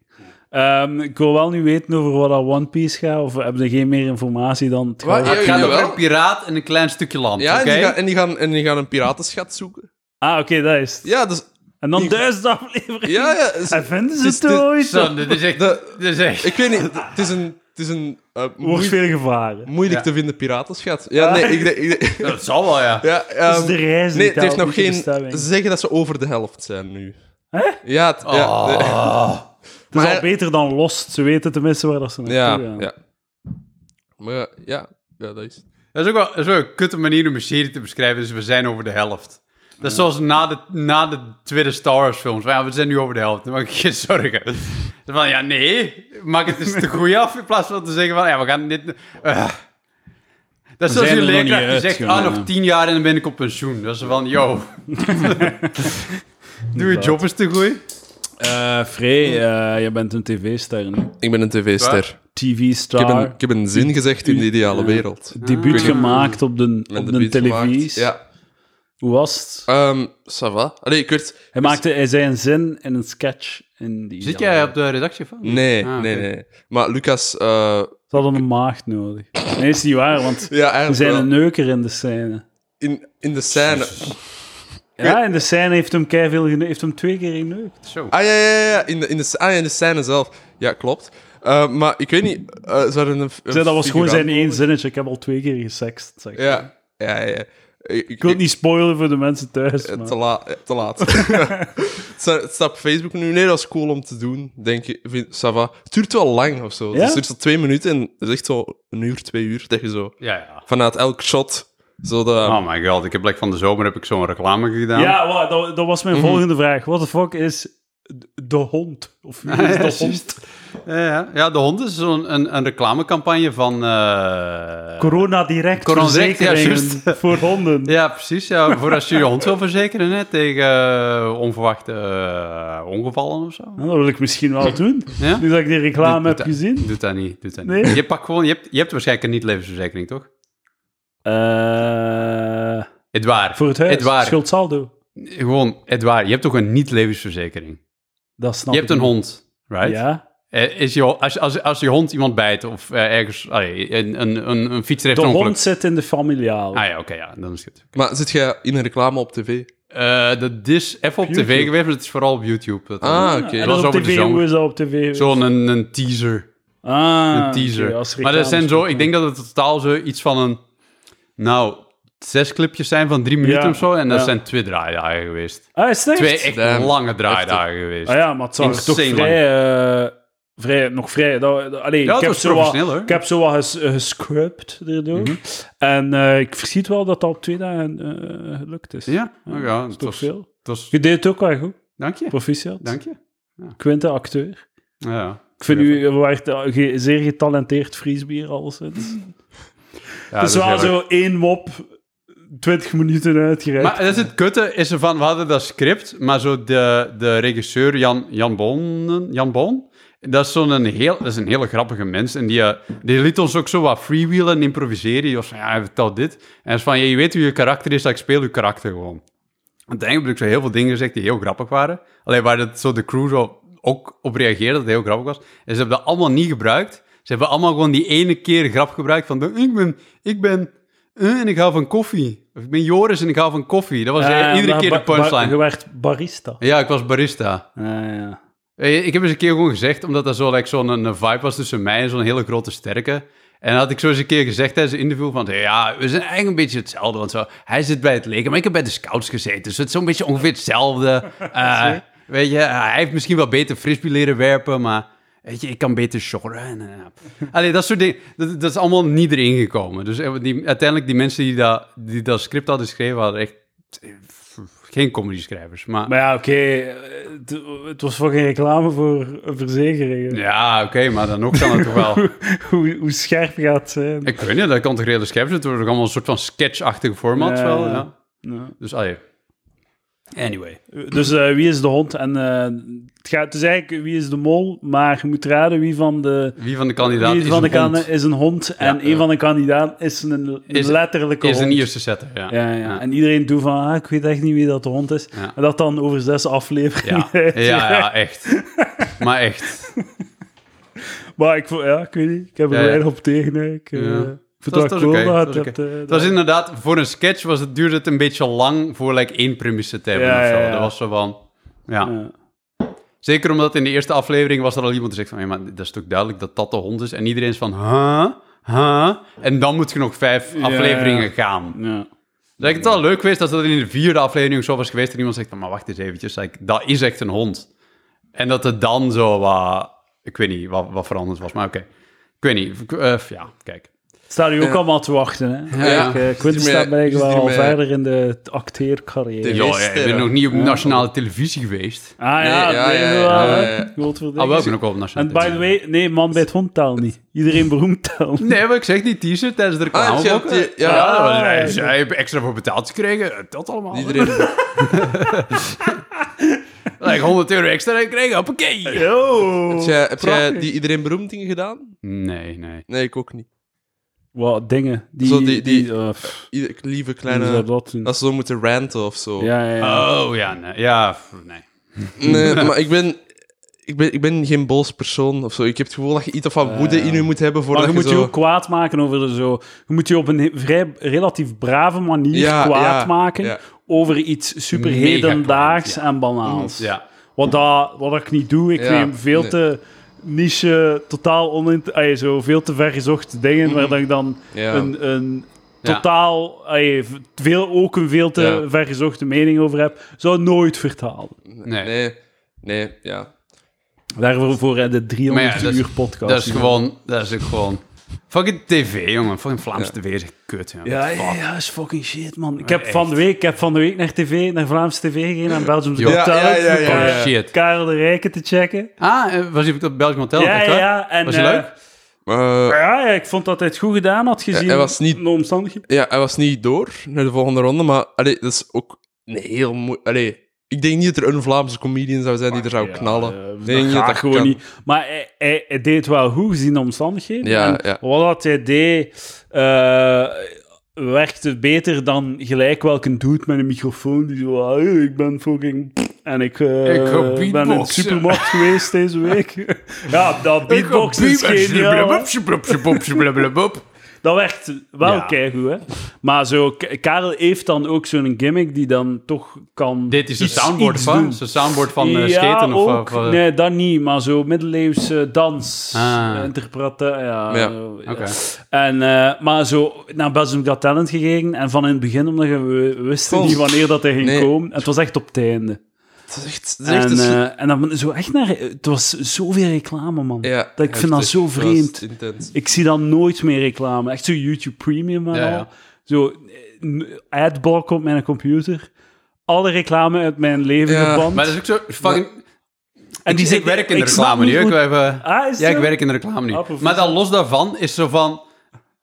A: Ehm, ik wil wel nu weten over wat dat One Piece gaat, of hebben ze geen meer informatie dan het
C: Wat?
A: gouden-
B: Het gaat over
C: jawel.
B: een piraat en een klein stukje land,
C: Ja,
B: oké?
C: en, die gaan, en, die gaan, en die gaan een piratenschat zoeken.
A: Ah, oké, dat is het.
C: Ja, dus...
A: En dan
C: Die-
A: duizend afleveringen.
C: Ja, ja. is-
A: En vinden ze
C: Het
A: het
C: is de-
A: ooit?
B: Zo, dit is echt...
C: De-
B: dit is echt-
C: ik weet niet, het is een... Het is een eh,
A: Wordt
C: moeilijk,
A: veel gevaren.
C: moeilijk
B: Ja.
C: te vinden piratenschat. Ja, nee, ik... denk- ik denk-
B: Dat zal wel, ja.
C: Ja,
A: Dus is
C: ehm,
A: de reis
C: Nee,
A: niet
C: het
A: helpt
C: heeft nog
A: met de
C: geen.
A: bestemming.
C: Ze zeggen dat ze over de helft zijn nu. Ja, het, ja,
B: Oh.
C: nee,
A: Het is
C: maar-
A: al beter dan Lost. Ze weten tenminste waar dat ze naartoe
C: ja,
A: gaan.
C: ja. Maar ja, ja, ja, dat is.
B: Dat is ook wel dat is wel een kutte manier om een serie te beschrijven, dus we zijn over de helft. Dat is zoals na de, na de tweede Star Wars films. Van, ja, we zijn nu over de helft, dan maak ik geen zorgen. Dan Van, ja, nee, maak het eens te goed af in plaats van te zeggen van, ja, we gaan dit... eh. Dat is zoals
A: zijn
B: je
A: er nog niet
B: leerkracht die
A: uit,
B: zegt,
A: gewoon,
B: ah,
A: ja.
B: nog tien jaar en dan ben ik op pensioen. Dat is van, yo. Doe je job eens te goed.
A: Eh, Frey, eh, jij bent een tv-ster nu.
C: Ik ben een tv-ster. Ik, heb
A: TV-star. Eh,
C: een- ik heb een zin gezegd in de ideale wereld.
A: Debuut
C: Ik weet-
A: gemaakt op de,
C: En
A: op
C: de
A: de,
C: beat gemaakt.
A: televisie.
C: Ja.
A: Hoe was het?
C: Ehm ça va. Allee, ik werd...
A: Hij, maakte, hij zei een zin in een sketch. In die
B: Zit jij op de redactie van?
C: Nee,
B: Ah,
C: nee,
B: oké.
C: nee. Maar Lucas... eh,
A: Ze hadden een maagd nodig. Nee, is niet waar, want
C: ja,
A: er
C: eigenlijk
A: zijn
C: wel.
A: een neuker in de scène.
C: in, in de scène...
A: Ja, in de scène heeft hem keiveel gene- heeft hem twee keer geneukt.
B: Zo.
C: Ah, ja, ja, ja. In de, in de, sc- ah, ja, in de scène zelf. Ja, klopt. Eh, maar ik weet niet... eh, ze hadden een, een
A: Zei, dat was gewoon
C: figurant
A: zijn één
C: nodig.
A: zinnetje. Ik heb al twee keer gesext. Zeg.
C: Ja. ja, ja. Ik,
A: Ik wil het niet spoilen voor de mensen thuis.
C: eh,
A: maar-
C: Te, la- eh, te laat. het sta- het staat op Facebook nu. Nee, dat is cool om te doen, denk ik. Vind, ça va. Het duurt wel lang of zo.
A: Ja?
C: Dus het duurt zo twee minuten en het is echt zo een uur, twee uur. Dat je zo
B: Ja, ja.
C: vanuit elk shot zo de...
A: Ah.
B: Oh my god, ik heb like, van de zomer heb ik zo'n reclame gedaan.
A: Ja, wa- dat, dat was mijn
B: Mhm.
A: volgende vraag. What the fuck is d- de hond? Of wie
B: Ja,
A: is
B: juist.
A: de hond?
B: Ja, ja. Ja, de hond is zo'n een, een reclamecampagne van... eh,
A: Corona direct
B: Corona direct,
A: verzekeringen
B: ja, juist.
A: voor honden.
B: Ja, precies. Ja, voor als je je hond wil verzekeren hè, tegen eh, onverwachte eh, ongevallen of zo.
A: Nou, dat wil ik misschien wel doen.
B: Ja?
A: Nu dat ik die reclame
B: Doet-
A: heb
B: doet dat-
A: gezien.
B: Doet dat niet. Doet dat
A: Nee?
B: niet. Je, pakt gewoon, je, hebt, je hebt waarschijnlijk een niet-levensverzekering, toch?
A: Eh,
B: Edouard.
A: voor het huis.
B: Edouard.
A: Schuldsaldo.
B: Gewoon, Edouard, je hebt toch een niet-levensverzekering?
A: Dat snap
B: Je hebt
A: ik
B: een
A: niet.
B: hond, right?
A: Ja.
B: Eh, Is je, als, als, als je hond iemand bijt of eh, ergens... allee, een, een, een, een fietser heeft
A: De
B: een ongeluk.
A: hond zit in de familiaal.
B: Ah ja, oké, ja, dan is het goed.
C: Maar zit jij in een reclame op tv?
B: Eh, dat is even op,
A: YouTube.
B: tv geweest, maar het is vooral op YouTube. Dat-
C: Ah, oké.
A: en
B: dat
A: dat
B: was
A: op
B: over de
A: tv,
B: zomer.
A: hoe is dat op tv?
B: Zo'n een, een teaser.
A: ah,
B: Een teaser.
A: oké, als
B: maar dat zijn zo,
A: reclame.
B: ik denk dat het totaal zo iets van een. Nou, zes clipjes zijn van drie minuten
A: Ja,
B: of zo. En dat
A: ja.
B: zijn twee draaidagen geweest.
A: Ah, is het echt?
B: Twee echt
C: Damn.
B: lange draaidagen geweest.
A: Ah ja, maar het zou er toch
B: Insane
A: vrij, eh, vrij... Nog vrij... Dat, dat- allee,
B: Ja,
A: ik,
B: het
A: heb
B: was
A: zo wat,
B: professioneel, Mhm. hoor.
A: ik heb zo wat ges, gescrubbed erdoor. En eh, ik zie wel dat dat op twee dagen eh, gelukt is.
B: Ja, nou ja,
A: dat is
B: het
A: toch
B: was, het
A: veel.
B: was.
A: Je deed het ook wel goed.
B: Dank je.
A: Proficiat.
B: Dank je.
A: Quinte, acteur.
B: Ja.
A: Ik vind u, u waart, eh, ge- zeer getalenteerd frisbier al sinds.
B: Ja,
A: het is
B: dat
A: wel
B: heel erg.
A: zo één mop, 20 minuten uitgereikt.
B: Maar dat is het kutte, is er van, we hadden dat script, maar zo de, de regisseur Jan, Jan Bon, Jan Bon, dat is zo'n een heel, dat is een hele grappige mens. En die, eh, die liet ons ook zo wat freewheelen en improviseren. Die was van, ja, vertel dit. En hij is van, ja, je weet hoe je karakter is, dat ik speel je karakter gewoon. Uiteindelijk heb ik zo heel veel dingen gezegd die heel grappig waren. Alleen waar dat zo de crew zo ook op reageerde, dat het heel grappig was. En ze hebben dat allemaal niet gebruikt. Ze hebben allemaal gewoon die ene keer grap gebruikt van... de, Ik ben... Ik ben eh, en ik hou van koffie. Of ik ben Joris en ik hou van koffie. Dat was eh,
A: Eh,
B: iedere
A: maar
B: keer de
A: ba- ba- Je
B: punchline.
A: werd barista.
B: Ja, ik was barista.
A: Ah, ja.
B: Eh, Ik heb eens een keer gewoon gezegd, omdat dat zo like, zo'n een vibe was tussen mij en zo'n hele grote sterke. En dan had ik zo eens een keer gezegd tijdens een interview van... Ja, we zijn eigenlijk een beetje hetzelfde. Want zo, hij zit bij het leger, maar ik heb bij de scouts gezeten. Dus het is zo'n beetje ongeveer hetzelfde. Eh, weet je, eh, hij heeft misschien wel beter frisbee leren werpen, maar... Weet je, ik kan beter shorren. En, eh, Allee, dat soort dingen. Dat, dat is allemaal niet erin gekomen. Dus eh, die, uiteindelijk, die mensen die dat, die dat script hadden geschreven, hadden echt... eh, Geen comedy schrijvers, maar...
A: Maar ja, oké, eh, het, het was voor geen reclame voor een verzekering.
B: Ja, oké, maar dan ook kan het toch wel...
A: hoe, hoe scherp gaat het zijn.
B: Ik weet niet, dat kan toch redelijk scherp zijn? Het wordt ook allemaal een soort van sketchachtige format
A: Ja,
B: wel,
A: ja.
B: ja.
A: Ja.
B: Dus, allee. Anyway.
A: Dus eh, wie is de hond? En eh, het, gaat, het is eigenlijk wie is de mol, maar je moet raden wie van de,
B: Wie van de kandidaten
A: wie
B: is
A: van de
B: een hond?
A: kandidaten is een hond. en
B: ja.
A: een van de kandidaten is een, een
B: Is-
A: letterlijke
B: Is een
A: hond.
B: eerste setter, ja.
A: ja, ja. En iedereen doet van, ah, ik weet echt niet wie dat de hond is.
B: Ja.
A: En dat dan over zes afleveringen.
B: Ja. Ja, ja, echt. Maar echt.
A: Maar ik, vo- ja, ik weet niet, ik heb er
B: Ja, ja.
A: weinig op tegen. hè. Ik, eh,
B: Ja.
A: ik vind
B: Het was,
A: het
B: het
A: wel
B: was
A: cool
B: oké,
A: dat
B: het
A: je
B: was
A: dat,
B: oké.
A: eh,
B: Het was inderdaad, voor een sketch was het, duurde het een beetje lang voor like, één premisse te hebben
A: Ja,
B: of zo.
A: ja, ja.
B: Dat was zo van... Ja.
A: ja.
B: Zeker omdat in de eerste aflevering was er al iemand die zegt van... Hey, maar dat is toch duidelijk dat dat de hond is? En iedereen is van... Huh? Huh? En dan moet je nog vijf afleveringen gaan.
A: Ja.
B: Dus ik het wel leuk geweest als dat in de vierde aflevering zo was geweest en iemand zegt van, maar wacht eens eventjes, like, dat is echt een hond. En dat het dan zo wat, ik weet niet wat, wat veranderd was, maar oké. Ik weet niet, ik- eh, ja, kijk.
A: Staan u ook
C: Ja.
A: allemaal te wachten, hè?
C: Ja.
A: Kijk, eh,
C: Zit
A: Quinten
C: hier
A: staat
C: met-
A: bij
C: zit
A: wel
C: hier
A: al
C: met-
A: verder in de acteercarrière.
B: Ja,
C: De-
B: ja, ik ben
C: sterren.
B: nog niet op nationale televisie geweest.
A: Ah
C: Nee,
A: ja,
C: ja,
A: nee,
C: ja, ja,
A: wel,
C: ja,
A: hè.
C: ja, ja.
A: Godverdikke.
B: Ah, wel, ik ben ook wel op
A: En
B: nationale
A: by the way, nee, man bij het hond telt niet. Iedereen beroemd telt.
B: Nee, maar ik zeg die teaser tijdens de reclame.
C: Ah, je hebt
B: ook,
C: die-
B: eh,
C: ja.
B: dat was-
A: Ah,
B: hij-
A: ja.
B: hij heeft extra voor betaald gekregen, dat allemaal.
C: Iedereen...
B: Like, 100 euro extra gekregen, hoppakee.
A: Yo!
C: Heb jij- heb jij
A: Prachtig.
C: die iedereen beroemd dingen gedaan?
B: Nee, nee.
C: Nee, ik ook niet.
A: Wat dingen. Die,
C: Zo,
A: die,
C: die-
A: die,
C: die-
A: eh, pff,
C: Ieder- lieve
A: hoe zou
C: kleine...
A: dat doen?
C: Dat Ah, ze zo moeten ranten of zo.
A: Ja, ja, ja.
B: Oh, ja, nee. Ja, f- nee.
C: Nee, maar ik ben, ik, ben, ik ben geen boos persoon of zo. Ik heb het gevoel dat je iets van woede in je moet hebben voordat
A: maar je moet
C: zo...
A: je ook kwaad maken over de zo. Je moet je op een he- vrij relatief brave manier
C: Ja,
A: kwaad
C: ja,
A: maken
C: ja.
A: over iets super
B: Mega kwaad,
A: hedendaags
B: ja.
A: en banaals.
B: Ja.
A: Wat, dat, wat ik niet doe, ik
C: Ja,
A: neem veel
C: nee.
A: te niche, totaal onint, ay, zo veel te vergezochte dingen waar dat ik dan
C: Ja.
A: een, een
B: Mhm. Ja.
A: totaal allee, v- veel, ook een veel te
B: Ja.
A: vergezochte mening over heb, zou nooit vertalen.
B: Nee.
C: Nee, nee, ja.
A: Daarvoor voor eh, de 300
B: Maar ja, dat is-
A: uur podcast.
B: Dat is gewoon, dat is ook gewoon. Fucking tv, jongen. Fucking Vlaamse tv is echt kut, jongen.
A: Ja, ja, ja, is fucking shit, man. Ik heb, van de week, ik heb van de week naar tv, naar Vlaamse tv gegaan, naar Belgium's
B: Ja,
A: Got Talent,
C: ja, ja, ja,
A: om,
B: Oh,
A: eh,
B: shit.
A: Karel de Rijken te checken.
B: Ah, eh, was je op dat Belgium Hotel?
A: ja,
B: echt
A: ja,
B: waar?
A: ja. En,
B: Was je
A: eh,
B: leuk?
C: Eh,
A: ja, ja, ik vond dat hij het goed gedaan had gezien.
C: hij was niet-
A: De omstandigheden.
C: ja, hij was niet door naar de volgende ronde, maar allee, dat is ook een heel moeilijk... Allee, ik denk niet dat er een Vlaamse comedian zou zijn die er zou
A: Ja,
C: knallen.
A: eh,
C: Ik
A: dat
C: denk niet
A: gaat
C: dat
A: gewoon
C: kan.
A: niet. Maar hij, hij- hij deed wel goed gezien de omstandigheden.
C: Ja,
A: En
C: ja.
A: Wat dat hij deed, eh, werkte beter dan gelijk welke dude met een microfoon die zo... "Hey, ik ben fucking... En ik, eh,
B: Ik ga
A: ben in de
B: beatboxen."
A: supermarkt geweest deze week. ja, dat beatbox is geniaal. hè. Dat werkt wel
B: Ja.
A: keigoed, hè. Maar zo, K- Karel heeft dan ook zo'n gimmick die dan toch kan...
B: Dit is de
A: iets-
B: soundboard
A: iets
B: van?
A: doen.
B: Zo'n soundboard van eh,
A: ja,
B: skaten of
A: ook,
B: of, eh,
A: Nee, dat niet, maar zo middeleeuwse dans.
B: Ah.
A: eh, interpreten, ja.
C: Ja,
A: eh,
B: oké.
A: En, eh, maar zo naar Belgium Got Talent gegaan en van in het begin, omdat je we wisten
C: Kom.
A: niet wanneer dat hij ging
C: Nee.
A: komen. Het was echt op het einde.
C: Het is echt... Het is echt
A: En,
C: een-
A: eh, en dan zo echt naar... Het was zoveel reclame, man.
C: ja,
A: dat ik vind dat
C: heftig.
A: zo
C: was
A: vreemd.
C: intens.
A: Ik zie dan nooit meer reclame. Echt zo YouTube Premium en
B: Ja,
A: al.
B: ja.
A: Zo eh, n- adblock op mijn computer. Alle reclame uit mijn leven
C: Ja,
A: geband.
B: Maar dat is ook zo fucking...
A: en
B: ik, ik
A: zit-
B: werk in de
A: ik snap
B: reclame
A: niet
B: nu. hè. Ik
A: hoe-
B: wil even-
A: Ah, is
B: ja,
A: het
B: ik
A: zo?
B: werk in de reclame
A: Ah,
B: nu.
A: proef.
B: Maar dan los daarvan is zo van...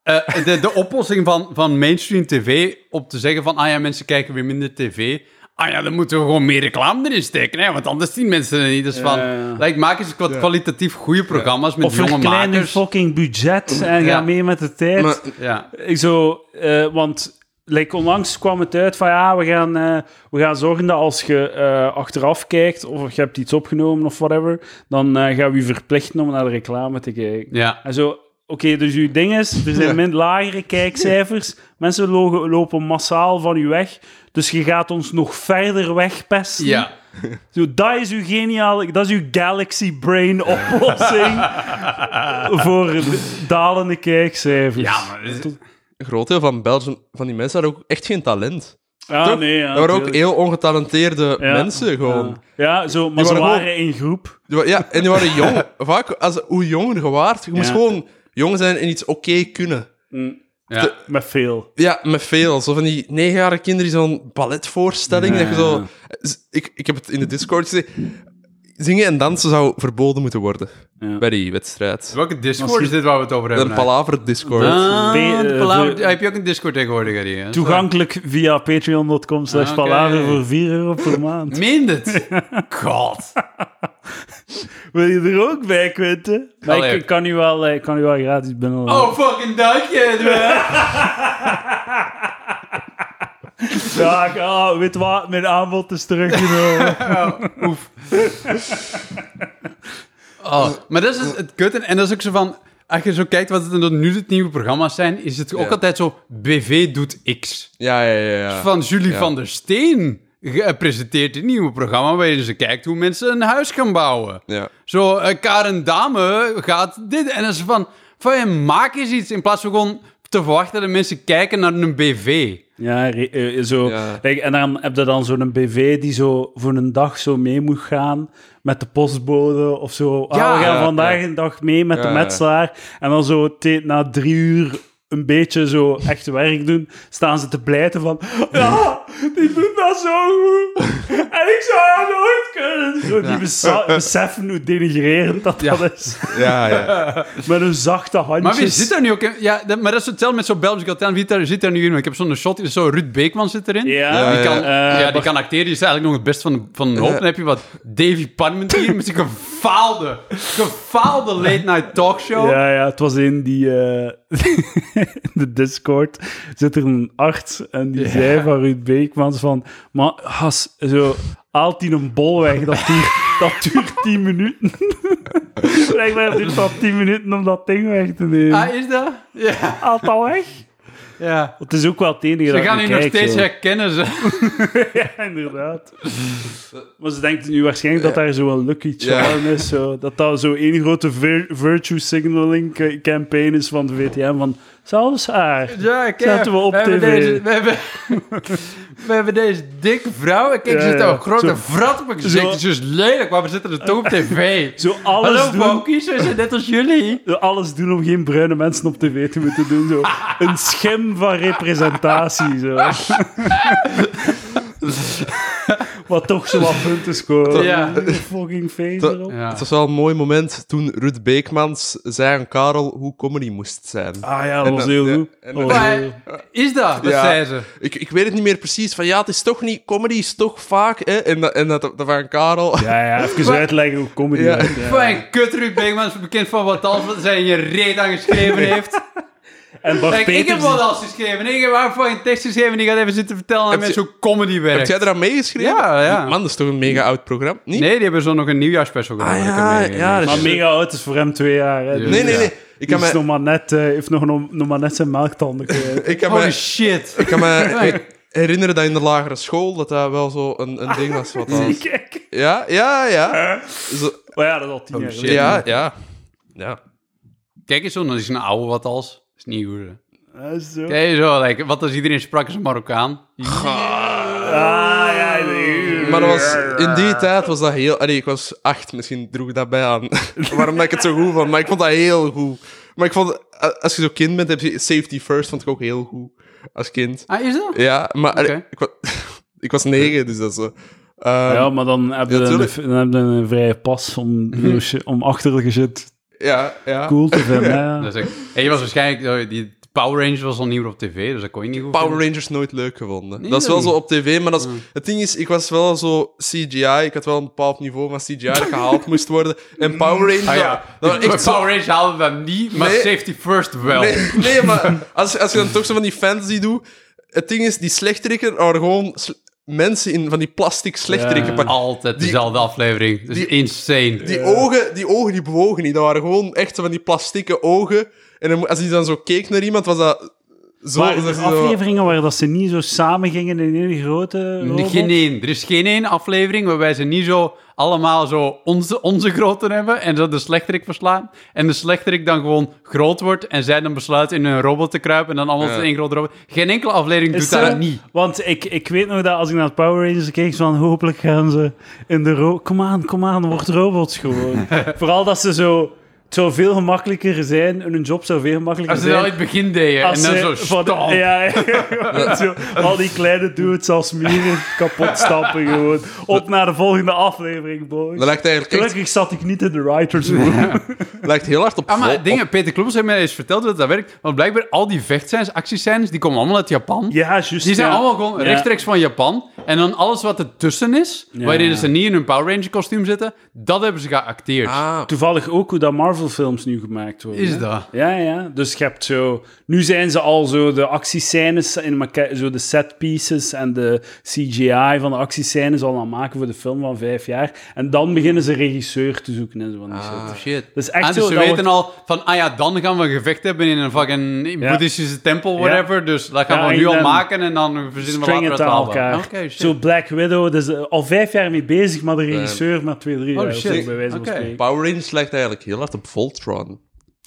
B: eh, de, de oplossing van, van mainstream tv om te zeggen van... Ah ja, mensen kijken weer minder tv. Ah ja, dan moeten we gewoon meer reclame erin steken. Hè, want anders zien mensen het niet. Dus van,
A: ja, ja.
B: Like, maak eens wat kwalitatief goede programma's met
A: Of
B: jonge
A: een klein
B: makers.
A: fucking budget en
B: Ja.
A: ga mee met de tijd.
C: Maar
B: Ja.
A: Ik zo, eh, want like, onlangs kwam het uit van ja, we gaan, eh, we gaan zorgen dat als je eh, achteraf kijkt of je hebt iets opgenomen of whatever, dan eh, gaan we je verplichten om naar de reclame te kijken.
B: Ja.
A: En zo, oké, dus uw ding is, er zijn min lagere kijkcijfers, mensen logen- lopen massaal van u weg, dus je gaat ons nog verder wegpesten.
B: Ja.
A: Zo, dat is uw geniale, dat is uw galaxy brain oplossing voor de dalende kijkcijfers.
B: Ja, maar... dat is-
C: een groot deel van Belgium, van die mensen, hadden ook echt geen talent.
A: Ah,
C: Toch?
A: nee, ja,
C: dat waren ook
A: tuurlijk.
C: heel ongetalenteerde
A: Ja.
C: mensen, gewoon.
A: Ja, Ja, zo, maar
C: Die
A: ze
C: waren
A: waren
C: gewoon-
A: in groep.
C: Die wa- Ja, en die waren jong. Vaak, als, hoe jonger je waart, je moest
A: Ja.
C: gewoon jong zijn en iets oké kunnen.
B: ja.
A: Met veel.
C: Ja, met veel. Zo van die negenjarige kinderen die zo'n balletvoorstelling. Dat je zo, Z- ik, ik heb het in de Discord gezegd. Zingen en dansen zou verboden moeten worden
A: Ja.
C: bij die wedstrijd.
B: Welke Discord is dit waar we het over hebben?
C: Een palaver-discord.
B: Ah,
A: Be- eh,
B: de palaver-
A: voor-
B: ja, heb je ook een Discord tegenwoordig, Harry? hè?
A: Toegankelijk via patreon.com slash
B: Ah, Oké.
A: palaver voor 4 euro per maand.
B: Meen dit? God.
A: Wil je er ook bij, Quinten? Maar
B: Allee.
A: ik, ik kan u wel, eh, ik kan u wel gratis binnen.
B: Oh, fucking dankje, Edwin.
A: Ja, ik- ah, weet wat? Mijn aanbod is teruggenomen.
B: Oh, maar dat is het, het kut. En, en dat is ook zo van... Als je zo kijkt wat het nu het nieuwe programma's zijn, is het ook
C: Ja.
B: altijd zo... BV doet X.
C: Ja, ja, ja. ja.
B: Van Julie van der Steen ge- presenteert een nieuwe programma waarin ze kijkt hoe mensen een huis gaan bouwen.
C: ja.
B: Zo, eh, Karen Dame gaat dit. En dan is van, van ja, maak eens iets. In plaats van gewoon te verwachten dat mensen kijken naar een BV.
A: Ja, re- eh, zo.
C: Ja.
A: Kijk, en dan heb je dan zo'n BV die zo voor een dag zo mee moet gaan met de postbode of zo. Ah,
B: Ja,
A: we gaan
C: ja,
A: vandaag
C: ja.
A: een dag mee met de
C: Ja, ja.
A: metselaar. En dan zo te- na drie uur een beetje zo echt werk doen, staan ze te blijten van ja, die doet dat zo goed. En ik zou dat nooit kunnen. Zo, die besa- beseffen hoe denigrerend dat, dat is.
C: ja, ja.
A: Met hun zachte handjes.
B: Maar wie zit daar nu ook in? Ja, dat, maar dat is hetzelfde met zo'n Belgisch Got Talent. Wie daar, zit daar nu in? Ik heb zo'n shot, is zo Ruud Beekman zit erin.
A: Ja,
B: Die kan,
A: eh,
B: ja, die kan acteren, die is eigenlijk nog het best van de, van de hoop. Dan heb je wat Davy Parmentier met zijn gefaalde, gefaalde late-night talkshow.
A: Ja, ja, het was in die... eh, in de Discord zit er een arts en die zei van Ruud Beekmans van... Maar, has, zo, haalt die een bol weg, dat duurt, dat duurt 10 minuten. Blijkbaar duurt dat 10 minuten om dat ding weg te nemen.
B: Ah, is dat? Ja.
A: Haalt dat weg?
B: Ja.
A: Het is ook wel het enige
B: Ze
A: dat ik
B: gaan
A: nu
B: je nog
A: kijk,
B: steeds
A: zo.
B: herkennen. Ze.
A: Ja, inderdaad. Maar ze denkt nu waarschijnlijk dat daar zo'n lucky charm is. Zo. Dat dat zo één grote vir- virtue signaling ca- campaign is van de VTM. Van, zelfs haar.
B: Ja, kijk.
A: Zetten we op
B: hebben
A: tv.
B: Deze, we, hebben, we hebben deze dikke vrouw. En Kijk,
A: Ja,
B: ze zit
A: ja.
B: daar een grote
A: Zo-
B: vrat op mijn gezicht.
A: Zo-
B: Het is dus lelijk, maar we zitten er toch op tv.
A: Zo alles
B: Hallo,
A: doen...
B: Bokies, we zijn net als jullie.
A: zo Alles doen om geen bruine mensen op tv te moeten doen. Zo. Een schim van representatie. Zo. Wat toch zo wat punten scoren.
B: Ja.
A: Fucking face erop.
B: Ja.
C: Het was wel een mooi moment toen Ruud Beekmans zei aan Karel hoe comedy moest zijn.
A: Ah ja, dat was
C: dat-
A: heel
C: ja,
A: goed.
C: en
A: Dat
C: dat-
A: was heel
B: Maar is dat? Dat
C: Ja.
B: zei ze.
C: Ik, ik weet het niet meer precies. Van ja, het is toch niet... Comedy is toch vaak... Hè? En, dat- en dat, dat van Karel...
A: Ja, ja, even uitleggen hoe comedy
C: Ja.
A: werkt, ja.
B: Fijn, kut Ruud Beekman is bekend van wat alles wat zij in je reet aan geschreven heeft.
A: En Bart
B: Kijk, ik heb
A: Peters...
B: wat alles geschreven. Ik heb haar fucking tekst geschreven. Die gaat even zitten vertellen aan
C: Heb je-
B: mensen hoe comedy
C: Heb
B: werkt.
C: jij eraan meegeschreven?
B: Ja, ja.
C: Man, dat is toch een mega oud programma? Niet?
B: Nee, die hebben zo nog een nieuwjaarspecial gedaan.
C: Ah,
B: wat ik eh,
C: ja,
B: heb meegenomen.
C: ja, dat
A: Maar mega oud is voor hem twee jaar. Hè.
B: Ja.
C: Nee, nee,
B: Ja.
C: nee. Ik
A: Die
C: kan
A: is nog
C: me...
A: maar net, eh, heeft nog, nog, nog maar net zijn melktanden kwijt.
C: Ik kan
B: Holy
C: me,
B: shit.
C: ik kan me herinneren dat in de lagere school dat dat wel zo een, een ding was. Wat dat was.
A: Kijk.
C: Ja, ja, ja. Zo-
A: Maar ja, dat is al tien
B: Oh,
A: jaar
B: shit.
A: geleden.
C: ja, ja. Ja.
B: Kijk eens zo, dat is een oude wat als. Dat is niet hoe.
A: Ja, zo.
B: Kijk eens zo, like, wat als iedereen sprak is een Marokkaan.
A: Ah, ja, nee.
C: Maar dat was, in die tijd was dat heel... Allee, ik was acht, misschien droeg ik dat bij aan. Waarom dat ik het zo goed vond. Maar ik vond dat heel goed. Maar ik vond... a- Als je zo kind bent, heb je safety first. Vond ik ook heel goed. Als kind.
B: Ah, is dat?
C: Ja, maar... allee,
B: Oké.
C: ik, wa- ik was negen, dus dat is... eh, ehm,
A: Ja, maar dan heb je,
C: Ja,
A: een,
C: tuurlijk. Mhm.
A: dan heb je een vrije pas om, om achterlijke shit
C: ja, ja.
A: cool te vinden. hè.
B: Dat is echt- en je was waarschijnlijk... eh, Die Power Rangers was al niet meer op tv, dus dat kon je niet goed
C: Power
B: vinden.
C: Rangers nooit leuk gevonden.
B: Nee,
C: dat is wel
B: dat
C: zo
B: niet.
C: op tv, maar dat is- het ding is, ik was wel zo CGI. Ik had wel een bepaald niveau van CGI dat gehaald moest worden. En Power Rangers...
B: Ah
C: dat-
B: ja,
C: dat
B: Die
C: was echt zo-
B: Power Rangers haalden we hem niet, maar
C: Nee.
B: Safety First wel.
C: Nee, nee maar als, als je dan toch zo van die fantasy doet... Het ding is, die slechterikken waren gewoon sl- mensen in van die plastic slechterikken.
A: Ja.
C: pak-
B: Altijd dezelfde aflevering. Dat is
C: die-
B: insane.
C: Die, ogen, die ogen die bewogen niet. Dat waren gewoon echt zo van die plastieke ogen. En dan mo- als die dan zo keek naar iemand, was dat... Zo,
A: Maar
C: dat
A: er
C: ze
A: zijn
C: zo-
A: afleveringen waar dat ze niet zo samen gingen in één grote robot.
B: Geen één. Er is geen één aflevering waarbij ze niet zo allemaal zo onze, onze groten hebben en zo de slechterik verslaan. En de slechterik dan gewoon groot wordt en zij dan besluit in een robot te kruipen en dan allemaal
C: Ja.
B: in één grote robot. Geen enkele aflevering
A: Is eh,
B: doet dat
A: zo?
B: niet.
A: Want ik, ik weet nog dat als ik naar het Power Rangers keek, van hopelijk gaan ze in de ro... Kom aan, kom aan, wordt robots gewoon. Vooral dat ze zo... Het zou veel gemakkelijker zijn, hun job zou veel gemakkelijker
B: Als ze dat
A: zijn.
B: in het begin deden en dan zo
A: van-
B: stamp.
A: ja, ja, zo, al die kleine dudes als mieren kapot stampen gewoon. Op naar de volgende aflevering, boys.
C: Dat lijkt eigenlijk echt,
A: Gelukkig zat ik niet in de writers room.
C: lijkt heel hard op...
B: Ah, maar
C: vol- op-
B: dingen, Peter Kloppers heeft mij eens verteld dat dat werkt. Want blijkbaar al die vechtscènes, actiescènes, die komen allemaal uit Japan.
A: Ja, juist.
B: Die zijn
A: ja.
B: allemaal gewoon
A: Ja.
B: rechtstreeks van Japan. En dan alles wat ertussen is,
A: Ja.
B: waarin ze niet in hun Power Ranger kostuum zitten, dat hebben ze geacteerd.
C: Ah,
A: Toevallig ook hoe dat Marvel-films nu gemaakt worden.
B: Is
A: hè?
B: dat?
A: Ja, ja. Dus je hebt zo... Nu zijn ze al zo de actiescènes in elkaar... Zo de set pieces en de CGI van de actiescènes al aan het maken voor de film van vijf jaar. En dan beginnen ze regisseur te zoeken en zo van die
C: Ah.
A: shit.
B: Shit.
A: Dat is echt
B: Ah, dus
A: zo,
B: ze
A: dat
B: weten al van, ah ja, dan gaan we een gevecht hebben in een fucking
A: Ja.
B: boeddhistische tempel, whatever. Dus dat gaan
A: Ja,
B: we
A: en
B: nu al
A: dan
B: maken en dan verzinnen
A: String
B: we later
A: het
B: het
A: aan
B: album.
A: elkaar.
B: Oké, shit.
A: Zo Black Widow, dus eh, al vijf jaar mee bezig, maar de
C: Eh.
A: regisseur maar twee, drie
B: Oh,
A: jaar. of
B: shit.
A: zo, Bij wijze van
B: Oké.
A: spreken.
C: Power Rangers lijkt eigenlijk heel hard op Voltron.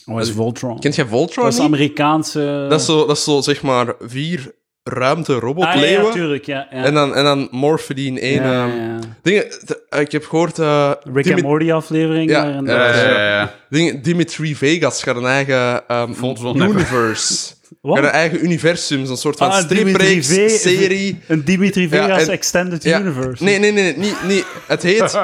A: Oh, is Voltron.
C: Kent jij Voltron
A: Dat is
C: niet?
A: Amerikaanse...
C: Dat is zo, dat is zo zeg maar vier ruimte
A: ah, ja,
C: robotleeuwen.
A: ja, tuurlijk, ja. ja.
C: en dan, en dan morfen die in één.
A: Ja, ja,
C: ehm,
A: ja.
C: Dingen, t- eh, ik heb gehoord. eh,
A: Rick
C: Dimi-
A: and Morty aflevering.
C: Ja,
A: waarin
C: ja,
A: dat-
B: Ja, ja, ja.
C: dingen, Dimitri Vegas gaat een eigen ehm,
B: Voltron hebben.
C: universe.
A: Wat?
C: Gaat een eigen universum, zo'n soort van
A: Ah,
C: stripreeks,
A: Dimitri Ve-
C: serie.
A: Een Dimitri
C: Ja,
A: Vegas
C: en-
A: Extended
C: Ja.
A: Universe.
C: Nee, nee, nee, nee, nee. Het heet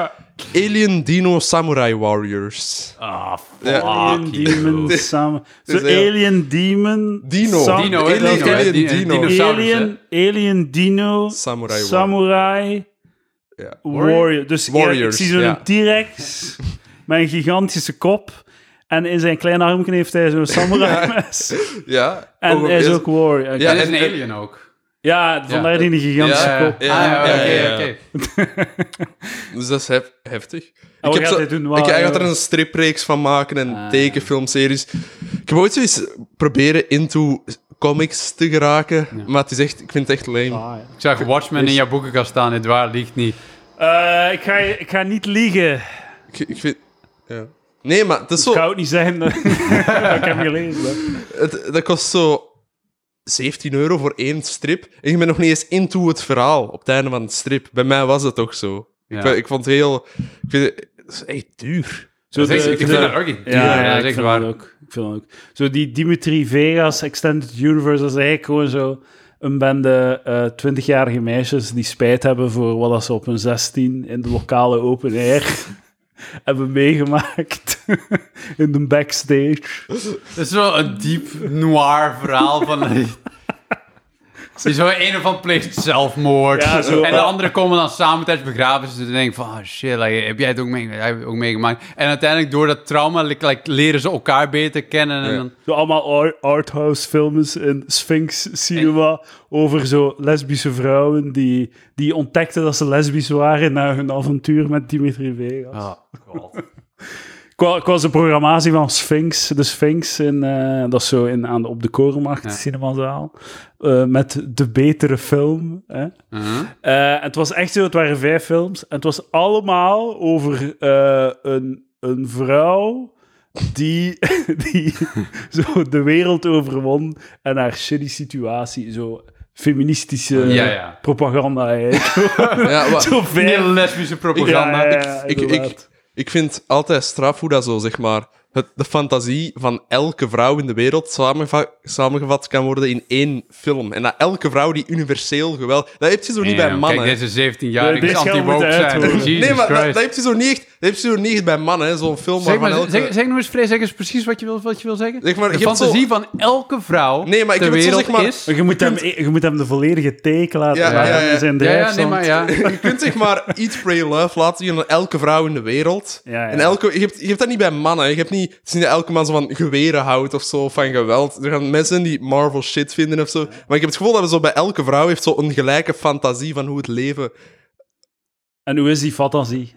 C: Alien Dino Samurai Warriors.
B: Ah,
C: Ja.
A: Alien
B: fuck
A: Demon
B: you.
A: samen. Zo
C: is heel-
A: Alien Demon.
C: Dino.
A: sam-
B: Dino, hè?
C: Alien-
B: Dino, hè?
C: Alien
B: Di-
C: Dino.
B: dinosaurus, hè?
A: Alien, Alien Dino.
C: Samurai Warrior.
A: Samurai
C: Ja.
A: Warrior. Dus Warriors, ik
C: Warriors,
A: zie zo'n
C: ja.
A: T-Rex met een gigantische kop. En in zijn kleine armje heeft hij zo'n samurai mes.
C: ja.
A: En
C: Ook-
A: hij is
C: is-
A: ook warrior. Oké.
C: Ja,
B: En dat is
C: en-
B: een alien ook.
A: Ja, vandaar die gigantische
C: Ja,
A: kop.
C: ja.
B: Ah, ja,
C: ja, ja,
B: oké,
C: ja.
B: oké.
C: Dus dat is hef- heftig.
A: wat
C: heb
A: gaat
C: zo-
A: hij doen? Wat-
C: ik ik had er een stripreeks van maken en tekenfilmseries. Ik heb ooit zoiets proberen into comics te geraken. Maar het is echt, ik vind het echt lame.
A: Ah.
B: Ik zag Watchmen in jouw boekenkast staan, het waar ligt niet.
A: Eh, ik, ga, je- ik ga niet liegen.
C: Ik, ik vind... Ja. Nee, maar het is
A: Ik
C: zo...
A: zou het niet zijn. ik heb hem gelezen. hè.
C: Het, dat kost zo 17 euro voor één strip. En je bent nog niet eens into het verhaal op het einde van het strip. Bij mij was dat toch zo.
B: Ja.
C: Ik, wa- ik vond het heel... Ik vind het, het is echt duur.
A: Zo
B: Dat is echt-
A: de-
B: ik vind
A: de-
B: dat ook echt duur.
A: Ja,
B: Ja,
A: ja,
B: dat is
A: ik
B: echt
A: vind
B: waar.
A: dat ook. Ik vind dat ook. Zo die Dimitri Vegas Extended Universe, dat is eigenlijk gewoon zo een bende eh 20-jarige meisjes die spijt hebben voor wat dat ze op hun 16 in de lokale open air hebben meegemaakt. in de backstage.
B: Het is wel een diep noir verhaal van. Die zo een of ander pleegt zelfmoord.
A: Ja, zo.
B: en de anderen komen dan samen tijdens begrafenis. En denken van, ah shit, like, heb jij het ook, mee, heb je het ook meegemaakt? En uiteindelijk door dat trauma like, like, leren ze elkaar beter kennen. En
C: Ja.
B: dan,
A: Zo allemaal ar- arthouse films in Sphinx Cinema over zo lesbische vrouwen die, die ontdekten dat ze lesbisch waren na hun avontuur met Dimitri Vegas.
B: Ah, god.
A: Ik wa- Ik was de programmatie van Sphinx, de Sphinx, in, eh, dat is zo in, aan de, op de Korenmarkt,
B: Ja.
A: cinemazaal, eh, met de betere film. Hè.
B: Mhm.
A: Eh, het was echt zo, het waren vijf films. En het was allemaal over eh, een, een vrouw die, die zo de wereld overwon en haar shitty situatie, zo feministische
B: Ja, ja.
A: propaganda eigenlijk.
C: Ja, wa-
A: zo vijf.
B: Meer lesbische propaganda.
A: Ja, ja, ja,
C: Ik- ik-
A: inderdaad.
C: Ik vind altijd straf hoe dat zo, zeg maar, het, de fantasie van elke vrouw in de wereld samengeva- samengevat kan worden in één film. En dat elke vrouw die universeel geweld... Dat heb je zo niet bij
B: Damn,
C: mannen.
B: Kijk, deze 17-jarige
A: Deze
B: is
A: gaan we
B: anti-woke
A: moeten
B: zijn.
A: uithoren.
B: Jesus
C: nee, maar dat,
B: Christ.
C: dat heb je zo niet echt, dat heb je zo niet echt bij mannen, hè, zo'n film
B: Zeg
C: waarvan
B: maar,
C: elke...
B: zeg, zeg nou eens, Frey, zeg eens precies wat je wil, wat je wil zeggen.
C: Zeg maar,
B: de
C: je hebt zo-
B: fantasie van elke vrouw
C: Nee, maar ik
B: ter
C: heb het zo,
B: wereld
C: zeg maar-
B: is...
A: Maar je moet, hem, je moet hem de volledige take laten
C: Ja,
A: maken
C: ja, ja.
A: in zijn
B: Ja, ja, nee,
A: drijfstand.
B: maar ja.
C: je kunt zeg maar iets Pray Love laten zien aan elke vrouw in de wereld.
A: Ja, ja.
C: En elke, je, hebt, je hebt dat niet bij mannen. Je hebt niet, het is niet dat elke man zo van geweren houdt of zo, of van geweld. Er gaan mensen die Marvel shit vinden of zo. Maar ik heb het gevoel dat we zo bij elke vrouw heeft zo een gelijke fantasie van hoe het leven...
A: En hoe is die fantasie?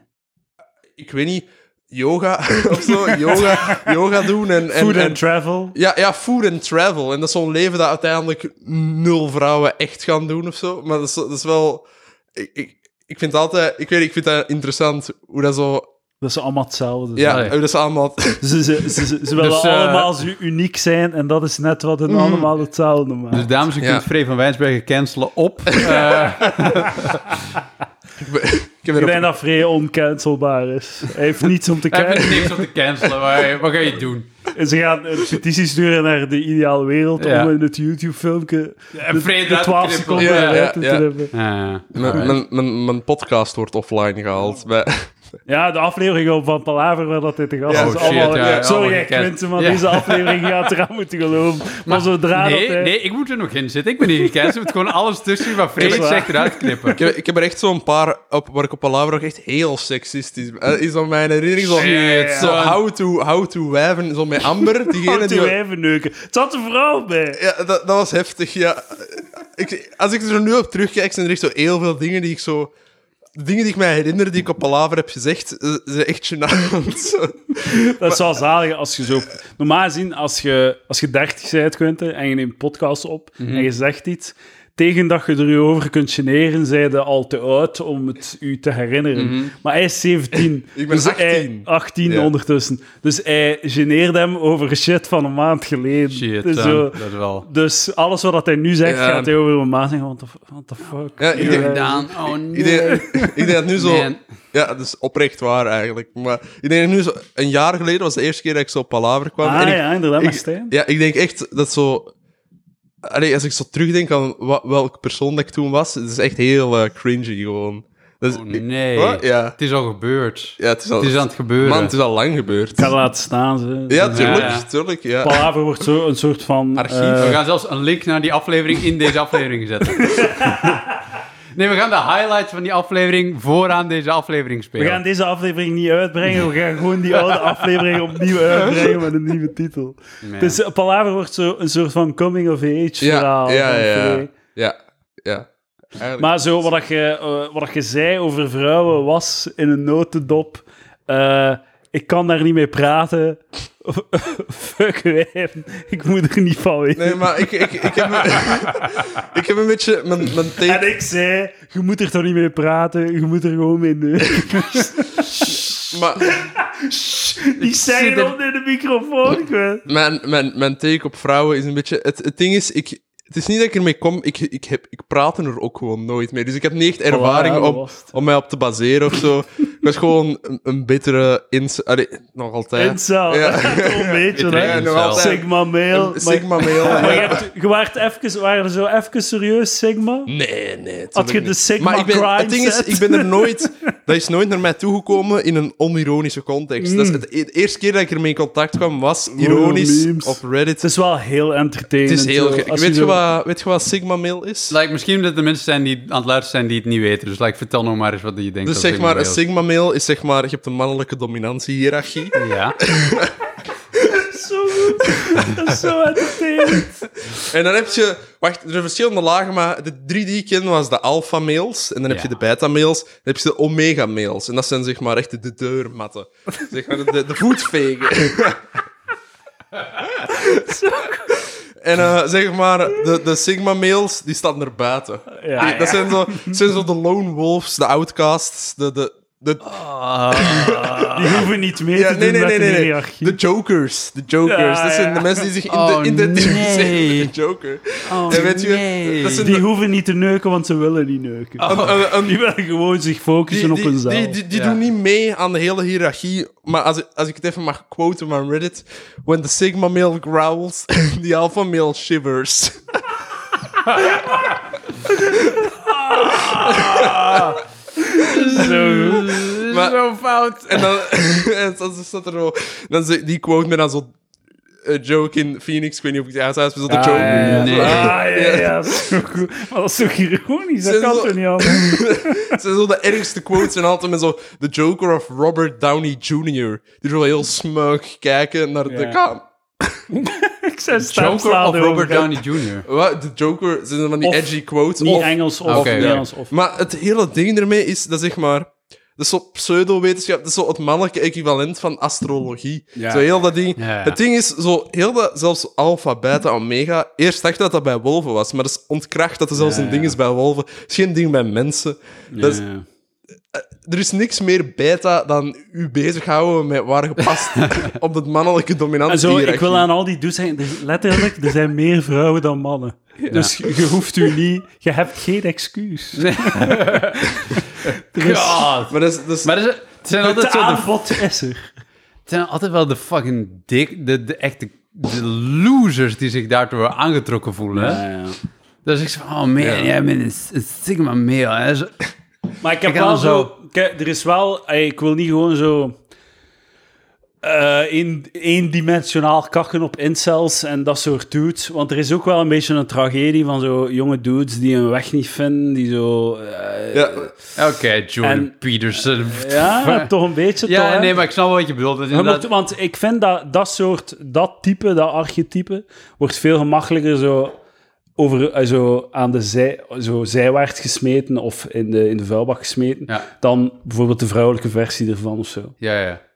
C: Ik weet niet, yoga of zo. Yoga, yoga doen en... en,
A: Food
C: en-
A: and travel.
C: ja, ja, food and travel. En dat is zo'n leven dat uiteindelijk nul vrouwen echt gaan doen of zo. Maar dat is, dat is wel... Ik, ik, ik vind het altijd... Ik weet niet, ik vind dat interessant hoe dat zo...
A: Dat is allemaal hetzelfde.
C: Ja,
B: Allee.
C: dat is allemaal...
A: Ze, ze, ze, ze, ze willen
B: Dus, eh, Mhm.
A: allemaal zo uniek zijn en dat is net wat hen allemaal hetzelfde maakt.
B: Dus dames, je
C: Ja.
B: kunt Frey van Wijnsbergen cancelen op. Eh,
C: ik ben- ik
A: ik
C: heb erop-
A: denk dat Frey oncancelbaar is. Hij heeft niets om te
B: Hij heeft
A: kijken.
B: niks om te cancelen, maar wat ga je doen?
A: En ze gaan een petitie sturen naar de ideale wereld
B: Ja.
A: om in het YouTube-filmpje
B: En Frey
A: de, de
B: eruit
A: 12
B: te knippen.
A: seconden
C: Ja, ja,
A: eruit te
C: ja.
A: hebben.
B: Eh,
C: mijn,
B: alright.
C: mijn, mijn, mijn podcast wordt offline gehaald. Bij-
A: Ja, de aflevering van Palaver waar dat dit te gast
C: Ja.
A: is.
C: Oh,
B: shit,
A: allemaal,
B: ja, ja,
A: sorry,
B: allemaal
A: echt
B: gekend.
A: mensen, maar
B: Ja.
A: deze aflevering gaat eraan moeten geloven. Maar, zodra
B: nee,
A: dat hij...
B: nee, ik moet er nog in zitten. Ik ben niet gecanceld. Ik moet gewoon alles tussen wat Frey
A: Is waar.
B: zegt eruit knippen.
C: ik, heb, ik heb er echt zo'n paar op, waar ik op Palaver ook echt heel seksistisch ben. Eh, Is aan mijn herinnering zo...
B: Shit,
C: zo
B: son.
C: how to, how to wijven, zo met Amber. Diegene
A: Houdt
C: die,
A: uw wijven neuken. Het zat een vrouw bij.
C: ja, dat, dat was heftig, ja. Ik, als ik er nu op terugkijk, zijn er echt zo heel veel dingen die ik zo... de Dingen die ik mij herinner die ik op Palaver heb gezegd, eh, zijn echt gênant.
A: Dat is wel zalig als je zo... Normaal gezien, als je, als je 30 bent, Quinten, en je neemt podcasts op
B: Mhm.
A: en je zegt iets... Tegen dat je er je over kunt generen, zijn je al te oud om het u te herinneren.
B: Mhm.
A: Maar hij is 17.
C: Ik ben
A: dus Hij,
C: 18.
A: 18
C: Ja.
A: ondertussen. Dus hij geneerde hem over shit van een maand geleden.
B: Shit,
A: dus,
B: eh,
A: zo-
B: dat is wel...
A: dus alles wat hij nu zegt,
C: Ja.
A: gaat hij over een maand zeggen. What the, f- what the fuck?
C: Ja, ik
A: Hier,
C: denk-
A: eh,
B: Gedaan. Oh nee.
C: Ik denk, ik denk dat nu zo...
B: Man.
C: Ja, dat is oprecht waar eigenlijk. Maar ik denk dat nu zo... Een jaar geleden was de eerste keer dat ik zo op Palaver kwam.
A: Ah
C: en ik,
A: ja, inderdaad,
C: ik-
A: maar Stijn.
C: ja, ik denk echt dat zo... Allee, als ik zo terugdenk aan wa- welke persoon dat ik toen was, het is echt heel eh, cringy gewoon. Dat is-
B: Oh nee.
C: Wat? Ja.
B: Het is al gebeurd.
C: ja, het is al...
B: Het is aan het gebeuren.
C: Man, het is al lang gebeurd.
A: Ik ga laten staan. Ze. Dus
C: Ja, tuurlijk,
B: Ja, ja.
C: tuurlijk, ja.
A: Palaver wordt zo een soort van...
C: Archief.
A: eh,
B: we gaan zelfs een link naar die aflevering in deze aflevering zetten. nee, we gaan de highlights van die aflevering vooraan deze aflevering
A: we
B: spelen.
A: gaan deze aflevering niet uitbrengen. We gaan gewoon die oude aflevering opnieuw uitbrengen met een nieuwe titel.
B: Nee.
A: Dus eh, Palaver wordt zo een soort van coming-of-age verhaal.
C: Ja, ja,
A: van
C: ja.
A: Frey.
C: Ja, ja. ja. Eigenlijk-
A: Maar zo, wat, dat je, eh, wat dat je zei over vrouwen was in een notendop. eh, Ik kan daar niet mee praten. Fuck wijven. Ik moet er niet van weten.
C: Nee, maar ik, ik, ik, heb, ik heb een beetje mijn, mijn tape...
A: En ik zei, je moet er toch niet mee praten. Je moet er gewoon mee neuken.
C: Maar
A: Die
B: zit
A: zeggen
B: er-
A: dat in de microfoon. ik weet-
C: mijn, mijn, mijn take op vrouwen is een beetje... Het, het ding is, ik, het is niet dat ik ermee kom. Ik, ik, heb, ik praat er ook gewoon nooit mee. Dus ik heb niet echt ervaring
A: Voilà, dat
C: om,
A: was het.
C: om mij op te baseren of zo. ik was gewoon een, een bittere... Ins Allee, nog altijd.
A: Incel.
C: Ja.
A: Toch een beetje,
B: Ja,
A: hè.
B: nog altijd.
A: Sigma male.
C: Een
A: Maar-
C: Sigma male.
A: Maar je, hebt, je waart even, waren er zo even serieus, Sigma?
C: Nee, nee.
A: Had je
C: tuurlijk
A: de
C: niet.
A: Sigma
C: maar ik ben,
A: grind
C: Het ding is,
A: set?
C: ik ben er nooit... Dat is nooit naar mij toegekomen in een onironische context. Dat is
A: Mm.
C: het, e- de eerste keer dat ik ermee in contact kwam, was ironisch
A: memes.
C: op Reddit.
A: Het is wel heel entertainend.
C: Het is heel...
A: zo,
C: gek.
A: als
C: Weet
A: zo-
C: je wat, weet je wat Sigma Mail is?
B: Like, misschien dat er mensen zijn die aan het luisteren zijn die het niet weten. Dus like, vertel nog maar eens wat je denkt.
C: Dus
B: dat
C: zeg maar, een
B: Sigma
C: Sigma Mail is zeg maar... Je hebt een mannelijke dominantie-hierarchie.
B: Male- Ja.
A: Zo goed. Dat is zo entertainend.
C: En dan heb je... Wacht, er zijn verschillende lagen, maar de drie die ik ken was de alpha-mails. En dan heb
B: Ja.
C: je de beta-mails. Dan heb je de omega-mails. En dat zijn zeg maar echt de, de deurmatten. zeg maar de, de voetvegen. En eh, zeg maar, de, de Sigma-mails, die staan er buiten.
A: Ja,
C: Die- Dat zijn zo, zijn zo de lone wolves, de outcasts, de... de, de
A: Die hoeven niet mee
C: Ah. ja,
A: te
C: nee,
A: doen
C: nee,
A: met
C: nee,
A: de
C: nee.
A: hiërarchie.
C: De jokers. De jokers.
A: Ja,
C: dat zijn
A: ja.
C: de mensen die zich in
B: Oh,
C: de, identificeren
B: nee.
C: met de joker.
B: Oh,
C: En weet je,
B: nee.
C: dat zijn
A: Die
C: de- Ah.
A: hoeven niet te neuken, want ze willen niet neuken.
C: een- een- een-
A: Die willen gewoon zich focussen
C: die,
A: op hun
C: die,
A: zaal.
C: die, die, die
B: Ja.
C: doen niet mee aan de hele hiërarchie. Maar als, ik- als ik het even mag quoten van Reddit. When the sigma male growls, the alpha male shivers.
A: Zo goed.
C: Maar-
B: Zo fout.
C: En dan, en dan staat er zo... Dan, ze- die quote met dan zo... Een joke in Phoenix, ik weet niet of ik het uithuis, maar zo de
A: Ah,
C: joke.
A: ja, ja,
B: Nee.
A: Ah, ja, ja, zo goed. Maar dat is toch ironisch? Dat
C: Zijn
A: kan
C: zo-
A: toch niet anders?
C: Het zijn zo de ergste quotes en altijd met zo The Joker of Robert Downey Jr. Die zo heel smug kijken naar de
A: Ja.
C: kam.
A: Ik zei
B: Joker
A: stemslaande
B: of Robert
A: overgang.
B: Downey Jr.?
C: Wat? De Joker zijn zo van die
A: Of
C: edgy quotes.
A: Niet
C: of-
A: Engels of
B: Oké, ja.
A: Nederlands. Of...
C: Maar het hele ding ermee is dat zeg maar. Dat is zo pseudo-wetenschap, dat is zo het mannelijke equivalent van astrologie.
A: Ja.
C: Zo heel dat ding.
B: Ja.
C: Het ding is, zo heel dat, zelfs alpha, beta, omega. Eerst dacht ik dat dat bij wolven was, maar dat is ontkracht dat er zelfs
A: Ja,
C: een ding
A: ja.
C: is bij wolven. Het is geen ding bij mensen. Dat is,
B: Ja.
C: er is niks meer beta dan u bezighouden met waar gepast op dat mannelijke dominantie.
A: En zo, ik
C: hierarchie.
A: wil aan al die do's zeggen, er- letterlijk, er zijn meer vrouwen dan mannen. Dus je hoeft u niet, je hebt geen excuus. Er is-
B: God.
C: Maar dat is, dat is-
B: Maar er zijn- het zijn altijd
A: het
B: zo de
A: aanbod is er.
B: Het zijn altijd wel de fucking dik, de, de echte de losers die zich daardoor aangetrokken voelen. hè? Dus ik zeg, van, oh man, jij bent een, s- een sigma male. Hè? Zo-
A: Maar ik heb
B: Ik
A: wel
B: kan
A: zo...
B: zo-
A: Kijk, er is wel... ey, Ik wil niet gewoon zo... eh een, eendimensionaal kakken op incels en dat soort dudes. Want er is ook wel een beetje een tragedie van zo jonge dudes die hun weg niet vinden, die zo... eh,
C: ja,
B: Oké, Jordan
A: En-
B: Peterson.
A: ja, toch een beetje, toch,
B: ja
A: hè?
B: nee, maar ik snap wel wat je bedoelt. Dat
A: Ja, maar
B: inderdaad-
A: t- want ik vind dat dat soort, dat type, dat archetype, wordt veel gemakkelijker zo, over, eh, zo aan de zij, zo zijwaarts gesmeten of in de, in de vuilbak gesmeten,
B: Ja.
A: dan bijvoorbeeld de vrouwelijke versie ervan of zo.
B: ja, ja.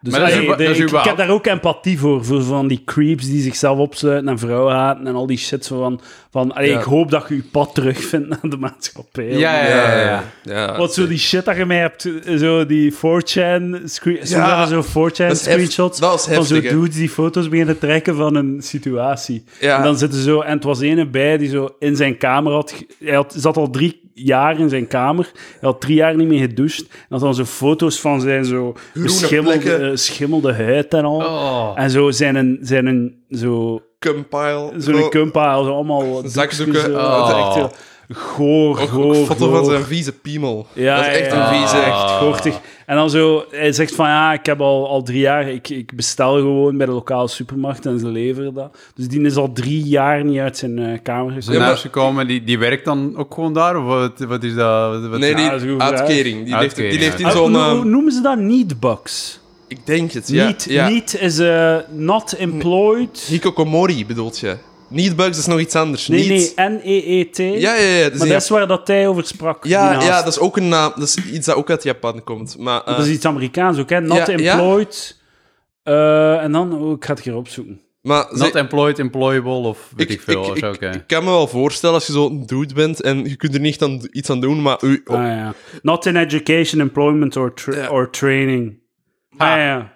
A: Dus
B: Maar dat is
A: allee,
B: uba-
A: de-
B: dat is
A: ik, ik heb
B: überhaupt-
A: daar ook empathie voor, voor van die creeps die zichzelf opsluiten en vrouwen haten en al die shit zo van, van allee,
C: Ja.
A: ik hoop dat je je pad terugvindt naar de maatschappij.
B: Ja, ja, ja. ja.
C: ja.
A: Want zo die shit dat je mij hebt, eh, zo die 4chan, screen, soms
C: Ja,
A: hadden zo 4chan
C: dat is hef-
A: screenshots
C: dat is
A: van zo
C: heftig, hè.
A: dudes die foto's beginnen trekken van een situatie.
C: Ja.
A: En dan zitten zo, en het was ene bij die zo in zijn kamer had, ge- hij had, zat al drie jaar in zijn kamer, hij had drie jaar niet meer gedoucht, en had dan zo foto's van zijn zo beschimmelde, eh,
C: plekken.
A: schimmelde huid en al.
B: Oh.
A: En zo zijn een, zijn een zo,
C: compile.
A: zo'n
C: Zo-
A: kumpa, zo allemaal
C: Zakdoeken,
A: doekjes, eh,
C: oh.
A: dat is echt heel Goor,
C: Ook
A: goor,
C: een foto van
A: goor.
C: zijn vieze piemel.
A: Ja,
C: dat is echt
A: ja, ja.
C: een vieze.
A: Echt
B: Ah.
A: goortig. En dan zo, hij zegt van ja, ik heb al, al drie jaar, ik, ik bestel gewoon bij de lokale supermarkt en ze leveren dat. Dus die is al drie jaar niet uit zijn eh, kamer
B: Zijn
A: gekomen.
C: maar-
B: huis gekomen, die, die werkt dan ook gewoon daar? Of wat, wat is dat? Wat- wat-
C: Nee,
A: dat is een
C: die
A: goede vraag.
C: uitkering. Die leeft, die
B: Uitkering,
C: leeft in
A: Ah,
C: zo'n...
A: no-
C: ehm,
A: noemen ze dat niet bugs?
C: ik denk het, ja.
A: niet,
C: ja.
A: niet is eh, not employed.
C: Hikokomori bedoelt je? Niet bugs, dat is nog iets anders.
A: Nee,
C: niet...
A: nee, N-E-E-T.
C: Ja, ja, ja. Dat is
A: maar
C: een-
A: dat is waar dat hij over sprak.
C: ja,
A: hiernaast.
C: ja, dat is ook een naam. Dat is iets dat ook uit Japan komt. Maar, eh,
A: Dat is iets Amerikaans ook, hè? Not
C: Ja, ja.
A: employed. Eh, en dan, oh, ik ga het hier opzoeken.
C: maar ze-
B: Not employed, employable of weet ik, veel.
C: ik,
B: of zo,
C: ik-
B: oké.
C: ik kan me wel voorstellen als je zo'n dude bent en je kunt er niet aan, iets aan doen, maar u, oh,
A: Ah, ja. Not in education, employment or, tra-
C: Ja.
A: or training.
B: Ha.
A: Ah, ja.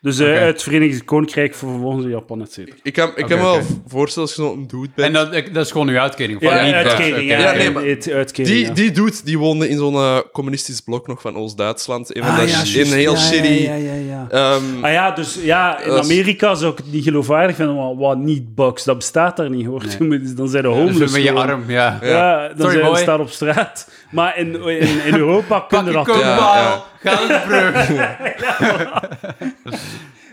A: Dus eh
B: Oké.
A: het Verenigd Koninkrijk voor vervolgens Japan, et cetera.
C: ik kan, ik kan
B: Oké,
C: me wel
B: oké.
C: voorstellen als je zo'n dude bent.
B: En dat, ik- dat is gewoon uw uitkering. Van
A: Oh, Ja,
B: niet drugs,
A: uitkering,
B: oké,
A: ja.
B: oké.
C: nee,
A: ja,
C: maar-
A: het- uitkering,
C: Die,
A: ja.
C: die dude die woonde in zo'n eh, communistisch blok nog van Oost-Duitsland. Een van
A: Ah,
C: dat
A: ja,
C: sh-
A: juist.
C: een heel
A: Ja, ja,
C: shitty.
A: Ja, ja, ja.
C: ehm,
A: Ah ja, dus ja, in
C: Dat is-
A: Amerika zou ik het niet geloofwaardig vinden, maar wat niet box, dat bestaat daar niet hoor. Dan zijn de
B: Dus
A: homeless.
B: met je
A: gewoon.
B: arm, ja.
A: Ja, dan
B: Sorry,
A: zijn
B: boy.
A: we staan op straat. Maar in, in, in Europa
B: Pak
A: kunnen
B: je
A: dat
B: kopbal,
A: toch.
C: Ja, ja.
B: ga naar de brug.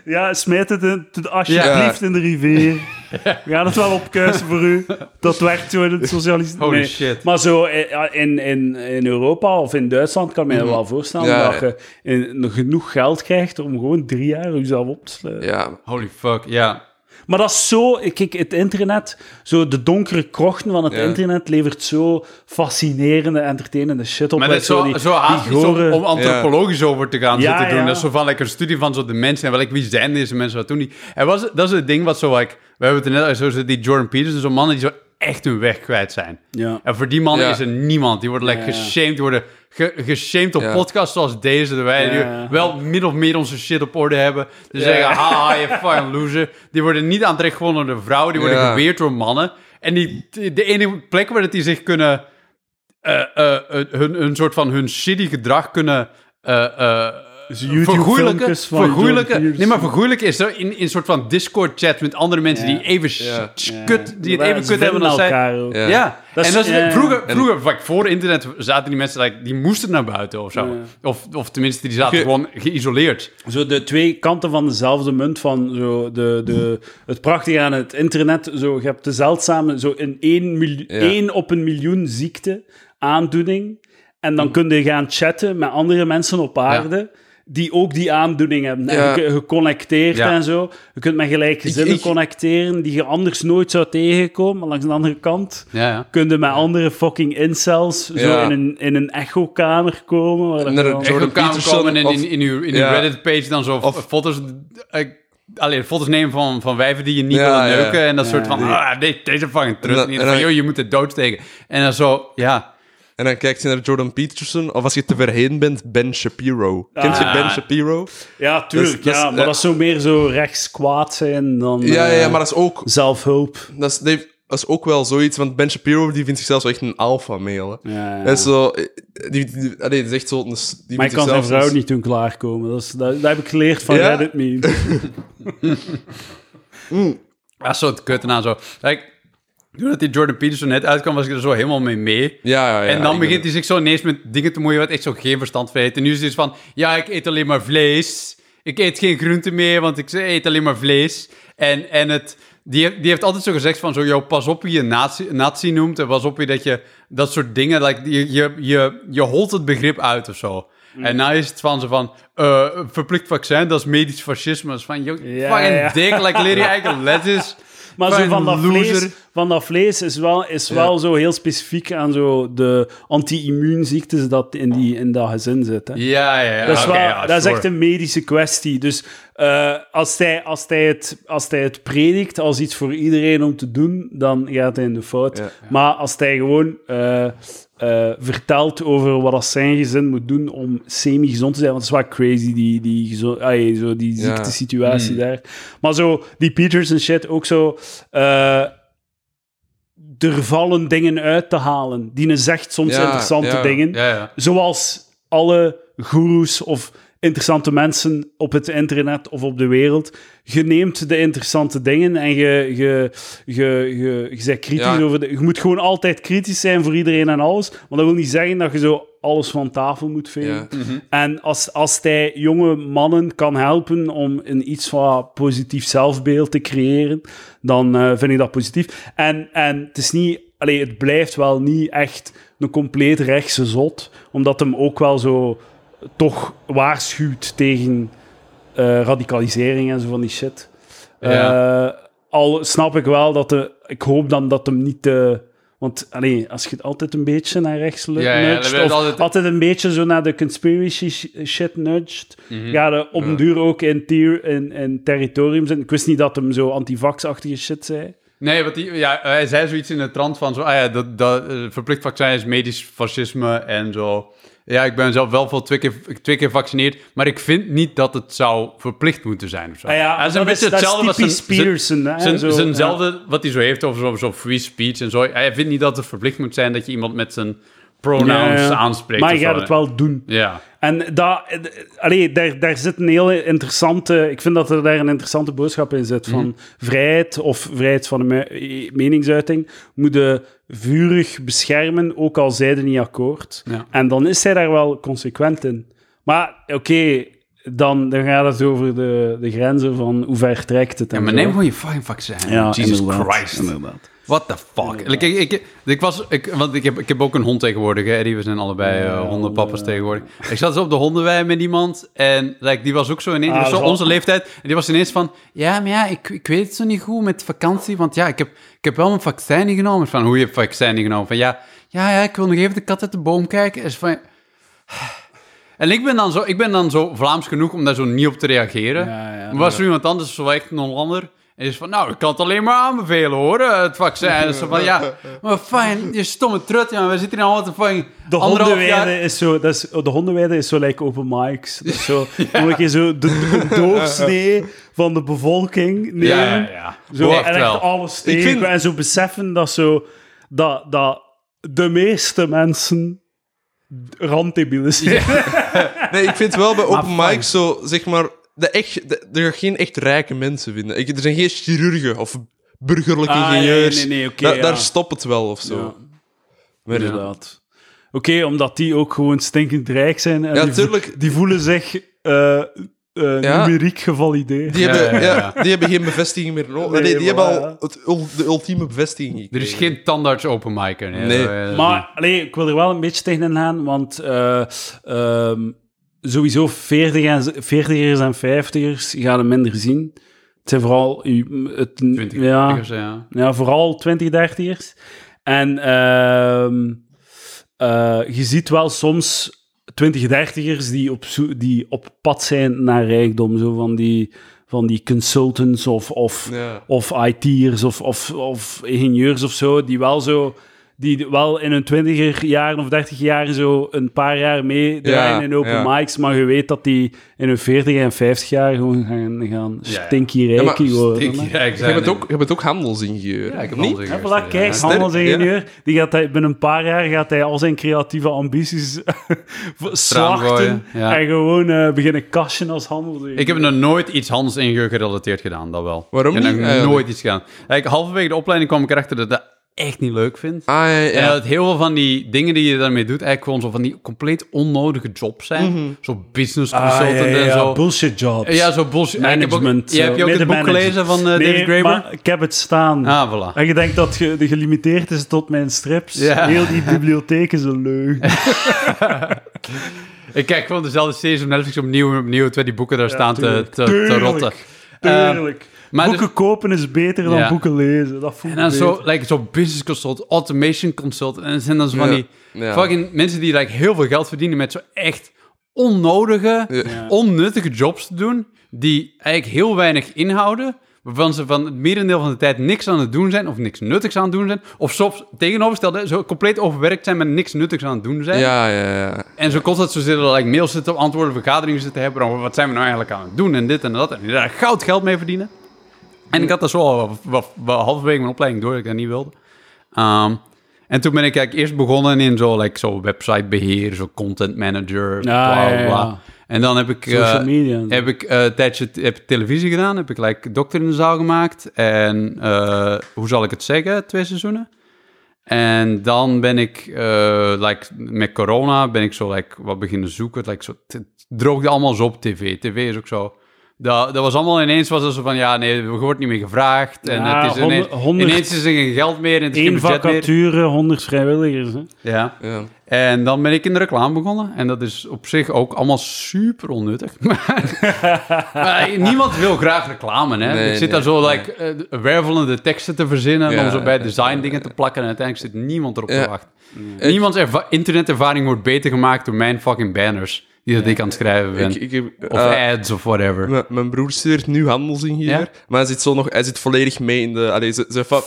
A: Ja, smijt het in- t- alsjeblieft in de rivier. We gaan het wel opkuisen voor u. Dat werkt zo in het socialisme.
B: Holy shit.
A: Maar zo eh, in, in, in Europa of in Duitsland kan ik me wel voorstellen
C: Mhm. Ja,
A: dat je in- nog genoeg geld krijgt om gewoon drie jaar jezelf op te sluiten.
C: ja.
B: Holy fuck, ja.
A: Maar dat is zo... Kijk, het internet, zo de donkere krochten van het
C: Ja.
A: internet levert zo fascinerende, entertainende shit op.
B: Maar
A: met
B: dat is zo,
A: die-
B: zo haast
A: die
B: iets om-
A: gore-
B: om antropologisch over te gaan
A: Ja,
B: zitten doen.
A: ja.
B: Dat is zo van like, een studie van zo de mensen en welk wie zijn deze mensen, wat doen die. En was, dat is het ding wat zo, like, we hebben het er net over, zoals die Jordan Peterson, zo'n mannen die zo echt hun weg kwijt zijn.
A: Ja.
B: En voor die mannen
C: Ja.
B: is er niemand. Die worden like,
A: Ja.
B: geshamed, die worden ge- geshamed op
C: Ja.
B: podcasts zoals deze, waar wij
A: Ja.
B: nu wel min of meer onze shit op orde hebben. Die zeggen, haha, je fucking loser. Die worden niet aantrekkelijk gewonnen door vrouwen, die worden
C: Ja.
B: geweerd door mannen. En die, de enige plek waar dat die zich kunnen eh, eh, eh, hun, hun soort van hun shitty gedrag kunnen eh eh
A: Dus YouTube
B: vergoeilijken.
A: filmpjes van Jordan
B: vergoeilijken.
A: Peterson.
B: Nee, maar vergoeilijken is zo in in een soort van Discord-chat met andere mensen
A: Ja.
B: die even sh-
C: Ja.
B: sh-
A: Ja.
B: kut, die het
A: Ja,
B: even
A: ze
B: kut hebben
A: vinden
B: dan zij.
A: elkaar ook.
C: Ja. eh,
B: Ja.
A: Dat is-
B: en dat is,
A: ja.
B: vroeger, vroeger vaak voor internet, zaten die mensen, like, die moesten naar buiten of zo.
A: Ja.
B: Of, of tenminste, die zaten
C: Ge-
B: gewoon geïsoleerd.
A: Zo de twee kanten van dezelfde munt van zo de, de, het prachtige aan het internet. Zo, je hebt de zeldzame, zo in één, mil- één op een miljoen ziekte aandoening. En
C: Mm.
A: dan kun je gaan chatten met andere mensen op aarde. Die ook die aandoening hebben. En
C: Ja.
A: ge- geconnecteerd
B: Ja.
A: en zo. Je kunt met gelijkgezinnen
C: Ik- ik-
A: connecteren die je anders nooit zou tegenkomen. Maar langs de andere kant
B: Ja, ja.
A: kun je met andere fucking incels zo
C: Ja.
A: in een, in een echokamer komen. Waar dat
C: Naar een
A: gewoon-
B: Echt
C: Jordan
B: op kamer
C: Peterson
B: komen en
C: of-
B: in, in uw, in uw
C: Ja.
B: Reddit-page dan zo
C: Of-
B: foto's... eh, alleen foto's nemen van, van wijven die je niet
C: Ja,
B: wil
C: ja.
B: neuken. En dat
A: Ja.
B: soort van, ah, nee, deze vangen terug.
C: En
B: En
C: dan-
B: dan van,
C: en dan-
B: joh, je moet het doodsteken. En dan zo, ja.
C: En dan kijkt je naar Jordan Peterson, of als je te verheen bent, Ben Shapiro. Kent je
A: Ah.
C: Ben Shapiro?
A: Ja, tuurlijk.
C: Dat is- dat is-
A: ja, maar
C: eh,
A: dat is zo meer zo rechts kwaad zijn dan
C: Ja, ja, ja,
A: eh,
C: maar dat is ook
A: zelfhulp.
C: dat is, nee, dat is ook wel zoiets, want Ben Shapiro die vindt zichzelf zo echt een alpha male. hè.
A: Ja, ja.
C: Dat is zo, eh, die, die, allee, dat is echt zo, een s- die
A: Maar ik
C: vindt
A: kan zijn
C: zichzelf
A: vrouw
C: een s-
A: niet toen klaarkomen. Dat, is, dat, dat heb ik geleerd van
C: Ja?
A: Reddit meme.
B: Dat is zo het kut en aan zo. Kijk, toen die Jordan Peterson net uitkwam, was ik er zo helemaal mee mee.
C: Ja, ja, ja.
B: en dan
C: ik
B: begint
C: ben-
B: hij zich zo ineens met dingen te moeien wat echt zo geen verstand van heeft. En nu is het dus van, ja, ik eet alleen maar vlees. Ik eet geen groenten meer, want ik eet alleen maar vlees. En, en het, die, heeft- die heeft altijd zo gezegd van, zo, joh, pas op wie je nazi, nazi noemt. En pas op wie dat je dat soort dingen, like, je, je, je, je holt het begrip uit of zo.
C: Mm.
B: En nou is het van zo van, eh, verplicht vaccin, dat is medisch fascisme. Dat is van, joh,
A: Ja,
B: fucking
A: ja.
B: dik, like, leer je eigen letters.
A: Maar zo
B: Fucking
A: van dat vlees,
B: loser.
A: van dat vlees is, wel, is wel zo heel specifiek aan zo de anti-immuunziektes dat in, die, in dat gezin zitten.
B: Ja, ja, ja.
A: Dat is,
B: oké,
A: wel,
B: ja,
A: dat is
B: sure.
A: echt een medische kwestie. Dus eh, als, hij, als, hij het, als hij het predikt als iets voor iedereen om te doen, dan gaat hij in de fout.
C: Ja.
A: Maar als hij gewoon eh, eh, vertelt over wat als zijn gezin moet doen om semi-gezond te zijn, want het is wel crazy, die, die, gezo- ai, zo die
C: Ja.
B: Hmm.
A: ziektesituatie daar. Maar zo, die Peters en shit, ook zo... eh, er vallen dingen uit te halen. Die zegt soms
C: Ja,
A: interessante
C: ja.
A: dingen
B: Ja, ja.
A: zoals alle goeroes of interessante mensen op het internet of op de wereld. Je neemt de interessante dingen en je, je, je, je, je bent kritisch
C: Ja.
A: over... De, je moet gewoon altijd kritisch zijn voor iedereen en alles. Maar dat wil niet zeggen dat je zo alles van tafel moet vegen.
C: Ja.
A: En als, als hij jonge mannen kan helpen om een iets van positief zelfbeeld te creëren, dan eh, vind ik dat positief. En, en het is niet, allee, het blijft wel niet echt een compleet rechtse zot, omdat hem ook wel zo toch waarschuwt tegen eh, radicalisering en zo van die shit.
B: Ja.
A: Eh, Al snap ik wel dat de... Ik hoop dan dat hem niet te... Want allee, als je het altijd een beetje naar rechts lu-
B: Ja, ja, dan
A: nudgt,
B: wil je
A: of altijd...
B: altijd-
A: een beetje zo naar de conspiracy sh- shit nudgt,
B: Mhm.
A: ga je op een duur ook in, tier, in, in territorium zitten. Ik wist niet dat hem zo antivax-achtige shit zei.
B: Nee, want die, ja, hij zei zoiets in de trant van zo, ah ja, dat, dat eh, verplicht vaccin is medisch fascisme en zo. Ja, ik ben zelf wel voor twee keer, twee keer gevaccineerd, maar ik vind niet dat het zou verplicht moeten zijn of zo.
A: Ah ja,
B: Hij
A: dat is- dat is typisch
B: zijn-
A: Peterson, hè,
B: zijn-
A: zo,
B: Zijnzelfde, wat hij zo heeft over zo'n zo free speech en zo. Hij vindt niet dat het verplicht moet zijn dat je iemand met zijn pronouns
A: Ja, ja.
B: aanspreekt.
A: Maar
B: of
A: je gaat
B: zo.
A: het wel doen.
B: Ja.
A: En daar, allee, daar, daar zit een hele interessante... Ik vind dat er daar een interessante boodschap in zit.
B: Mhm.
A: Van vrijheid of vrijheid van de me- eh, meningsuiting moet je vurig beschermen, ook al zij er niet akkoord.
B: Ja.
A: En dan is zij daar wel consequent in. Maar oké, dan, dan gaat het over de, de grenzen van hoe ver trekt het. en
B: ja, maar
A: zo.
B: neem gewoon je fucking vaccin.
A: Ja,
B: Jesus
A: inderdaad,
B: Christ.
A: inderdaad.
B: What the fuck? Ik, ik, ik, ik was, ik, want ik heb, ik heb ook een hond tegenwoordig, hè, Eddie. We zijn allebei eh, hondenpappers tegenwoordig. Ik zat zo op de hondenwei met iemand. En like, die was ook zo ineens,
A: Ah,
B: die
A: dat
B: was zo
A: is wel-
B: onze leeftijd. En die was ineens van, ja, maar ja, ik, ik weet het zo niet goed met vakantie. Want ja, ik heb, ik heb wel mijn vaccin niet genomen. Van, hoe je hebt vaccin niet genomen? Van, ja, ja, ja, ik wil nog even de kat uit de boom kijken. Is van... En ik ben, dan zo, ik ben dan zo Vlaams genoeg om daar zo niet op te reageren.
A: Ja, ja.
B: maar was er iemand anders, zo echt een Hollander... En die is van, nou, ik kan het alleen maar aanbevelen, hoor, eh, het vaccin. En ze van, ja, maar fijn, je stomme trut, ja, we zitten hier al wat een fucking
A: De eh.
B: anderhalf jaar...
A: hondenweide is zo, dat is, oh, de hondenweide is zo like open mics. Dat is zo, Dan moet je zo de, de doorsnee van de bevolking nemen.
B: Ja, ja, ja.
A: Zo,
B: echt
A: en echt
B: wel.
A: alles tegen.
C: vind-
A: En zo beseffen dat, zo, dat, dat de meeste mensen randdebielen zijn.
C: Nee, ik vind wel bij open mic zo, zeg maar, de echt, de, er gaan geen echt rijke mensen vinden. Ik, er zijn geen chirurgen of burgerlijke
A: Ah,
C: ingenieurs.
A: nee, nee, nee, oké,
C: Da-
A: ja.
C: Daar stopt het wel of zo.
A: Ja.
C: Maar-
A: Inderdaad. Oké, omdat die ook gewoon stinkend rijk zijn. En
C: Ja,
A: die, vo-
C: tuurlijk.
A: die voelen zich eh, eh,
C: Ja.
A: numeriek gevalideerd.
C: Die,
B: Ja,
C: hebben,
B: ja,
C: ja, die hebben geen bevestiging meer nodig.
A: Nee,
C: Nee, die hebben
A: maar
C: al
A: ja.
C: het, ul- de ultieme bevestiging
B: Er
C: gekregen.
B: is geen tandarts open micer. Nee.
C: Nee.
B: dat- eh,
A: Maar allee, ik wil er wel een beetje tegen in gaan, want eh, ehm, sowieso 40 en- 40ers en 50ers gaan hem minder zien. Het zijn vooral uw- het,
B: 20
A: ja,
B: ja. ja.
A: ja, vooral 20, 30ers. En ehm, eh, je ziet wel soms 20, 30ers die op, zo- die op pad zijn naar rijkdom. Zo van die, van die consultants of, of
C: Ja.
A: of IT'ers of, of, of ingenieurs of zo, die wel zo die wel in hun twintiger jaren of dertig jaren zo een paar jaar meedraaien
C: Ja,
A: in open
C: ja.
A: mics, maar je weet dat die in hun veertig en vijftig jaar gewoon gaan, gaan
B: ja.
A: stinky
C: Ja, maar
A: rijkie worden.
B: Ik, ja, ik
C: Je
B: zei
C: hebt
B: het
C: ook, je bent ook handelsingenieur.
B: Ja, ik heb
C: niet?
B: al
A: Ja,
B: gezegd,
A: voilà,
B: ja.
A: kijk,
C: sterk,
A: handelsingenieur, die gaat hij, binnen een paar jaar gaat hij al zijn creatieve ambities slachten
B: gooien, ja.
A: en gewoon eh, beginnen cashen als handelsingenieur.
B: Ik heb nog nooit iets handelsingenieur gerelateerd gedaan, dat wel.
C: Waarom
B: En
C: niet
B: nog
C: eigenlijk?
B: nooit iets gedaan. Like, halverwege de opleiding kwam ik erachter dat ik dat echt niet leuk vind.
C: Ah, ja, ja.
B: En dat heel veel van die dingen die je daarmee doet, eigenlijk gewoon zo van die compleet onnodige jobs zijn. Zo business
A: Mhm. Ah,
B: consultant
A: ja, ja,
B: en
A: ja,
B: zo.
A: bullshit jobs.
B: Ja, zo bullshit. Ja, ik heb ook-
A: management.
B: ja, heb je ook
A: zo,
B: het boek
A: middenmanagers.
B: gelezen van, eh, David
A: Nee,
B: Graeber?
A: maar ik heb het staan.
B: Ah, voilà.
A: En je denkt dat je de gelimiteerd is tot mijn strips.
B: Ja.
A: Heel die bibliotheek is een leugen.
B: Ik kijk gewoon dezelfde series op Netflix opnieuw en opnieuw, terwijl die boeken daar staan te,
A: tuurlijk.
B: te, te
A: Tuurlijk.
B: rotten.
A: Tuurlijk.
B: Eh, maar dus-
A: boeken kopen is beter dan
B: Ja.
A: boeken lezen. Dat voelt
B: En dan
A: beter.
B: zo, like, zo business consult, automation consult. En dat zijn dan zo van
C: Ja,
B: die
C: ja.
B: fucking mensen die like, heel veel geld verdienen met zo echt onnodige,
C: Ja.
B: onnuttige jobs te doen. Die eigenlijk heel weinig inhouden. Waarvan ze van het merendeel van de tijd niks aan het doen zijn. Of niks nuttigs aan het doen zijn. Of soms tegenovergestelde, zo compleet overwerkt zijn met niks nuttigs aan het doen zijn.
C: ja, ja, ja.
B: En zo constant zo zitten, like, mails zitten antwoorden, vergaderingen zitten hebben. over wat zijn we nou eigenlijk aan het doen en dit en dat. En daar goud geld mee verdienen. En ik had dat zo al wat- wat- wat halverwege mijn opleiding door dat ik dat niet wilde. Ehm, en toen ben ik eigenlijk eerst begonnen in zo, like, zo websitebeheer, zo content manager, bla bla.
A: ja, ja,
B: bla.
A: ja.
B: En dan heb ik,
A: Social
B: eh,
A: media en zo.
B: heb ik eh, een tijdje t- heb ik televisie gedaan, heb ik like, dokter in de zaal gemaakt. En eh, hoe zal ik het zeggen, twee seizoenen. En dan ben ik, eh, like, met corona ben ik zo like, wat beginnen zoeken. Like, zo, het het droogde allemaal zo op tv. TV is ook zo Dat, dat was allemaal ineens was er zo van, ja, nee, we wordt niet meer gevraagd. En
A: Ja,
B: het is ineens,
A: honderd- honderd-
B: ineens is er geen geld meer en het is geen
A: Eén
B: budget meer.
A: vacature, 100 vrijwilligers. Hè?
B: Ja.
C: Ja.
B: En dan ben ik in de reclame begonnen. En dat is op zich ook allemaal super onnuttig. maar niemand wil graag reclame, hè.
C: Nee,
B: ik zit daar
C: nee,
B: zo like, eh, wervelende teksten te verzinnen...
C: Ja,
B: om zo bij
C: ja,
B: design dingen te plakken. En uiteindelijk zit niemand erop
C: Ja.
B: te wachten. Niemands erva- internetervaring wordt beter gemaakt door mijn fucking banners... die dat ik aan het schrijven ben.
C: Ik, ik heb,
B: of
C: eh,
B: ads of whatever.
C: M- Mijn broer studeert nu handelsingenieur,
B: Ja?
C: maar hij zit, zo nog, hij zit volledig mee in de... Allee, zijn, zijn, fa-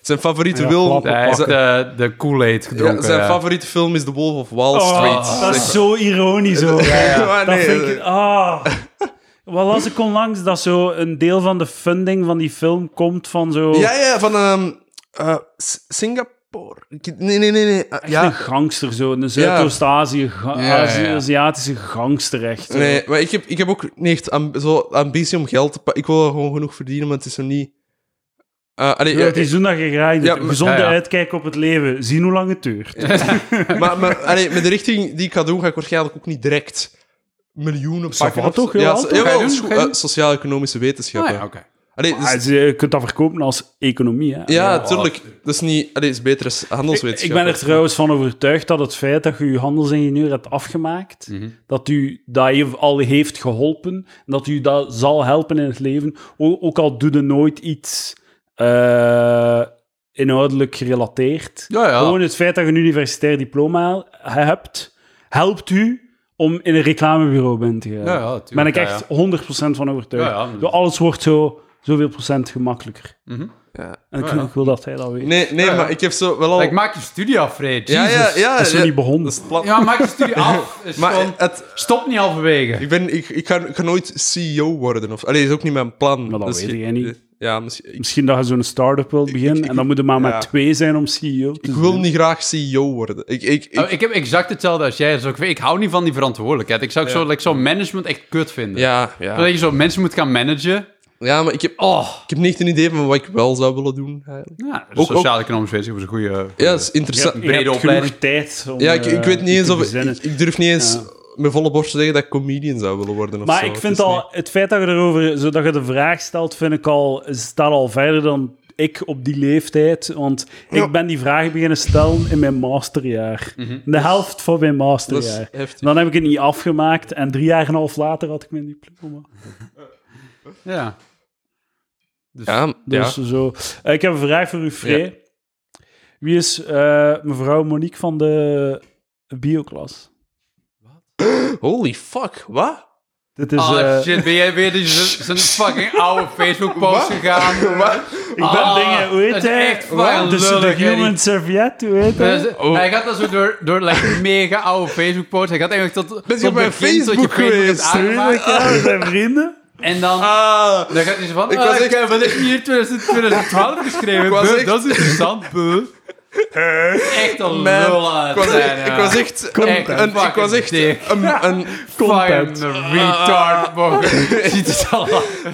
C: zijn favoriete
A: Ja,
C: wil...
A: klap op
B: Hij heeft
C: zijn,
B: de, de Kool-Aid gedronken. eh.
C: ja, zijn
B: ja.
C: favoriete film is The Wolf of Wall
A: Oh,
C: Street.
A: dat is zo ironisch hoor.
C: Maar
A: Dat
C: nee,
A: vind ik... Ah. Wat las ik onlangs? Dat zo een deel van de funding van die film komt van zo...
C: Ja, ja, van ehm, eh, S- Singapore. Ik- Nee, nee, nee. nee. Ah,
A: Echt
C: ja.
A: een gangster zo. Een Zuidoost-Azië-
B: Ja,
A: Azi-
B: ja, ja.
A: Aziatische gangster echt. zo.
C: Nee, maar ik heb, ik heb ook niet echt amb- zo ambitie om geld te pakken. Ik wil gewoon genoeg verdienen, maar het is zo niet... Eh, allee,
A: Ja,
C: ja,
A: het is doen dat je graag doet.
C: Ja, dus- maar-
A: Gezonde
B: ja, ja.
A: uitkijk op het leven. Zien hoe lang het duurt.
C: eh, maar maar allee, met de richting die ik ga doen, ga ik waarschijnlijk ook niet direct miljoenen
A: va,
C: pakken. of
A: toch?
C: zo.
A: Jawel,
C: Ja,
A: toch? Ga
C: so-
A: je
C: jawel,
B: doen?
C: so-
B: Ga je
C: eh,
B: doen?
C: sociaal-economische
B: Ah,
C: wetenschappen.
B: ja, oké.
C: Allee, dus-
A: Ah, ze- Je kunt dat verkopen als economie. Hè?
C: Ja, tuurlijk. Dat is niet... Allee, het is beter als
A: Ik, ik ben
C: handelswetenschap.
A: er trouwens van overtuigd dat het feit dat je je handelsingenieur hebt afgemaakt,
B: Mhm.
A: dat u dat heeft- al heeft geholpen, dat u dat zal helpen in het leven, o- ook al doe je nooit iets eh, inhoudelijk gerelateerd.
B: Ja, ja.
A: Gewoon het feit dat je een universitair diploma hebt, helpt u om in een reclamebureau bent te gaan.
B: Ja, ja, tuurlijk,
A: ben ik
B: ja,
A: echt 100% van overtuigd.
B: Ja, ja. Mhm.
A: Door Alles wordt zo, zoveel procent gemakkelijker.
C: Ja.
A: En ik,
B: Ja, ja.
A: ik wil dat hij dat weet.
C: Nee, nee
B: Ja, ja.
C: maar ik heb zo wel al...
B: Like, maak je studie af, Fred.
C: ja, ja, ja.
A: dat is zo
C: ja.
A: niet begonnen.
C: Dat is het plan.
B: Ja, maak je studie af. Is
C: Maar eh,
B: gewoon-
C: het,
B: Stop niet halverwege.
C: ik, ben, ik, ik, ga, ik ga nooit CEO worden. Of, allee, dat is ook niet mijn plan.
A: Maar dat weet jij niet.
C: Ja, misschien... Ik,
A: Misschien dat je zo'n start-up wilt beginnen
C: ik- ik-
A: en dan moet je maar
C: ja.
A: met twee zijn om CEO te
C: ik
A: zijn.
C: wil niet graag CEO worden. Ik, ik, ik,
B: Oh, ik heb exact hetzelfde als jij. Dus ook, ik hou niet van die verantwoordelijkheid. Ik zou zo, like, zo management echt kut vinden.
C: ja,
B: Dat
C: ja.
B: je zo mensen moet gaan managen.
C: ja, maar ik heb,
B: Oh,
C: ik heb niet echt een idee van wat ik wel zou willen doen. Eigenlijk.
B: ja,
C: Ook-
B: sociaal-economisch wetenschap was een eh, goede...
C: Ja, dat
A: Je
C: is
A: hebt,
C: interessant.
A: je
B: brede
A: hebt
B: opleiding.
A: genoeg tijd om,
C: Ja, ik, ik
A: eh,
C: weet niet
A: je
C: eens
A: te
C: of...
A: bezinnen.
C: Ik, ik durf niet eens met volle borst te zeggen dat ik comedian zou willen worden. Of
A: Maar
C: zo.
A: ik
C: Het
A: vind
C: is
A: al,
C: niet-
A: het feit dat je erover, zodat je de vraag stelt, vind ik al, staat al verder dan ik op die leeftijd. Want
C: Ja. Mhm.
A: ik ben die vragen beginnen stellen in mijn masterjaar. De helft van mijn
C: Dat is
A: masterjaar.
C: heftig.
A: Dan heb ik het niet afgemaakt en drie jaar en een half later had ik mijn diploma.
B: Ja.
C: Ja, ja.
A: Dus zo. Eh, ik heb een vraag voor u, Frey. Wie is eh, mevrouw Monique van de bioklas?
C: Holy fuck, wat?
A: Dit is,
B: Oh,
A: eh,
B: shit. Ben jij weer die- z- zijn fucking oude Facebook-post
C: Wat?
B: gegaan?
A: ik ben
B: Ah,
A: dingen, hoe heet
B: dat is
A: hij?
B: echt fucking
A: Tussen de
B: lullig, hè,
A: human
B: die-
A: serviette, hoe heet hij?
B: Dus,
C: Oh.
B: Hij gaat dat zo door, door like, mega oude Facebook-posts. Hij gaat eigenlijk tot,
C: Ben je
B: tot
C: op mijn
B: begin, tot je
C: Facebook
B: Facebook hebt
C: geweest?
B: aangemaakt.
A: Tuurlijk, ja, we zijn vrienden.
B: En dan...
C: Ah,
B: Dan gaat hij zo van, "Oh,
C: Ik
B: ik
C: was
B: was
C: echt-
B: heb wel hier 2000 2012 geschreven.
C: Ik was
B: Buh,
C: echt-
B: Dat is interessant, buh. Echt een lul aan
C: ik
B: het
C: was
B: zijn,
C: echt,
B: ja.
C: ik was echt,
B: Content.
C: een, ik was echt
B: Dik.
C: een, een,
A: Content.
B: Fucking
C: Ah.
B: retard, man. Ziet het al aan.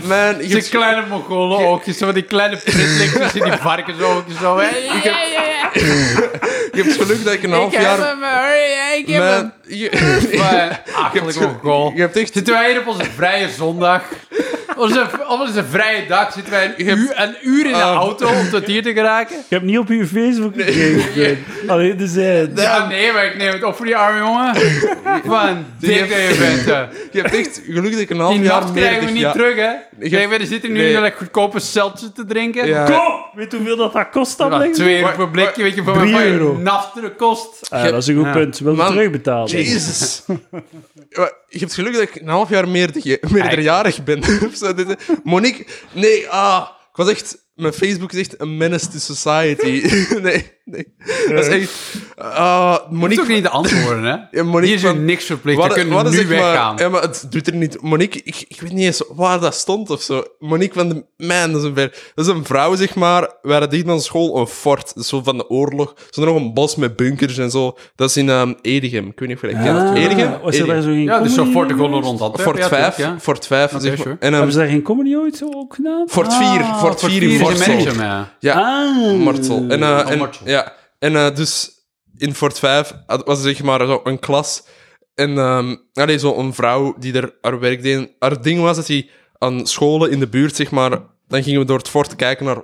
C: man, ik
B: Die
C: heb,
B: kleine mongolen oogjes, zo van die kleine pritlikjes in die varkensoogjes. Zo. Hey, ja, ja, ja.
C: ik heb het geluk dat ik een half
B: Ik heb
C: jaar,
B: hem, hurry, ik heb hem.
C: man, je-
B: Maar, achterlijk
C: het ge-
B: mongool.
C: je hebt echt-
B: Zitten wij hier op onze vrije zondag? Onze, op onze vrije dag zitten wij een uur, een uur in de
C: Ah.
B: auto om tot hier te geraken?
A: Ik heb niet op uw Facebook gekeken. Alleen de zij.
B: Ja, nee, maar ik neem het op voor die arme jongen. Van dik dat je bent. hè.
C: je hebt echt geluk dat ik een half
B: Die
C: jaar
B: nacht
C: meer
B: krijgen we niet
C: ja,
B: terug, hè? Kijk, we zitten nu
C: nee.
B: in een goedkope seltje te drinken.
C: Ja.
A: Kom! Oh, Weet je hoeveel dat, dat kost dan?
B: Wat,
A: denk je?
B: twee euro
C: Maar- Eh,
B: per blikje, weet je, voor
A: Drie
B: mijn
A: euro.
B: nafteren kost.
A: Ah, dat is een goed punt. Wil je
C: Man.
A: terugbetalen?
C: Jezus. Maar Je hebt geluk dat ik een half jaar meer de- meerderjarig ben. Of zo, dit- Monique, nee, ah, ik was echt... Mijn Facebook is echt een menace to society. Nee, nee. Dat is echt... ah,
B: Moet
C: Monique,
B: ook niet de antwoorden, hè?
C: Ja, Monique,
B: Hier is je
C: van-
B: niks verplicht,
C: Wat-
B: dan kunnen
C: wat
B: we
C: is
B: nu
C: ik maar-
B: weggaan.
C: ja, maar het doet er niet... Monique, ik, ik weet niet eens waar dat stond of zo. Monique van de... Man, dat is een, ver- dat is een vrouw, zeg maar. We hadden dicht aan school een fort. Dus zo van de oorlog. Zo nog een bos met bunkers en zo. Dat is in ehm Edegem. Ik weet niet of je dat kent.
A: Ah,
C: Edegem?
A: Was er
C: Edegem.
A: daar zo geen
B: Ja, dus zo
A: comedy
B: fort de
A: geweest?
B: gewoon rond Antwerpen.
C: Fort
B: ja,
C: 5.
B: tuurlijk, ja.
C: Fort 5, zeg maar.
B: sure.
C: En, ehm,
A: Hebben ze daar geen comedy ooit zo ook gedaan?
C: Fort 4.
A: Ah,
C: fort 4
B: Hier
C: in
B: is een
C: Mortsel.
B: manager, man.
C: Ja,
A: Ah.
C: Mortsel. En, eh,
B: Oh,
C: en-
B: Mortsel.
C: Ja. En eh, dus in Fort 5 had- was er zeg maar zo een klas. En ehm allee, zo een vrouw die er haar werk deed. Haar ding was dat hij aan scholen in de buurt, zeg maar. Dan gingen we door het fort kijken naar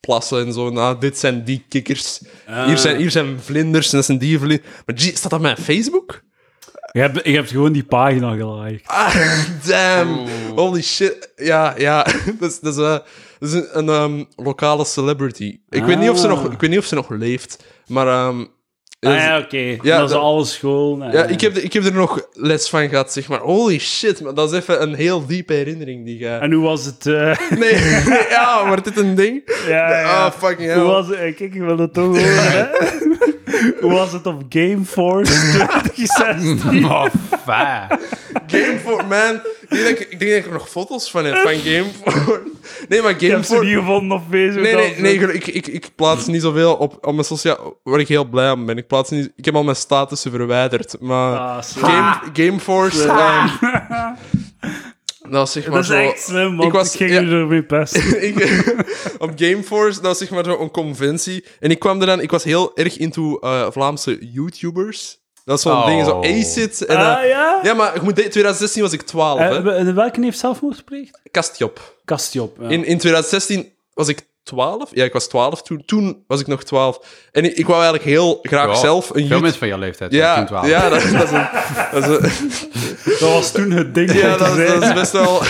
C: plassen en zo. Nou, dit zijn die kikkers. Hier, zijn, hier zijn vlinders en dat zijn die vlinders. Maar gee, staat dat op mijn Facebook?
A: Je hebt, je hebt gewoon die pagina geliked.
C: Ah, damn. Holy shit. Ja, ja. dat is, dat is, eh, dat is een, een, ehm, lokale celebrity. Ik, weet niet of ze
A: Ah.
C: nog, ik weet niet of ze nog leeft, maar... ehm,
A: Ah,
C: is-
A: ja, oké. dat is
C: dat-
A: alle school. eh.
C: ja, ik heb, de- ik heb er nog les van gehad, zeg maar. Holy shit, maar dat is even een heel diepe herinnering die jij...
A: En hoe was het? eh,
C: Nee, ja, wordt dit een ding?
A: ja, ja.
C: Ah, fucking hell.
A: Hoe was het? eh, Kijk, ik wil dat toch horen. hè. Hoe was het op Game Force 2016?
B: Oh, fuck.
C: Game for Man. Ik denk, dat ik, ik denk dat ik er nog foto's van heb, van Game for... Nee, maar
A: Ik
C: Game
A: heb ze
C: for...
A: niet gevonden op Facebook.
C: Nee, nee,
A: als-
C: nee ik, ik, ik plaats niet zoveel op, op mijn social... Waar ik heel blij om ben. Ik, plaats niet, ik heb al mijn statussen verwijderd, maar...
A: Ah, slim.
C: Game, Gameforce... ehm, dat was zeg maar
A: dat is
C: zo...
A: echt slim, want
C: ik
A: ik,
C: was-
A: ging
C: ja.
A: u ermee pesten.
C: ik, op Gameforce, dat was zeg maar zo'n conventie. En ik kwam er dan, ik was heel erg into eh, Vlaamse YouTubers. Dat is zo'n
B: Oh.
C: ding, zo ACID. En, eh,
A: Ah, ja?
C: ja, maar ik moet, de- 2016 was ik 12,
A: Eh,
C: hè?
A: we- welke heeft zelfmoord gepleegd?
C: Kastjob.
A: Kastjob. Ja.
C: In, in 2016 was ik 12. Ja, ik was 12 toen. Toen was ik nog 12. En ik, ik wou eigenlijk heel graag
B: Ja,
C: zelf een
B: Veel
C: YouTube...
B: mensen van jouw leeftijd.
C: Ja,
B: 12.
C: ja, dat, dat is een... Dat is een
A: Dat was toen het ding.
C: Ja,
A: om te
C: dat,
A: zijn.
C: dat is best wel.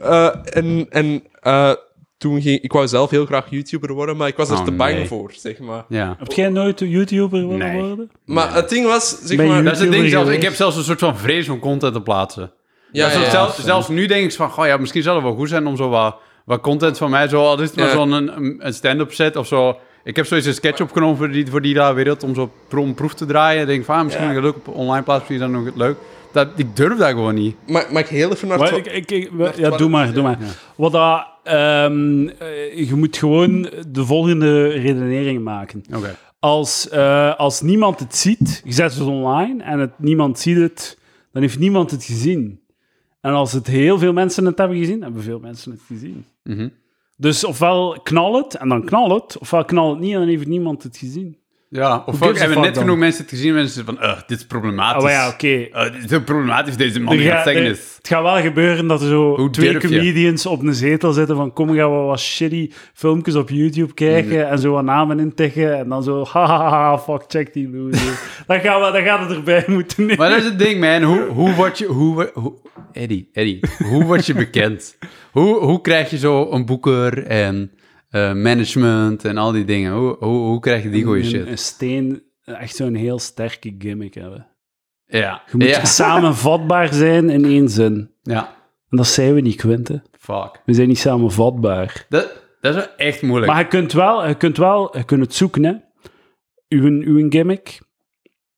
C: Eh, en en eh, toen ging ik wou zelf heel graag YouTuber worden, maar ik was er
B: Oh,
C: te bang
B: nee.
C: voor, zeg maar.
B: Ja.
A: Heb jij nooit een YouTuber willen
B: Nee.
A: worden?
C: Maar het ding was, zeg
A: Ben
C: maar.
A: je-
B: Dat is het ding
A: YouTuber
B: zelfs. Ik
A: geweest.
B: heb zelfs een soort van vrees om content te plaatsen.
C: ja,
B: Zelf-
C: ja, ja.
B: zelfs, zelfs nu denk ik van, goh, ja, misschien zou het wel goed zijn om zo wat, wat content van mij, zo, al is het maar
C: Ja.
B: zo'n een, een stand-up set of zo. Ik heb zoiets een sketch opgenomen voor die, voor die daar wereld om zo pro- om proef te draaien. Ik denk van, ah, misschien
A: Ja.
B: kan ik het leuk op online plaatsen, misschien is dat nog leuk. Dat, ik durf dat gewoon niet.
C: Mag, mag ik heel even naar
A: Maar
C: het-
A: ik, ik, ik- we-
C: Wacht,
A: ja,
C: wat-
A: doe maar, doe maar. Wat dat, ehm, eh, je moet gewoon de volgende redenering maken.
B: Oké.
A: Als, eh, als niemand het ziet, je zet het online en het, niemand ziet het, dan heeft niemand het gezien. En als het heel veel mensen het hebben gezien, hebben veel mensen het gezien.
B: Mhm.
A: Dus ofwel knal het en dan knal het, ofwel knal het niet en dan heeft niemand het gezien.
B: Ja, of
A: gives
B: ook
A: a
B: hebben
A: fuck
B: net
A: dan?
B: genoeg mensen het gezien, mensen van, eh, dit is problematisch.
A: Ah, maar ja, oké.
B: Eh, dit is heel problematisch, deze man
A: Er
B: die aan
A: ga-
B: het zeggen
A: er-
B: is.
A: het gaat wel gebeuren dat er zo
B: Hoe
A: twee
B: durf je?
A: comedians op een zetel zitten van kom, gaan we wat shitty filmpjes op YouTube kijken
B: Mhm.
A: en zo wat namen intikken en dan zo ha ha, ha, ha, fuck, check die loser. dan, gaan we, dan gaat het erbij moeten nemen.
B: Maar dat is het ding, man. Hoe, hoe word je... Hoe, wo- hoe, Eddie, Eddie. Hoe word je bekend? Hoe, hoe krijg je zo een boeker en eh, management en al die dingen? Hoe, hoe, hoe krijg je die goede
A: Een-
B: shit?
A: Een steen, eh, echt zo'n heel sterke gimmick hebben.
B: Ja.
A: Je moet
B: ja.
A: samenvatbaar zijn in één zin.
B: ja.
A: En dat zijn we niet, Quinte.
B: Fuck.
A: We zijn niet samenvatbaar.
B: Dat, dat is wel echt moeilijk.
A: Maar je kunt wel, je kunt wel, je kunt het zoeken, hè. Uw, uw gimmick.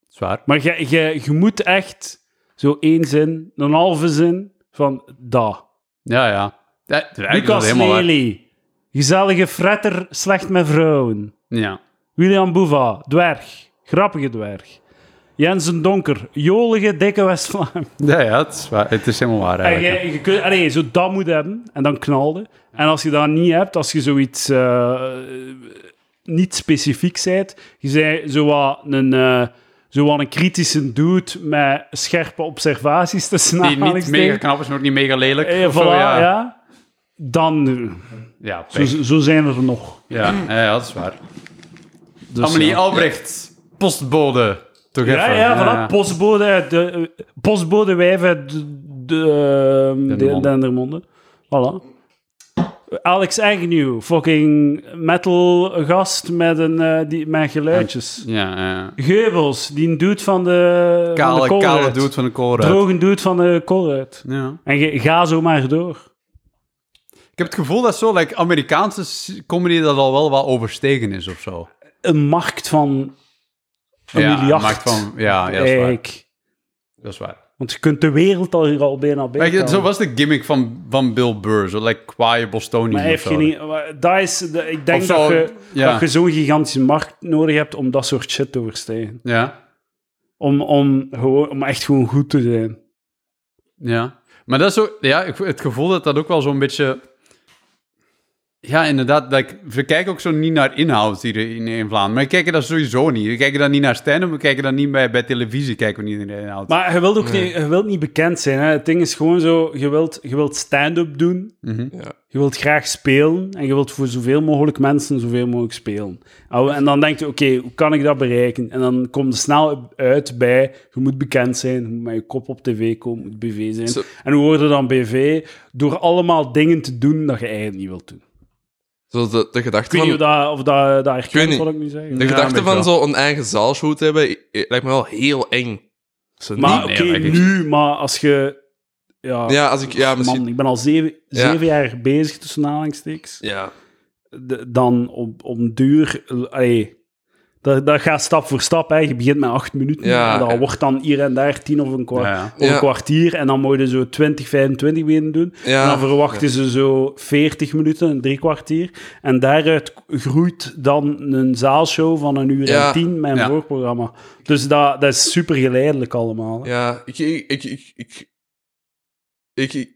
B: Zwaar.
A: Maar je, je, je moet echt zo één zin, een halve zin van da.
B: Ja, ja. Dat, dat is eigenlijk wel
A: Lucas
B: helemaal waar.
A: Lely, gezellige fretter, slecht met vrouwen.
B: Ja.
A: William Boeva, dwerg, grappige dwerg. Jensen Donker, jolige, dikke West-Vlaam.
B: Ja, ja, het is, waar. Het is helemaal waar
A: En
B: eigenlijk.
A: je, je kunt, allee, zo dat moet hebben en dan knalde. En als je dat niet hebt, als je zoiets eh, niet specifiek bent, je zei zo wat een, eh, zo wat een kritische dude met scherpe observaties te
B: Die niet mega
A: snaren.
B: knap is, maar ook niet mega lelijk.
A: Eh,
B: of
A: voilà,
B: zo,
A: ja.
B: ja. Ja,
A: Dan, eh,
B: pech.
A: zo, zo zijn er nog.
B: ja. ja, ja, dat is waar.
A: Dus,
B: Amelie
A: ja.
B: Albrecht, postbode. Toch
A: Ja,
B: even.
A: ja, voilà. Postbode, uit de, eh, postbode wijf uit de, de, eh, de
B: Dendermonde.
A: Dendermonde. Voilà. Alex Agnew, fucking metal gast met, een, eh, die, met geluidjes.
B: Ja, ja.
A: Geubels, die een dude van de van de
B: Kale,
A: Colruyt.
B: kale dude van de koolruit.
A: Droge dude van de Colruyt.
B: Ja.
A: En ge- ga zo maar door.
B: Ik heb het gevoel dat zo, like, Amerikaanse s- comedy dat al wel wat overstegen is of zo.
A: Een markt van een
B: ja,
A: miljard.
B: maakt van, ja, ja, dat is waar.
A: Eigenlijk.
B: Dat is waar.
A: Want je kunt de wereld al hier al bijna bij.
B: Weet je, zo was de gimmick van, van Bill Burr, zo like kwaaie Bostonian
A: Maar hij
B: of
A: heeft
B: zo.
A: geen... idee- Dat is, de- ik denk
B: Of zo,
A: dat je,
B: ja.
A: dat je zo'n gigantische markt nodig hebt om dat soort shit te overstijgen.
B: Ja,
A: Om, om, gewoon, om echt gewoon goed te zijn.
B: ja. Maar dat is ook, ja, ik, het gevoel dat dat ook wel zo'n beetje... Ja, inderdaad. Like, we kijken ook zo niet naar inhoud hier in, in Vlaanderen. We kijken dat sowieso niet. We kijken dan niet naar stand-up. We kijken dan niet bij, bij televisie. Kijken we niet naar inhoud.
A: Maar je wilt ook niet, je wilt niet bekend zijn. Hè? Het ding is gewoon zo, je wilt, je wilt stand-up doen,
C: Ja.
A: je wilt graag spelen en je wilt voor zoveel mogelijk mensen zoveel mogelijk spelen. En- En dan denk je, oké, hoe kan ik dat bereiken? En dan kom je snel uit bij, je moet bekend zijn, je moet met je kop op tv komen, je moet BV zijn.
C: Zo.
A: En hoe word je dan BV? Door allemaal dingen te doen dat je eigenlijk niet wilt doen.
C: Zo de, de gedachte
A: Ik weet niet
C: van,
A: of dat, of dat, dat
C: weet
A: herkent,
C: niet.
A: wat ik nu zeg.
C: de
B: Ja,
C: gedachte
B: weet
C: van
B: wel.
C: zo'n eigen zaalshow te hebben i- i- lijkt me wel heel eng. Zo
A: Maar
C: niet-
A: oké,
B: nee, maar ik-
A: nu, maar als je... Ja,
C: ja, als ik, ja, misschien.
A: man, ik ben al zeven,
C: Ja.
A: zeven jaar bezig tussen aanhalingstekens.
C: Ja.
A: de- dan om, om duur. Allee, dat, dat gaat stap voor stap. Hè. Je begint met acht minuten.
C: Ja,
A: en dat
C: ja.
A: wordt dan hier en daar tien of een, kwa-
B: Ja, ja.
A: of een
C: Ja.
A: kwartier. En dan moet je zo 20, 25 beginnen doen.
C: Ja.
A: En dan verwachten ze zo 40 minuten, een drie kwartier. En daaruit k- groeit dan een zaalshow van een uur
C: Ja.
A: en tien met een
B: Ja.
A: voorprogramma. Dus dat, dat is super geleidelijk allemaal. hè.
C: Ja, ik. Ik. Ik. Ik. ik, ik, ik-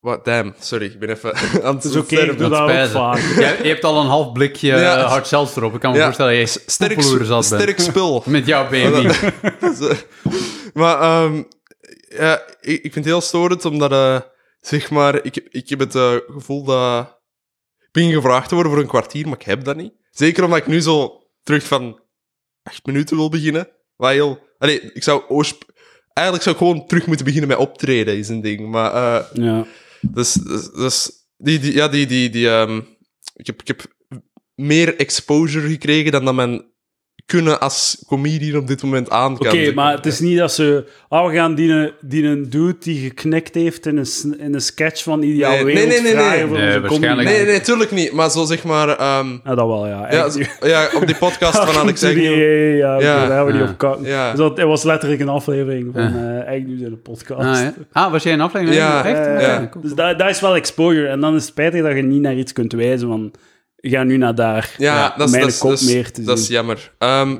C: wat, damn, sorry, ik ben even aan het
A: Dus oké, ik doe
C: sterven.
A: dat ook
B: spijtig.
A: vaak.
B: Jij- je hebt al een half blikje
C: Ja.
B: eh, hard zelfs erop. Ik kan me
C: Ja.
B: voorstellen dat je
C: Sterk,
B: poeploer zat bent.
C: sterk spul. Oh,
B: Met jouw baby.
C: Dat is, eh, maar ehm, ja, ik, ik vind het heel storend, omdat, eh, zeg maar, ik, ik heb het eh, gevoel dat ik ben gevraagd te worden voor een kwartier, maar ik heb dat niet. Zeker omdat ik nu zo terug van acht minuten wil beginnen. Waar heel... Allee, ik zou oorsp- Eigenlijk zou ik gewoon terug moeten beginnen met optreden, is een ding. Maar eh,
A: Ja.
C: dus, dus, dus die, die, ja, die, die, die, ehm, ik, heb, ik heb meer exposure gekregen dan dat men kunnen als comedian op dit moment Dus aan kan.
A: Oké, maar het is niet dat ze... Ah, we gaan die, die een dude die geknikt heeft in een, s- in een sketch van Ideaal
C: Nee, nee,
A: Wereld
C: nee, nee, nee.
A: vragen voor
B: Nee,
A: onze
B: waarschijnlijk
A: comedy.
C: Nee, nee, tuurlijk niet. Maar zo zeg maar... ehm,
A: Ja, dat wel, ja.
C: ja,
A: Echt.
C: zo- ja, op die podcast van Alex
A: Ja, ja,
C: Agnew.
A: ja, oké,
C: Ja.
A: daar hebben we die
B: Ja.
A: op cut.
C: Ja.
A: Dus dat, het was letterlijk een aflevering van eh Eigenlijk nu in de podcast.
B: Ah, ja. Ah, was jij een aflevering?
C: Ja,
B: Echt?
A: Eh,
C: ja.
B: cool.
A: Dus dat, dat is wel exposure. En dan is het spijtig dat je niet naar iets kunt wijzen van... Ga nu naar daar.
C: Ja, dat is,
A: mijn
C: dat is,
A: kop
C: dat is-
A: meer te
C: dat is
A: zien.
C: jammer. Ehm,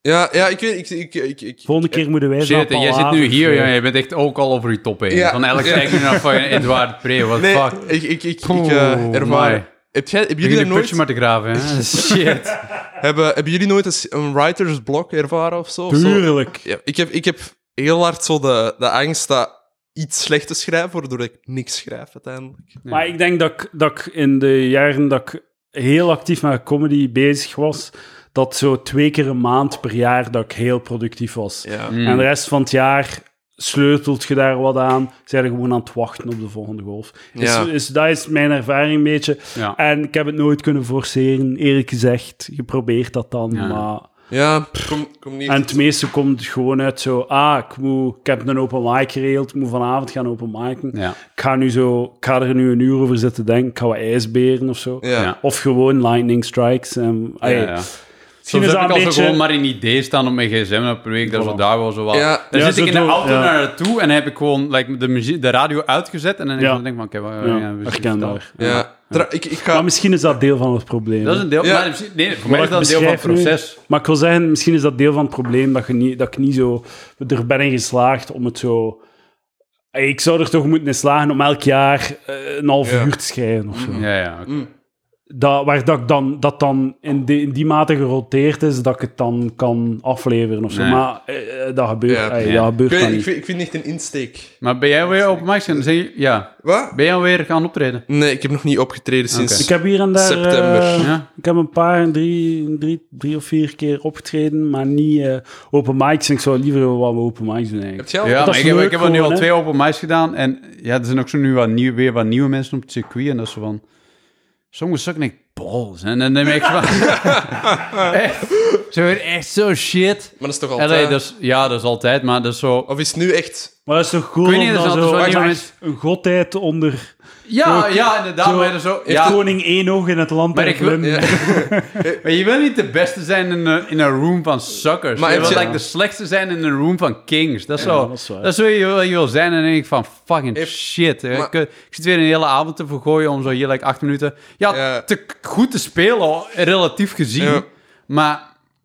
C: ja, ja, ik weet... Ik, ik, ik, ik,
A: Volgende keer moeten wij
B: Shit, en jij zit nu hier, ja, je bent echt ook al over je top heen.
C: Ja.
B: Van Alex
C: Ja.
B: kijkt nu naar fucking Edouard Pre, what the
C: Nee,
B: fuck.
C: ik, ik, ik, ik
B: Oeh,
A: Oh
C: eh, ervaar...
B: my.
C: Heb jij, hebben,
B: Jullie
C: jullie
B: een
C: nooit,
B: putje maar te graven, hè? Shit.
C: hebben, hebben jullie nooit eens een writer's block ervaren of zo? Of zo?
A: Tuurlijk.
C: Ja, ik, heb, ik heb heel hard zo de, de angst dat iets slecht te schrijven, waardoor ik niks schrijf uiteindelijk.
A: Maar ik denk dat ik, dat ik in de jaren dat ik heel actief met comedy bezig was, dat zo twee keer een maand per jaar dat ik heel productief was.
C: Ja.
A: En de rest van het jaar sleutelt je daar wat aan, zijn je gewoon aan het wachten op de volgende golf. Is,
C: Ja.
A: is, dat is mijn ervaring een beetje.
B: Ja.
A: En ik heb het nooit kunnen forceren, eerlijk gezegd. Geprobeerd dat dan,
B: Ja.
A: maar...
C: Ja, kom, kom niet.
A: En het meeste komt gewoon uit zo... Ah, ik, moet, ik heb een open mic geregeld, ik moet vanavond gaan open micen
B: Ja.
A: ik ga, nu zo, ik ga er nu een uur over zitten denken. Ik ga wat ijsberen of zo.
C: ja.
B: Ja.
A: Of gewoon lightning strikes. En,
B: Ja,
A: ah, ja.
B: ja.
A: Misschien
B: Soms
A: is
B: heb
A: dat
B: ik
A: een
B: al zo gewoon
A: beetje...
B: maar een idee staan op mijn gsm en dan probeer ik dat zo
A: Voilà.
B: daar wel zo wat.
C: Ja.
B: Dan
A: Ja,
B: zit
A: zo
B: ik in de
A: doe-
B: auto
A: ja.
B: naar naartoe en dan heb ik gewoon like, de, muziek, de radio uitgezet en dan
A: Ja.
B: denk ik van, oké, wat- ja,
A: ja,
B: we zien
A: herkenbaar.
C: Ja. Tra- ik, ik ga...
A: Maar misschien is dat deel van het probleem.
B: het. Dat is
A: hè.
B: een deel,
C: Ja.
B: maar misschien- nee, voor mij is
A: Wat
B: dat een
A: ik
B: deel van het
A: beschrijf nu-
B: proces.
A: Maar ik wil zeggen, misschien is dat deel van het probleem dat, je niet, dat ik niet zo... Er ben in geslaagd om het zo... Ey, Ik zou er toch moeten in slagen om elk jaar eh, een half
C: Ja.
A: uur te schrijven of zo.
B: Ja, ja. oké.
A: Mm. Dat, waar dat, ik dan, dat dan in, die- in die mate geroteerd is dat ik het dan kan afleveren of zo.
B: Nee.
A: Maar eh, eh, dat gebeurt,
C: Ja.
A: ey,
B: Ja.
A: dat
C: Ik,
A: gebeurt
C: weet-
A: dan
C: ik,
A: niet.
C: vind, ik vind niet echt een insteek.
B: Maar ben jij weer op Max en zeg je- ja.
C: Wat?
B: Ben jij weer gaan optreden?
C: Nee, ik heb nog niet opgetreden sinds...
A: Ik heb hier en daar...
C: September.
A: eh,
B: Ja.
A: Ik heb een paar, drie, drie, drie of vier keer opgetreden, maar niet eh, open mics. En ik zou liever wel wat open mics doen
C: Heb
A: eigenlijk.
C: jij al?
B: Ja,
A: Oh, dat
B: maar
A: is
B: ik heb,
A: leuk
B: ik heb er nu
A: gewoon,
B: al
A: hè?
B: twee open mics gedaan. En ja, er zijn ook zo nu wat nieuw, weer wat nieuwe mensen op het circuit. En dat is zo van... Sommigen sukken echt balls. En dan neem ik van... echt, ze worden echt zo shit.
C: Maar dat is toch
B: En
C: altijd... eh,
B: nee, dat is, ja, dat is altijd, maar dat is zo...
C: Of is het nu echt...
A: Maar dat is toch cool
B: Ik weet niet,
A: om
B: er
A: dan
B: zijn
A: zo
B: altijd wel
A: echt
B: nieuwe
A: een godheid onder...
B: Ja, ja, inderdaad.
A: Zo,
B: maar, dat is zo,
A: Heeft
B: ja,
A: koning één oog in het land
B: Maar
A: en
B: ik wil-
A: Limburg.
C: Ja.
B: maar je wil niet de beste zijn in een, in een room van suckers.
C: Maar
B: je
C: heb
B: wil
C: je-
B: like, de slechtste zijn in een room van kings. Dat is, zo,
A: dat is waar.
B: dat is hoe je, wil- je wil zijn. En dan denk ik van, fucking shit. hè.
C: maar-
B: ik, eh, ik zit weer een hele avond te vergooien om zo hier like, acht minuten... Ja,
C: Ja.
B: te k- goed te spelen, al, relatief gezien.
C: Ja.
B: Maar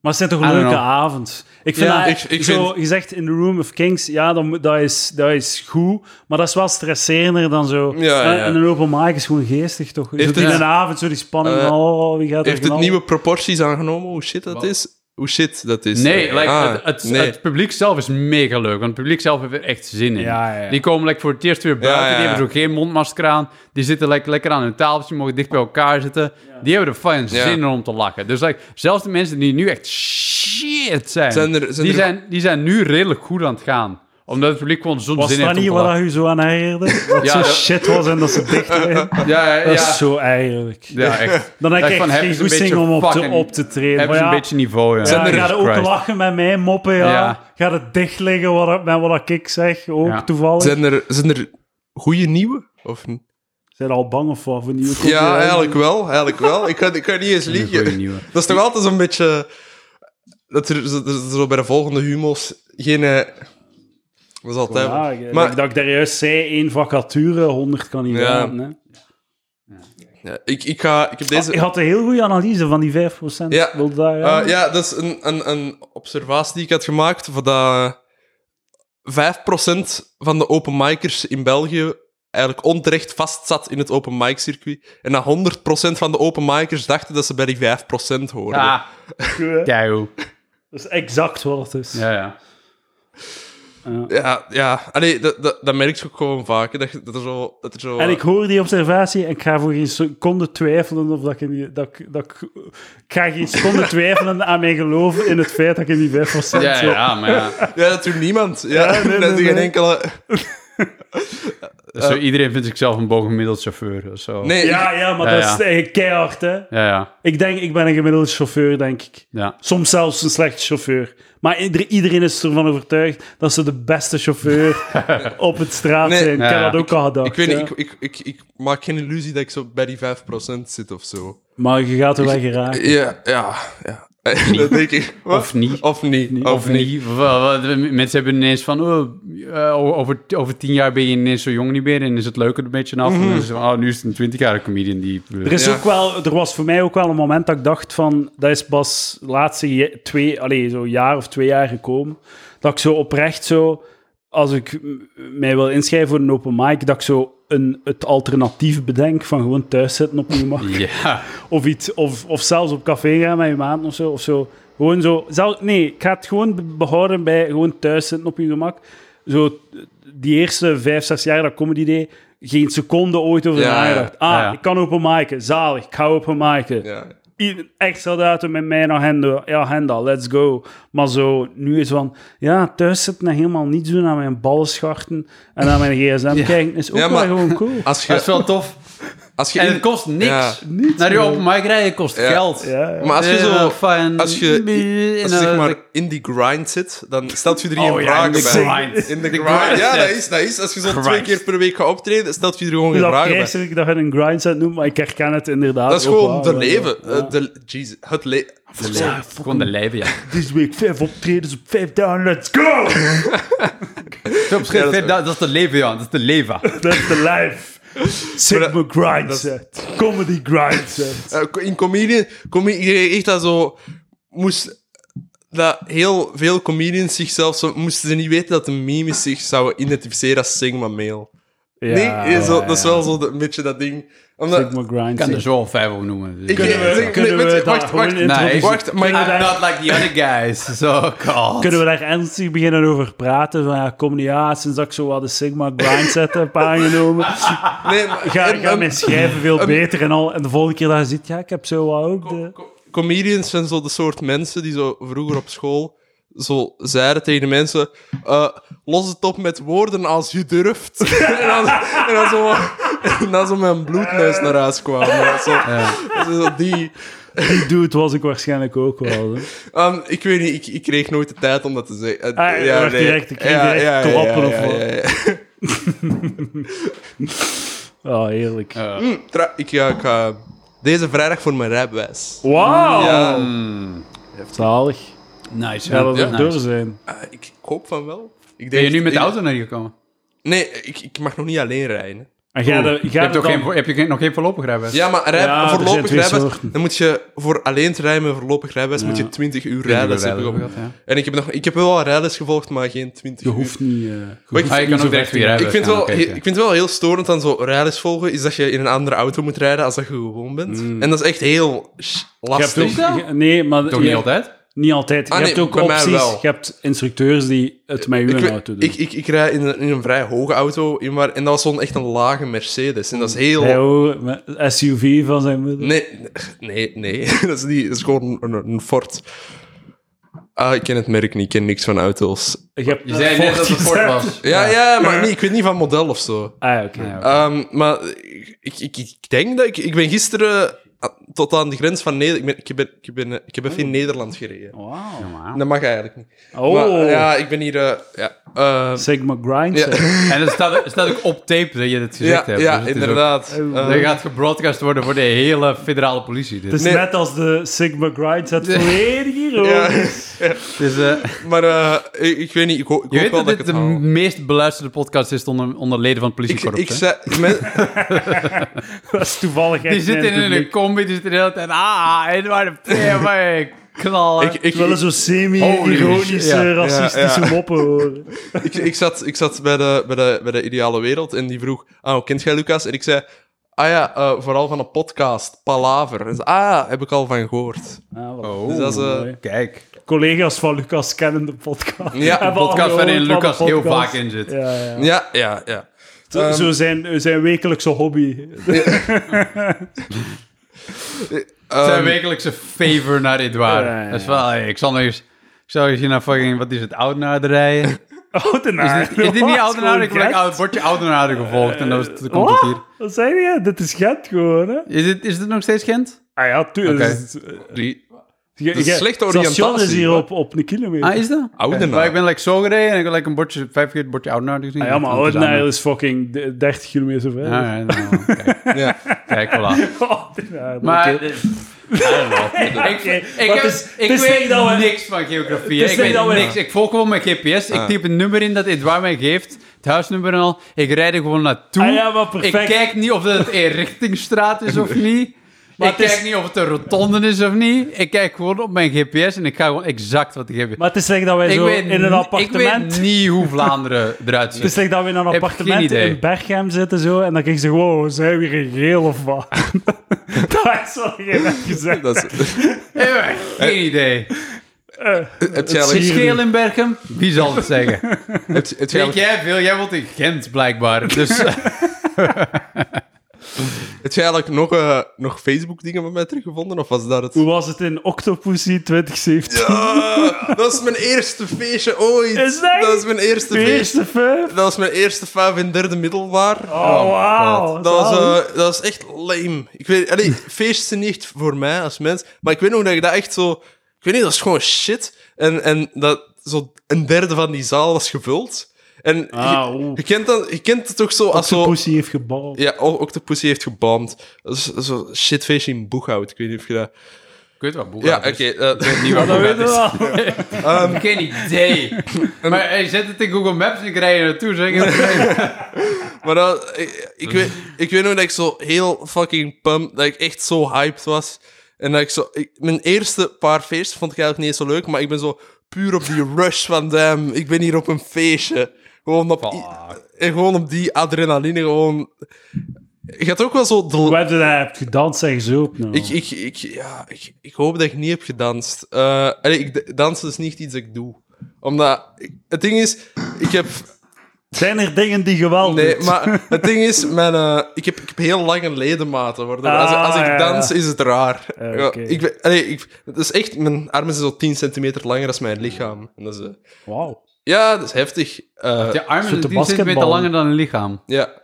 A: Maar het zijn toch
B: I
A: een
B: don't
A: leuke
B: know.
A: avond. Ik vind
B: Ja,
A: dat,
C: ik- ik
A: zo,
C: vind-
A: je zegt In the Room of Kings, ja, dat, moet- dat, is, dat is goed, maar dat is wel stresserender dan zo.
C: Ja, ja, ja.
A: En een open mic is gewoon geestig, toch? Zo
C: Heeft
A: die
C: het-
A: een avond, zo die spanning,
C: Eh,
A: oh, wie gaat er
C: Heeft het
A: knallen?
C: nieuwe proporties aangenomen, hoe shit dat
B: Wat?
C: is? Hoe shit dat is?
B: Nee,
C: Eh,
B: like,
C: ah,
B: het, het,
C: nee.
B: het publiek zelf is mega leuk. Want het publiek zelf heeft er echt zin in.
A: Ja, ja, ja.
B: Die komen like, voor het eerst weer buiten.
C: Ja, ja,
B: Die
C: ja.
B: hebben zo geen mondmasker aan. Die zitten like, lekker aan hun tafeltje. Die mogen dicht bij elkaar zitten. Die hebben er fijn
C: Ja.
B: zin in om te lachen. Dus like, zelfs de mensen die nu echt shit zijn...
C: Zijn er- zijn
B: die,
C: er-
B: zijn die zijn nu redelijk goed aan het gaan. Omdat het publiek gewoon zo'n
A: Was
B: zin
A: dat
B: heeft om
A: niet
B: te
A: wat
B: lachen.
A: u zo aan herinnerde? Dat
B: Ja,
A: zo
B: dat-
A: shit was en dat ze dicht werden.
B: Ja, ja,
A: Dat is
B: ja.
A: zo eigenlijk.
B: Ja, echt.
A: Dan heb
B: Like,
A: ik
B: van,
A: echt
B: hebben
A: geen
B: ze een
A: goesting
B: beetje
A: om op te,
B: fucking-
A: op te treden.
B: Hebben
A: Maar
B: ze een
A: ja,
B: beetje niveau, ja.
A: ja,
C: er-
A: ga je ook
B: Jesus Christ.
A: lachen met mij, moppen, ja.
B: Ja.
A: Ga het dicht liggen wat, met wat ik zeg, ook
B: Ja.
A: toevallig. Zijn...
C: Zijn er, zijn er goede nieuwe? Of... niet?
A: al bang of wat voor nieuwe komt
C: Ja,
A: er aan?
C: eigenlijk wel. Eigenlijk wel. Ik kan, ik kan niet eens
B: Een goeie
C: liegen.
B: nieuwe.
C: Dat is toch altijd zo'n beetje... Dat er, dat er zo bij de volgende humo's geen... eh, Dat is altijd...
A: Ja, ik-
C: maar
A: dat ik daar juist zei, één vacature, 100 kandidaten.
C: Ja.
A: hè.
C: ja, ik, ik, ga, ik heb deze...
A: Ah, ik had een heel goede analyse van die 5%.
C: Ja.
A: Wilde daar,
C: Eh, ja, dat is een, een, een observatie die ik had gemaakt. Voor dat 5% van de open micers in België eigenlijk onterecht vastzat in het open mic circuit. En dat 100% van de open micers dachten dat ze bij die 5% hoorden.
B: Ah,
A: Dat
B: keigoed.
A: is exact wat het is.
B: Ja, ja.
C: Ja, ja. Allee, dat, dat, dat merk je ook gewoon vaak. hè, Dat, je- dat er zo... Dat er zo
A: En ik hoor die observatie en ik ga voor geen seconde twijfelen of dat ik, in die, dat, ik- dat ik, ik ga geen seconde twijfelen aan mijn geloof in het feit dat ik in die 5% zit.
B: Ja, ja, maar ja.
C: Ja, dat doet niemand. Ja,
A: nee, nee,
C: dat doet
A: nee.
C: geen enkele...
B: Zo, iedereen vindt zichzelf een bovengemiddeld chauffeur. of Zo.
C: Nee,
A: Ja,
C: ik-
A: ja, maar
B: Ja,
A: dat is
B: ja.
A: eigenlijk keihard, hè.
B: Ja, ja.
A: Ik denk, ik ben een gemiddelde chauffeur, denk ik.
B: ja.
A: Soms zelfs een slechte chauffeur. Maar ieder- iedereen is ervan overtuigd dat ze de beste chauffeur op het straat
C: Nee,
A: zijn. Ik
B: ja,
A: heb dat ook al gedacht.
C: ik weet
A: hè.
C: niet, ik, ik, ik, ik maak geen illusie dat ik zo bij die 5% zit of zo.
A: Maar je gaat er wel geraken.
C: Ja, ja, ja. dat denk ik. Wat?
B: Of niet.
C: Of niet.
B: Of niet. Wa- wa- wa- Mensen hebben ineens van, oh, eh, over, over tien jaar ben je ineens zo jong niet meer en is het leuker een beetje af. En dan is het van, oh, nu is het een twintigjarige comedian die...
A: Er, is
C: Ja.
A: ook wel, er was voor mij ook wel een moment dat ik dacht van... Dat is pas de laatste je- twee, allez, zo jaar of twee jaar gekomen. Dat ik zo oprecht zo... Als ik m- mij wil inschrijven voor een open mic, dat ik zo een, het alternatief bedenk van gewoon thuis zitten op je mak.
B: Ja.
A: Of, iets, of, of zelfs op café gaan met je maat of zo. Of zo. Gewoon zo. Zelf, nee, ik ga het gewoon be- behouden bij gewoon thuis zitten op je gemak. Zo, eh, die eerste vijf, zes jaar dat comedy deed, geen seconde ooit over
C: Ja, ja.
A: nagedacht. Ah,
B: Ja, ja.
A: ik kan open maken. Zalig, ik ga open maken.
C: Ja.
A: Ieder- Extra datum met mijn agenda, ja, agenda, let's go. Maar zo, nu is van, ja, thuis zitten en helemaal niets doen, aan mijn ballen scharten en aan mijn gsm kijken, is ook
C: Ja, maar-
A: wel gewoon cool.
C: Als
B: Dat is
C: je,
B: wel tof.
C: als je
B: En
C: in-
B: het kost niks.
C: Ja.
A: Niets,
B: Naar je
A: man.
B: open mic rijden kost
C: Ja.
B: geld.
A: Ja, ja.
C: Maar als je
B: Eh,
C: zo...
B: fijn.
C: Als je, als je
B: En,
C: zeg
B: eh,
C: maar in die grind zit, dan stelt je er geen
B: Oh ja,
C: vragen
B: in de
C: bij.
B: grind.
C: In de
B: De
C: grind.
B: grind,
C: Ja,
B: yes.
C: dat is, dat is. Als je zo twee
B: Grind.
C: keer per week gaat optreden, stelt je er gewoon geen
A: Dat
C: vragen bij.
A: vreselijk dat je een grindset noemt, maar ik herken het inderdaad.
C: Dat is
A: ook
C: gewoon
A: wel,
C: de
A: ja.
C: leven.
A: Ja.
C: Eh, de, Jesus, het leven.
B: de leven.
A: Ja, fucking-
B: Gewoon de leven, ja.
A: Deze week vijf optredens op vijf down, let's go!
B: Zo op schrift,
C: Ja, dat is
B: dat, dat is de leven, ja. Dat is de leven.
A: That's the life. Sigma
C: dat-
A: grindset. Comedy grindset.
C: Eh, in comedie, comedie, je echt dat zo moest dat heel veel comedians zichzelf zo, moesten ze niet weten dat de memes zich zouden identificeren als Sigma male.
A: Ja,
C: nee, eh, zo,
A: ja,
C: dat is
A: ja.
C: wel zo de- een beetje dat ding. Omdat,
A: Sigma
B: Ik kan er
A: grindset.
B: zo al vijf op noemen.
C: Ik-
A: Kunnen
C: Nee,
A: we,
C: nee,
A: kunnen
C: nee,
A: we
C: wacht,
A: daar
C: wacht,
A: gewoon
C: wacht.
B: Nee,
A: introduceren?
C: wacht, maar
B: I'm
A: Kunnen we daar-
B: not like the other guys. So, god.
A: Kunnen we daar ernstig beginnen over praten? Van ja, comedy, ja, sinds dat ik zo wat de Sigma grindset heb aangenomen,
C: nee, maar,
A: ga,
C: en-
A: ga
C: en-
A: mijn schrijven veel beter en al. En de volgende keer dat je ziet, ja, ik heb zo wat ook de...
C: co- comedians zijn zo de soort mensen die zo vroeger op school zo zeiden tegen de mensen eh, los het op met woorden als je durft. en, dan, en, dan zo, en dan zo met een bloedneus naar huis kwamen. Zo, zo die...
A: Die dude was ik waarschijnlijk ook wel. hè.
C: Ehm, ik weet niet, ik, ik kreeg nooit de tijd om dat te zeggen. Eh,
A: Ah, wacht, direct, ik kreeg direct klappen of wat. Oh, heerlijk.
B: Eh,
C: Hm, tra- ik, ja, ik ga deze vrijdag voor mijn rijbewijs. Ehm,
A: Wauw!
C: Ja,
A: Zalig.
B: Nice.
A: Ja, dat
B: ja.
A: we
B: Nice.
A: door zijn.
C: eh, ik, ik hoop van wel. Ik
B: Ben je
C: denk-
B: nu met de
C: ik-
B: auto naar hier gekomen?
C: Nee, ik, ik mag nog niet alleen rijden.
A: En jij de-
B: Je
A: jij
B: hebt
A: de
B: ook
A: dan-
B: geen, heb je geen- nog geen voorlopig rijbewijs?
C: Ja, maar rij,
A: Ja, er zijn
C: voorlopig
A: twee
C: rijbewijs...
A: soorten.
C: Dan moet je voor alleen te rijden met voorlopig rijbewijs moet je 20 uur rijden. Dat heb ik ook.
B: ja.
C: En ik heb, nog, ik heb wel een rijles gevolgd, maar geen 20
A: Je
C: uur.
A: hoeft niet... eh, je
C: Maar ik-
A: hoeft
B: Ah, je
A: niet
B: kan
A: zo
B: ook direct
A: ver
B: weer
A: te-
B: rijden.
C: Ik vind, wel,
B: Oké,
C: he-
B: oké.
C: ik vind het wel heel storend aan zo'n rijles volgen, is dat je in een andere auto moet rijden als dat je gewoon bent.
B: Hmm.
C: En dat is echt heel sh-
A: Je hebt
C: lastig.
B: Is dat?
A: ook- je- Nee, maar...
B: Toch
A: je-
B: niet altijd?
A: Niet altijd.
C: Ah,
A: je
C: nee,
A: hebt ook
C: bij mij
A: opties.
C: wel.
A: Je hebt instructeurs die het met
C: Ik,
A: je
C: weet-
A: auto
B: dus.
A: doen.
C: ik, ik, ik rij in een, in een vrij hoge auto, in waar, en dat was zo'n echt een lage Mercedes. En dat is heel...
A: Hij ook, met SUV van zijn moeder.
C: Nee, nee, nee. dat, is niet, dat is gewoon een, een Ford. Ah, ik ken het merk niet, ik ken niks van auto's.
A: Je, hebt
B: Je zei net dat het Ford
A: gezegd.
B: was.
C: Ja, ja, maar nee, ik weet niet van model of zo.
A: Ah, ja, oké.
B: Ja, oké.
C: Ehm, maar ik, ik, ik- ik denk dat ik... Ik ben gisteren ah, tot aan de grens van Nederland... Ik, ben, ik, ben, ik, ben, eh, ik heb even in Nederland gereden.
A: Oh. Wauw.
B: Normaal.
C: Dat mag eigenlijk niet.
A: Oh,
C: Maar, ja, ik ben hier... eh, ja, eh,
A: Sigma Grind.
C: Ja.
A: zeg.
B: En dat staat, het staat ook op tape dat je dit gezegd
C: ja,
B: hebt.
C: ja
B: dus het is ook-
C: inderdaad. Eh,
B: Dat gaat gebroadcast worden voor de hele federale politie. Dit.
A: Het is
C: Nee.
A: net als de Sigma Grind. Het volledig hierover.
C: ja,
B: Het is, eh,
C: maar eh, ik, ik weet niet, ik, ho- ik
B: je
C: hoop
B: weet
C: wel
B: dat
C: dat ik
B: dit
C: het
B: de
C: haal.
B: meest beluisterde podcast is onder, onder leden van het
C: Ik,
B: politiekorps.
C: ik
B: hè?
C: zei... men-
A: Dat is toevallig echt
B: die zitten in een combi, die zitten de hele tijd... Ah, en waar de pfff, waar ik knallen.
C: ik, ik,
A: Ik willen zo
B: Holy shit,
A: semi-ironische,
B: ja.
A: racistische
C: Ja, ja.
A: moppen horen.
C: ik, ik zat, ik zat bij, de, bij, de, bij de Ideale Wereld en die vroeg: Ah, hoe kent jij Lucas? En ik zei: Ah ja, eh, vooral van een podcast, Palaver. En ze, ah, ja, heb ik al van gehoord.
A: Ah, wat
B: Oh,
C: Dus dat is, eh,
A: mooi.
B: kijk.
A: Collega's van Lucas kennen de podcast.
C: Ja,
A: Hebben al
B: Podcast waarin
A: gehoord van de
B: Lucas heel
A: podcast.
B: vaak in zit.
A: Ja, ja.
C: Ja, ja, ja.
A: Zo-
C: Ehm,
A: zo zijn, zijn wekelijkse hobby.
B: Zijn
C: Ehm,
B: wekelijkse favor naar Edouard.
A: Ja, ja, ja.
B: Dat is wel... hey, ik zal nog eens... Ik zal eens hier naar fucking... Wat is het? Oudenaarde rijden?
A: Oudenaar.
B: Is dit niet
A: Wat?
B: Oudenaarde? Ik
A: Gewoon
B: word
A: Gent?
B: oud- word je Oudenaarde gevolgd en dan is het- komt
A: Wat?
B: het hier.
A: Wat zei je? Dit is Gent gewoon, hè?
B: Is dit, is dit nog steeds Gent?
A: Ah ja, tuurlijk.
B: Oké.
A: Dus, eh,
C: die-
A: je-
C: is
A: je-
C: slechte
A: station is
C: oriëntatie,
A: hier
C: hoor.
A: op, op een kilometer.
B: Ah, is dat?
C: Oudenaar.
B: Maar ik ben like, zo gereden en ik heb like, een bordje, vijf keer het bordje Oudenaar gezien.
A: Ah ja, maar
B: Dat is
A: Oudenaar
B: aan-
A: is fucking d- 30 kilometer verder.
B: Ja, ja, nou, kijk,
C: ja.
B: kijk, voilà.
A: Oudenaar,
B: Maar...
A: oké.
B: eh, I don't know. Ik, ik,
A: Maar
B: heb-
A: het is- het
B: ik
A: is
B: weet
A: niet dat we-
B: niks van geografie.
A: het is
B: Ik
A: niet
B: weet
A: dat we-
B: niks. Ik volg gewoon mijn GPS.
C: Ah.
B: Ik typ een nummer in dat Edouard mij geeft. Het huisnummer en al. Ik rijd er gewoon naartoe.
A: Ah ja, maar perfect.
B: Ik kijk niet of het een richtingstraat is of niet.
A: Maar
B: ik
A: het is-
B: kijk niet of het een rotonde is of niet. Ik kijk gewoon op mijn GPS en ik ga gewoon exact wat ik heb.
A: Maar het is slecht dat wij
B: ik
A: zo
B: weet,
A: in een
B: ni-
A: appartement...
B: Ik weet niet hoe Vlaanderen eruit
A: Het is
B: ziet.
A: slecht dat we in een
B: Heb geen
A: appartement
B: idee.
A: in Berchem zitten zo, en dan kreeg ze gewoon, wow, zijn we hier in geel of wat? dat is wat je net gezegd.
C: Dat is,
B: Eh, Geen idee.
C: heb jij
A: zie
B: Is
C: eigenlijk-
A: je-
B: Scheel in Berchem? Wie zal het zeggen?
C: heb- heb jij
B: Weet
C: eigenlijk-
B: jij veel? Jij woont in Gent blijkbaar. Dus
C: heb jij eigenlijk nog, eh, nog Facebook-dingen van mij teruggevonden? Of was dat het?
A: Hoe was het in Octopussy 2017?
C: Ja, dat is mijn eerste feestje ooit.
A: Is dat?
C: is mijn eerste
A: De
C: feestje.
A: eerste vijf?
C: Dat was mijn eerste vijf in derde middelbaar.
A: Oh, wauw.
C: Dat was,
A: zalig.
C: eh, dat was echt lame. Ik weet, allee, feesten zijn niet echt voor mij als mens. Maar ik weet nog dat ik dat echt zo. Ik weet niet, dat is gewoon shit. En, en dat zo een derde van die zaal was gevuld. En
A: Ah,
C: je,
A: oeh.
C: je kent dat, je kent het toch zo als zo.
A: Octopussy heeft gebouwd.
C: Ja, O- Octopussy heeft gebamd. Dat is Zo'n shitfeestje in Boeghout. Ik weet niet of je dat.
B: Ik weet wat boek
C: Ja, oké. eh,
B: Niet waar
A: Dat
B: Boeghout
A: weet je
B: is.
A: wel.
B: Ik heb geen idee. Maar hij zet het in Google Maps en ik rij er naartoe. Zeg ik.
C: Maar dat, ik, ik, weet, ik weet nog dat ik zo heel fucking pumped, dat ik echt zo hyped was. En dat ik zo... ik- mijn eerste paar feesten vond ik eigenlijk niet eens zo leuk, maar ik ben zo puur op die rush van damn, ik ben hier op een feestje. Gewoon op, i- en gewoon op die adrenaline, gewoon... Je had ook wel zo... de-
A: Hoe heb je dat hebt gedanst, zeg zo op nou.
C: ik, ik, ik, ja, ik, ik hoop dat ik niet heb gedanst. Eh, allee, ik, dansen is niet iets dat ik doe. Omdat... ik- het ding is, ik heb...
A: Zijn er dingen die geweld
C: Nee,
A: doet?
C: maar het ding is, mijn, eh, ik, heb, ik heb heel lange ledematen. Waardoor
A: Ah,
C: als, als ik
A: ja,
C: dans,
A: ja.
C: is het raar.
A: Eh,
C: Ja,
A: oké.
C: ik, ben- allee, ik, het is echt, mijn armen zijn zo 10 centimeter langer dan mijn lichaam. En dat is, eh,
A: Wauw.
C: ja, dat is heftig. Eh,
B: Je
A: Zo'n
B: armen zijn 10 centimeter
A: basketbal.
B: langer dan een lichaam.
C: ja,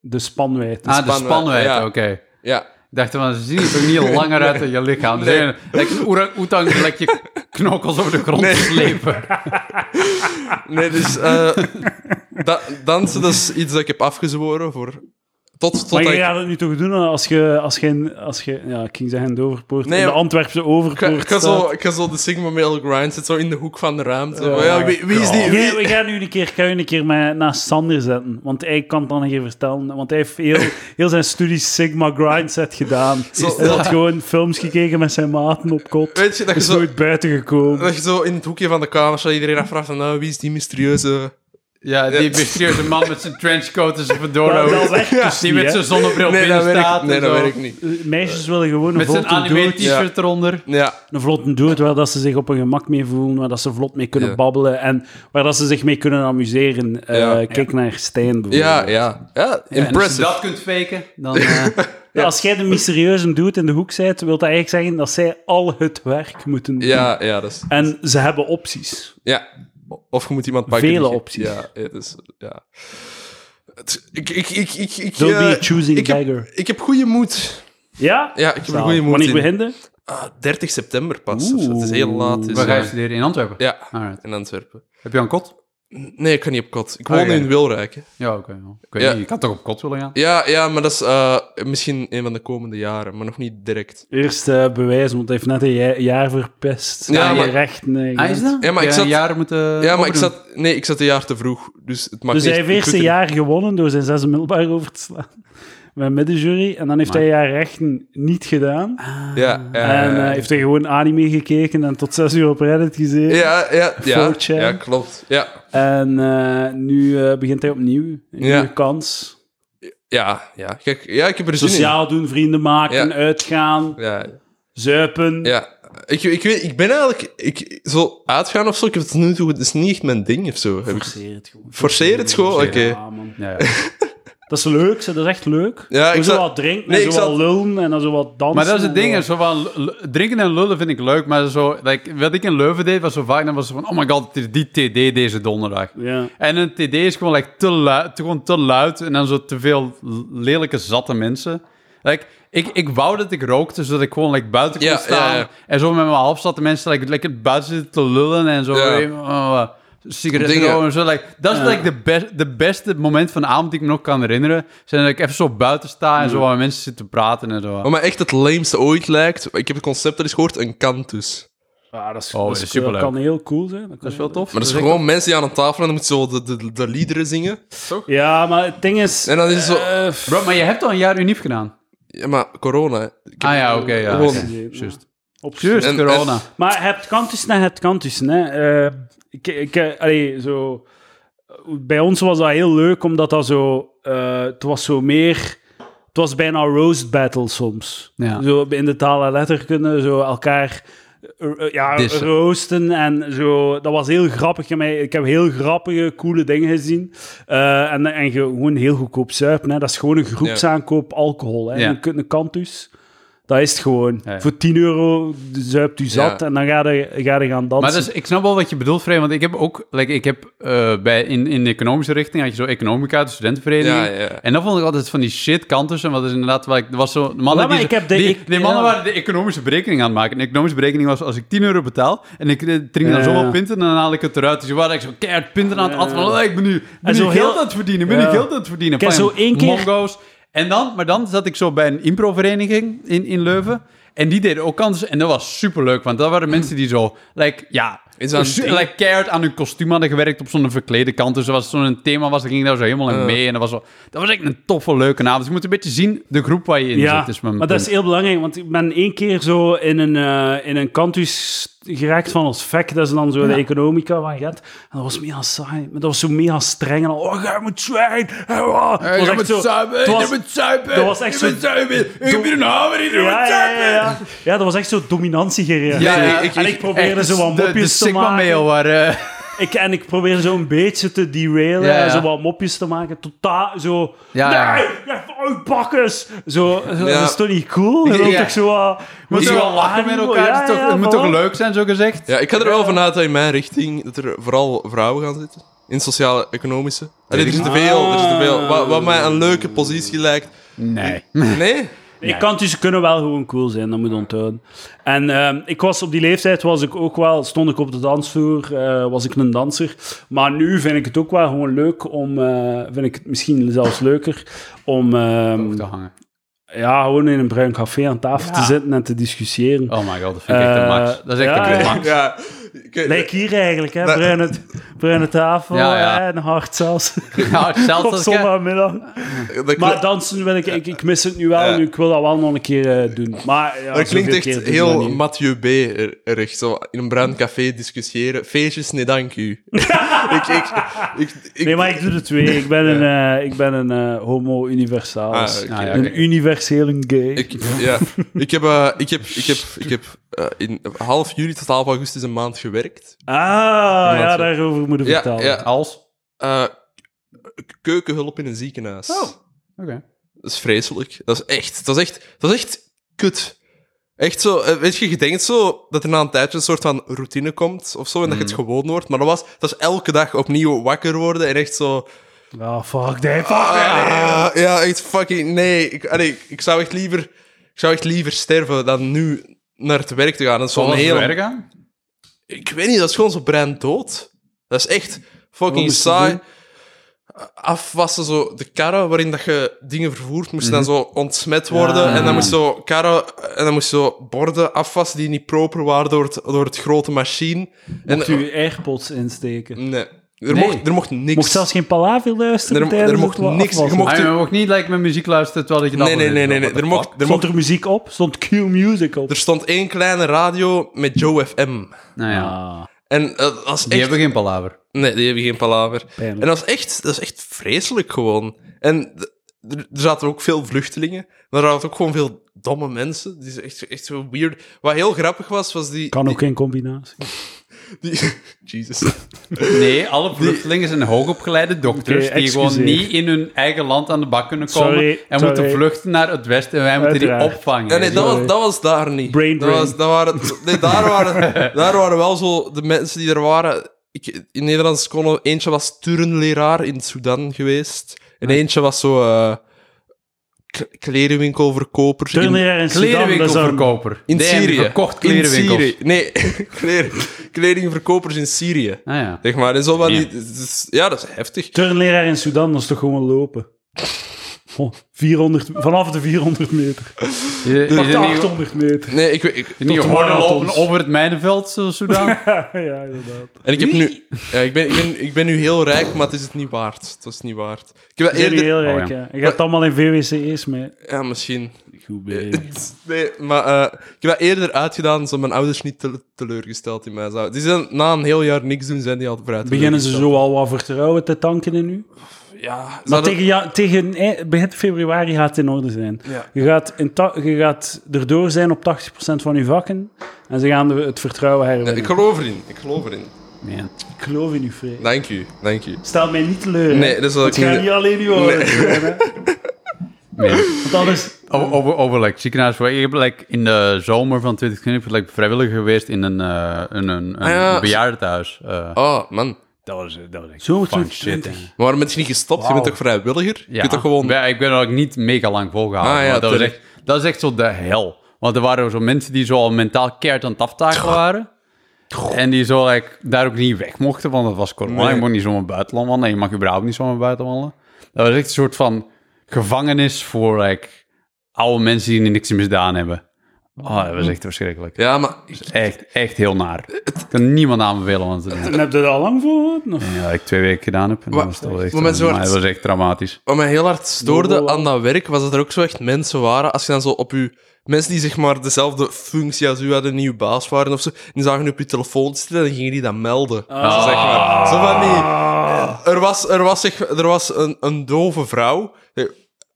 A: De spanwijd.
B: Ah, de
C: spanwijdte,
B: spanwijdte,
C: ja.
B: oké.
C: ja.
B: Ik dacht, van, ze zien er toch niet langer uit dan je lichaam. Ze
C: Nee.
B: zijn like een orang-oetang die like je knokkels over de grond
C: Nee.
B: slepen.
C: Nee, dus eh, da- dansen dat is iets dat ik heb afgezworen voor Tot, tot
A: Maar
C: dat
A: je
C: ik...
A: gaat het nu toch doen als je, als je, als je ja, ik ging zeggen de Overpoort,
C: Nee,
A: in de
C: maar-
A: Antwerpse
C: Ik ga,
A: Overpoort
C: ik ga
A: staat.
C: zo, ik ga zo de Sigma Male Grind zit zo in de hoek van de ruimte. Maar ja, wie, wie is die?
A: Jij-
C: Wie...
A: we gaan nu een keer, kan je een keer met, naast Sander zetten, want hij kan het dan een keer vertellen. Want hij heeft heel, heel zijn studie Sigma Grindset gedaan.
C: Zo-
A: hij had gewoon films gekeken met zijn maten op kot.
C: Weet je, dat je
A: is
C: zo
A: nooit buiten gekomen.
C: Dat je zo in het hoekje van de kamer staat, iedereen afvraagt van, nou, wie is die mysterieuze...
B: Ja, die mysterieuze man met zijn trenchcoat en zijn fedora.
A: Dat, dat werkt dus
B: die
A: niet,
B: met
A: hè.
B: zijn zonnebril
C: Nee, dat
B: binnen
C: werkt,
B: staat.
C: nee,
B: en
C: dat
B: zo.
C: werkt niet.
A: Eh, Meisjes willen gewoon een
B: Met zijn
A: vlotte
B: anime
A: dood.
B: t-shirt eronder.
C: Ja,
A: Een vlotte dood waar dat ze zich op hun gemak mee voelen, waar dat ze vlot mee kunnen
C: Ja.
A: babbelen en waar dat ze zich mee kunnen amuseren. Eh,
C: Ja.
A: Kijk naar Stijn bijvoorbeeld.
C: ja, ja. Ja,
B: En als je
C: impressive.
B: dat kunt faken, dan... eh,
A: Ja, Als jij de mysterieuze doet in de hoek bent, wil dat eigenlijk zeggen dat zij al het werk moeten doen.
C: Ja, ja, dat is...
A: En ze hebben opties.
C: Ja. Of je moet iemand pakken.
A: Vele
C: die je-
A: opties.
C: Ja, het is... Ja. Het- Ik, ik, ik, ik, ik,
A: Don't
C: eh,
A: be a choosing
C: ik heb,
A: dagger.
C: ik heb goede moed.
A: Ja?
C: Ja, ik heb een
A: Zalig.
C: goede moed
A: Wanneer
C: in.
A: beginde?
C: Ah, 30 september pas. of zo. Het is heel laat. Dus,
B: Waar ga je
C: eh,
B: studeren? In Antwerpen?
C: Ja,
B: Alright.
C: in Antwerpen.
B: Heb je al een kot?
C: Nee, ik kan niet op kot. Ik woon
A: Ah,
B: Oké.
C: nu in Wilrijk. hè.
B: Ja, oké. ja. Ik weet
C: Ja.
B: niet, je kan toch op kot willen gaan?
C: Ja, ja, maar dat is eh, misschien een van de komende jaren, maar nog niet direct.
A: Eerst eh, bewijzen, want hij heeft net een ja- jaar verpest.
C: Ja,
A: Ja,
C: maar-
A: je recht. Nee,
B: Ah, is dat?
C: Ja, maar
B: Heb
C: ik
B: je
C: zat-
B: een jaar moeten
C: Ja, maar ik
B: overdoen?
C: zat, nee, ik zat een jaar te vroeg. Dus het mag
A: Dus
C: niet.
A: hij heeft
C: ik
A: eerst
C: moet
A: een
C: er-
A: jaar gewonnen door zijn zesde middelbaar over te slaan. Met middenjury. En dan heeft
B: Maar-
A: hij een jaar rechten niet gedaan.
C: Ah. Ja, ja,
A: en eh,
C: ja,
A: heeft hij gewoon anime gekeken en tot zes uur op Reddit gezeten.
C: ja, ja, ja,
A: 4chan.
C: ja, klopt. Ja,
A: En eh, nu eh, begint hij opnieuw. Een
C: Ja.
A: nieuwe kans.
C: ja, ja. Kijk, ja, ik heb er zin
A: Sociaal doen, vrienden maken,
C: Ja.
A: uitgaan,
C: in. Ja,
A: zuipen.
C: ja. Ik, ik weet, ik ben eigenlijk, ik, zo uitgaan of zo, ik heb het nu toe, het is niet echt mijn ding of zo. Heb ik-
A: Forceer het gewoon.
C: Forceer het gewoon? Oké.
A: Ja, man.
B: Ja, ja.
A: Dat is leuk, ze, dat is echt leuk.
C: Ja,
A: Hoe
C: ik
A: zo
C: zal-
A: wat drinken
C: Nee,
A: en
C: ik
A: zo
C: zal-
A: wat lullen en dan zo wat dansen.
B: Maar dat is het
A: en
B: ding, hè,
A: wat-
B: zo van, l- l- drinken en lullen vind ik leuk, maar zo, like, wat ik in Leuven deed, was zo vaak, dan was het van, oh my god, het is die TD deze donderdag.
A: Ja.
B: En een TD is gewoon, like, te luid, te- gewoon te luid en dan zo te veel l- lelijke, zatte mensen. Like, ik, ik wou dat ik rookte, zodat ik gewoon like, buiten kon
C: Ja, ja,
B: staan
C: ja.
B: en zo met mijn halfzatte mensen like, lekker buiten zitten te lullen en zo.
C: Ja.
B: eh, oh, sigaretten
C: Dingen.
B: roken en zo. like, dat is
A: Ja.
B: like, de, best, de beste moment van de avond die ik me nog kan herinneren. Zijn dat ik even zo buiten sta en
C: Mm.
B: zo met mensen zit te praten en zo.
C: Wat mij echt het lameste ooit lijkt, ik heb het concept er eens gehoord, een kantus.
A: Ah, dat is,
B: Oh,
A: dat
B: dat
A: is
B: is superleuk.
A: kan heel cool zijn. kan
B: Dat is
A: heel
B: wel tof. Dus
C: Maar dat is
B: echt-
C: gewoon mensen die aan een tafel en dan moeten zo de, de, de liederen zingen. Toch?
A: leuk. Ja, maar het ding is...
C: En dan is het zo,
A: eh, pff,
B: Bro, maar je hebt al een jaar unief gedaan.
C: ja, maar corona. hè. Ik heb-
B: Ah ja, oké. ja,
C: gewoon-
B: oké. Juist. Juist,
C: En-
B: corona.
C: en-
A: Maar je hebt kantussen en je hebt kantussen. Hè. Eh, ik, ik, eh, allee, zo, bij ons was dat heel leuk, omdat dat zo... eh, het was zo meer... Het was bijna roast battle soms.
B: Ja.
A: Zo in de taal en letterkunde, zo elkaar... eh, eh, Ja,
C: Dissen.
A: roosten en zo. Dat was heel grappig. Ik heb- Ik heb heel grappige, coole dingen gezien. Eh, en, en gewoon heel goedkoop zuipen. Hè. Dat is gewoon een groepsaankoop alcohol. Hè.
B: Ja.
A: Je kunt een kantus... Dat is het gewoon.
B: Ja, ja.
A: Voor 10 euro zuipt u zat
C: Ja.
A: en dan ga je, ga je gaan dansen.
B: Maar dat is, ik snap wel wat je bedoelt, Frey, want ik heb ook, like, ik heb eh, bij, in, in de economische richting, had je zo economica, de studentenvereniging.
C: Ja, ja.
B: En dan vond ik altijd van die shit kanten, want dat is inderdaad waar ik, er was zo, de mannen
A: maar
B: die,
A: ik heb de-
B: die,
A: ik-
B: die mannen
A: ja.
B: waren de economische berekening aan het maken. En de economische berekening was, als ik 10 euro betaal, en ik eh, drink dan
A: Ja.
B: zoveel pinten, en dan haal ik het eruit. Dus je waren ik zo keihard pinten aan het
A: Ja.
B: af, van, oh, ik ben nu, ben
A: zo
B: nu geld
A: heel-
B: aan het verdienen, ben nu
A: Ja.
B: geld aan het verdienen.
A: Ik heb
B: Fijn,
A: zo één keer-
B: Mongo's. En dan, maar dan zat ik zo bij een improvereniging in, in Leuven. En die deden ook kansen. En dat was superleuk. Want dat waren mensen die zo... Like, ja,
C: Is dat een
B: su-
C: ding?
B: like, keihard aan hun kostuum hadden gewerkt op zo'n verklede kant. Dus als zo'n thema was, dan ging ik daar zo helemaal in mee. En dat was, zo, dat was echt een toffe, leuke avond. Dus je moet een beetje zien de groep waar je in
A: ja,
B: zit. Is mijn
A: maar dat is
B: punt.
A: heel belangrijk, want ik ben één keer zo in een, eh, in een kantus geraakt van ons vak. Dat is dan zo de economica van Gent. En dat was mega saai, maar dat was zo mega streng. En al, oh, jij moet zwijgen. En, oh, het
B: Hey,
A: was echt
B: je Eh, moet
A: zo-
B: zuipen,
A: het
B: je
A: was-
B: moet zuipen,
A: dat was echt
B: je moet
A: zo-
B: zuipen. Ik heb hier een hamer, iedereen moet
A: Ja, ja,
B: zuipen.
A: ja, ja. ja, dat was echt zo dominantie gereden.
B: Ja, ja,
A: en ik probeerde
B: Echt,
A: zo wat
B: de- de
A: mopjes te
B: Sigma
A: maken.
B: mail waar... eh,
A: Ik, en ik probeer zo een beetje te derailen,
B: Ja, ja.
A: zo wat mopjes te maken. Totaal zo...
B: Ja, ja.
A: nee, ja. uit bakkers! Zo, zo,
C: Ja.
A: Dat is toch niet cool? Je
B: Ja.
A: wilt toch zo wat...
B: Moet je
A: zo
B: wel
A: wat
B: lachen met
A: aandoen?
B: elkaar?
A: Ja,
B: het is toch-
A: ja,
B: het moet toch
A: voilà.
B: leuk zijn, zo gezegd?
C: Ja, ik ga er wel vanuit dat in mijn richting dat er vooral vrouwen gaan zitten. In sociale, economische. Allee, er zitten veel, er zitten veel. Wat, wat mij een leuke positie lijkt.
B: Nee.
C: Nee?
A: Ik kan dus, ze kunnen wel gewoon cool zijn, dat moet je onthouden. En ehm, ik was op die leeftijd was ik ook wel, stond ik op de dansvloer, eh, was ik een danser. Maar nu vind ik het ook wel gewoon leuk om, eh, vind ik het misschien zelfs leuker om ehm,
B: te hangen.
A: ja, gewoon in een bruin café aan tafel te zitten en te discussiëren.
B: Oh my god, dat vind ik echt de max.
A: Eh,
B: Dat is echt
A: ja,
B: de
A: ja.
B: max.
C: Ja. Ik-
A: Lijk hier eigenlijk, hè?
C: Dat-
A: Bruine, bruine tafel
B: Ja, ja.
A: hè, en hard zelfs.
B: Nou, hetzelfde
A: Op
B: als ik-
A: zondagmiddag.
C: dat-
A: Maar dansen wil ik, ik, ik mis het nu wel,
C: Ja.
A: nu, ik wil dat wel nog een keer eh, doen. Maar ja,
C: dat klinkt
A: zoveel
C: echt
A: keer doe ik dat
C: heel
A: niet.
C: Mathieu B-recht. Zo in een bruin café discussiëren. Feestjes, nee, dank u. ik, ik, ik, ik,
A: Nee, maar ik doe de twee. Ik ben een, eh, ik ben een eh, homo universalis.
C: Ah, oké.
B: Ah, ja, oké.
A: Een universele gay. Ah,
C: Ik, ja. ik heb, eh, ik heb, ik heb, ik heb eh, in half juli tot half augustus een maand gewerkt.
A: ah, ja, daarover moeten we
C: Ja,
A: vertellen.
C: ja.
B: Als?
C: Eh, k- keukenhulp in een ziekenhuis.
B: Oh. Oké.
C: Dat is vreselijk. Dat is echt, dat is echt, dat is echt kut. Echt zo, eh, weet je, je denkt zo dat er na een tijdje een soort van routine komt of zo en dat je het
B: Mm.
C: gewoon wordt. Maar dat was, dat is elke dag opnieuw wakker worden en echt zo.
A: Ah, fuck that, fuck
C: Ah, ja, echt fucking nee. Ik, allee, ik- ik zou echt liever, ik zou echt liever sterven dan nu naar het werk te gaan. Dat is zo'n
B: Zoals we
C: hele.
B: werk aan?
C: Ik weet niet, dat is gewoon zo brand dood. Dat is echt fucking
A: moest je
C: saai. Afwassen, zo de karren waarin dat je dingen vervoert, moesten dan zo ontsmet worden.
A: Mhm. Ja.
C: En dan moest zo karren en dan moest zo borden afwassen die niet proper waren door het, door het grote machine. En,
A: Mocht u airpods insteken.
C: nee, er, Mocht, er mocht niks.
A: Mocht zelfs geen palaver luisteren
C: Er-
A: tijdens
C: er mocht
A: het wa-
C: niks- je
A: afwassen.
C: mocht-
B: Ah, je mag niet like, met muziek luisteren terwijl je dat
C: nee, nee, nee, nee, nee. Er mocht, er,
A: Stond
C: mocht,
A: er muziek op? Stond Q-music op?
C: er stond één kleine radio met Joe FM.
B: Nou ja,
A: Ah,
C: En eh, dat was echt...
B: die hebben geen palaver.
C: Nee, die hebben geen palaver.
A: Pijnlijk.
C: En dat is echt, dat is echt vreselijk gewoon. En d- er er zaten ook veel vluchtelingen, maar er zaten ook gewoon veel domme mensen. Die is echt, echt zo weird. Wat heel grappig was, was die.
A: kan ook geen combinatie.
C: die, Jesus.
B: Nee, alle vluchtelingen zijn hoogopgeleide dokters
A: Oké,
B: die gewoon
A: excuseer.
B: niet in hun eigen land aan de bak kunnen komen
A: Sorry,
B: en
A: sorry.
B: moeten vluchten naar het westen en wij moeten die
A: Uiteraard.
B: opvangen.
C: Ja, nee, dat was,
A: Sorry.
C: dat was daar niet.
A: Brain
C: dat
A: drain.
C: was, dat waren, nee, daar, waren, daar waren wel zo de mensen die er waren. Ik, in Nederlands konden eentje was turnleraar in Sudan geweest. En
A: Ah.
C: eentje was zo eh, k- klerenwinkelverkoper. in-
A: Turnleraar in Sudan, dat is een-
B: Klerenwinkelverkoper.
C: In
B: Die hebben
C: Syrië.
B: Gekocht
C: In
B: klerenwinkels.
C: Syrië. Nee, kleren, kledingverkopers in Syrië.
B: Ah ja.
C: Zeg maar, en zo van die,
B: Ja.
C: dat is- ja, dat is heftig.
A: Turnleraar in Sudan, dat is toch gewoon lopen? Oh, 400, vanaf de 400 meter.
B: Je, je,
A: Vanaf
B: je,
A: de
B: je,
A: 800 meter.
C: Nee, ik, ik,
B: je, je
A: de
B: hoorde
A: marathons.
B: lopen over het mijnenveld, zo- Soudaan.
A: ja, inderdaad.
C: en ik, heb nu, ja, ik, ben, ik, ben, ik ben nu heel rijk, maar het is het niet waard. Het is niet waard. Ik heb dat
A: Eerder...
C: eerder...
A: heel rijk,
B: Oh, ja.
A: ja. Je gaat allemaal in VWC's mee.
C: Ja, misschien.
A: Goed
B: eh,
A: bezig.
C: Nee, maar eh, ik heb dat eerder uitgedaan, zodat mijn ouders niet te- teleurgesteld in mij zouden. Die zijn na een heel jaar niks doen, zijn die al vooruit
A: Beginnen ze zo al wat vertrouwen te tanken in u?
C: Ja.
A: Maar
C: zouden-
A: tegen, ja, tegen ei- begin februari gaat het in orde zijn.
C: Ja.
A: Je, gaat in ta- je gaat erdoor zijn op 80% van je vakken. En ze gaan de- het vertrouwen herwinnen.
C: Ik geloof erin, ik geloof erin.
B: Man.
A: Ik geloof in u, Freek.
C: Dank u, dank u.
A: Stel mij niet teleur. hè.
C: Nee, dat is wel-
A: Het gaat niet alleen uw ouders zijn, hè.
B: Man.
A: Want anders...
B: Over, over, over like, ziekenhuis. Ik heb like, in de zomer van 2020 ben ik vrijwilliger geweest in een, eh in een, een
C: Ah, ja.
B: bejaardentehuis. Eh,
C: Oh, man.
B: dat was, dat was echt
A: Zo
B: fun
A: 2020.
B: shit, hè.
C: Maar waarom ben je niet gestopt? Je
B: Wauw.
C: bent toch vrijwilliger? Je kunt toch gewoon...
B: Ja, ik ben er ook niet mega lang volgehouden.
C: Ah, ja,
B: want dat, was
C: tuurlijk.
B: echt, dat is echt zo de hel. Want er waren zo mensen die zo al mentaal keert aan het aftaken waren. En die zo like, daar ook niet weg mochten, want dat was corona.
C: Nee.
B: Je mocht niet zomaar buiten wandelen. En je mag überhaupt niet zomaar buiten wandelen. Dat was echt een soort van gevangenis voor like, oude mensen die niks misdaan hebben. Oh, dat was echt verschrikkelijk.
C: Ja, maar ik-
B: Echt, echt heel naar. Ik kan niemand aanbevelen om te doen.
A: En heb je dat al lang voor gehad? Of?
B: Ja, eh, dat ik twee weken gedaan heb. En
C: Wa-
B: dat was, het al echt,
C: maar met zo'n-
B: maar dat was echt dramatisch.
C: wat mij heel hard stoorde
A: Lobo.
C: aan dat werk was dat er ook zo echt mensen waren. Als je dan zo op je. Mensen die zeg maar dezelfde functie als u hadden, een nieuwe baas waren of zo. En die zagen u op je telefoon zitten en dan gingen die dat melden. Zo, zeg maar. zo van die. Er was, er was, zeg, er was een, een dove vrouw.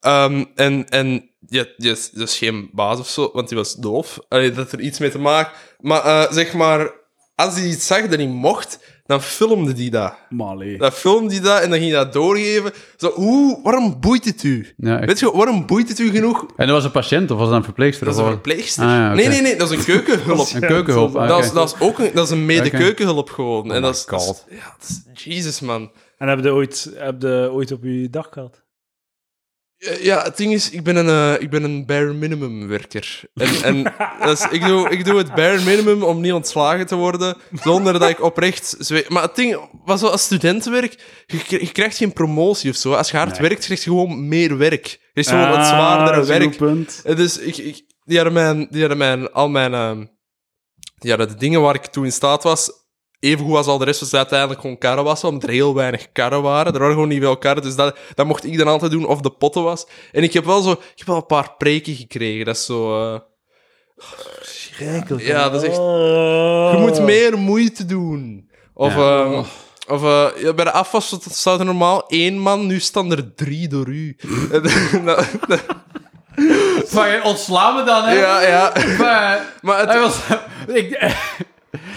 C: Ehm, en en je, je, is- dat is geen baas of zo, want die was doof. Allee, dat had er iets mee te maken. Maar eh, zeg maar, als die iets zag dat niet mocht, dan filmde die dat.
A: Maar allee.
C: Dan filmde hij dat en dan ging hij dat doorgeven. Zo, hoe, waarom boeit het u?
B: Ja, echt.
C: Weet je, waarom boeit het u genoeg?
B: En dat was een patiënt of was dat een verpleegster?
C: Dat is
B: of
C: een
B: wat?
C: verpleegster.
B: Ah, ja, oké.
C: Nee, nee, nee, dat is een keukenhulp.
B: Een keukenhulp.
A: dat
B: ah,
A: is-
C: dat,
B: oké.
C: is, dat is ook een, dat is een mede
B: Oké. Oh
C: keukenhulp gewoon. en dat is,
B: my
C: dat is-
B: God.
C: ja, dat is, Jesus man.
A: En heb je ooit, heb je ooit op je dag gehad?
C: Eh, Ja, het ding is, ik ben een, eh, ik ben een bare minimum werker. En, en dat is- ik, doe, ik doe het bare minimum om niet ontslagen te worden, zonder dat ik oprecht... zwe- Maar het ding was wel, als studentenwerk, je, kri- je krijgt geen promotie of zo. Als je hard werkt, krijg je gewoon meer werk. Er Ah, is gewoon
A: Ah,
C: wat zwaardere
A: dat is een
C: werk.
A: goed punt.
C: En dus ik, ik, die hadden, mijn, die hadden mijn, al mijn... ehm, die hadden de dingen waar ik toe in staat was, evengoed als al de rest was het uiteindelijk gewoon karren wassen, omdat er heel weinig karren waren. Er waren gewoon niet veel karren, dus dat, dat mocht ik dan altijd doen, of de potten was. En ik heb wel zo... Ik heb wel een paar preken gekregen, dat is zo... eh, Ja, dat is echt-
A: Oh.
C: je moet meer moeite doen. Of...
B: Ja.
C: ehm, of eh, ja, bij de afwas staat er normaal één man, nu staan er drie door u. En dat- dat-
B: Van, je ontslaan me dan, hè?
C: ja, ja.
B: Maar,
C: Maar het,
B: hij was... ik...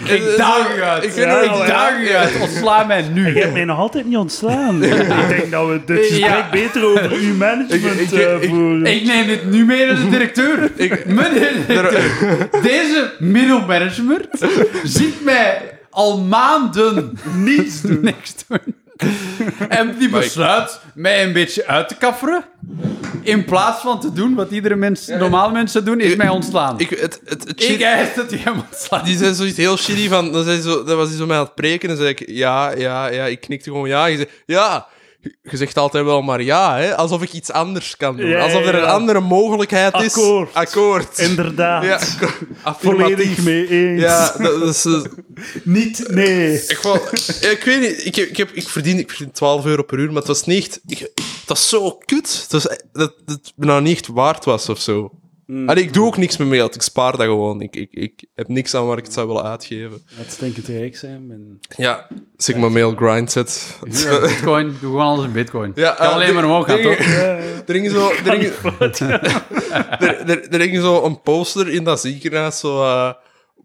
B: ik daag u uit.
C: Ik
B: Ik,
C: weet
A: niet-
B: ik daag u uit. Ontsla mij
A: Je
B: nu.
A: hebt mij nog altijd niet ontslaan. ik denk dat we dit gesprek
B: Ja.
A: beter over uw management
C: Ik- ik-
A: eh,
C: ik-
A: voeren.
B: Ik neem dit nu mee naar de directeur. Meneer de directeur, deze middelmanagement ziet mij al maanden niets doen. Niks doen. En die besluit mij een beetje uit te kafferen. In plaats van te doen wat iedere mens, normale mensen doen, is mij ontslaan.
C: ik, het, het,
B: Ik
C: het shit-
B: eis dat hij hem ontslaat.
C: Die zei zoiets heel shitty van... Dan, zei ze zo, dan was hij zo mij aan het preken en zei ik... Ja, ja, ja. Ik knikte gewoon ja. Je zei... Ja! Je zegt altijd wel maar ja, hè. Alsof ik iets anders kan doen.
A: Ja,
C: Alsof er
A: ja,
C: een
A: ja.
C: andere mogelijkheid is.
A: Akkoord.
C: Akkoord.
A: Inderdaad.
C: Ja, akko-
A: Volledig
C: affirmatief.
A: mee eens.
C: Ja, dat, dat is... eh,
A: Niet nee.
C: Ik, wel, ja, ik weet niet, ik, heb- ik, heb, ik, verdien, ik verdien 12 euro per uur, maar het was niet echt... Ik, het was zo kut. Het was, e- dat dat het me nou niet echt waard was of zo.
B: Hmm.
C: Allee, ik doe ook niks meer mee, want ik spaar dat gewoon. Ik, ik, ik heb niks aan waar ik het zou willen uitgeven.
A: Dat stinkend rijk zijn. En...
C: Ja, als ik mijn mail grind zet.
B: Ja, bitcoin, doe gewoon alles in bitcoin.
C: Ja,
B: kan
C: eh,
B: alleen
C: ding-
B: maar omhoog gaan,
C: ding-
B: toch?
C: Er hing zo, er hing, er, er, er hing zo een poster in dat ziekenhuis, zo... eh,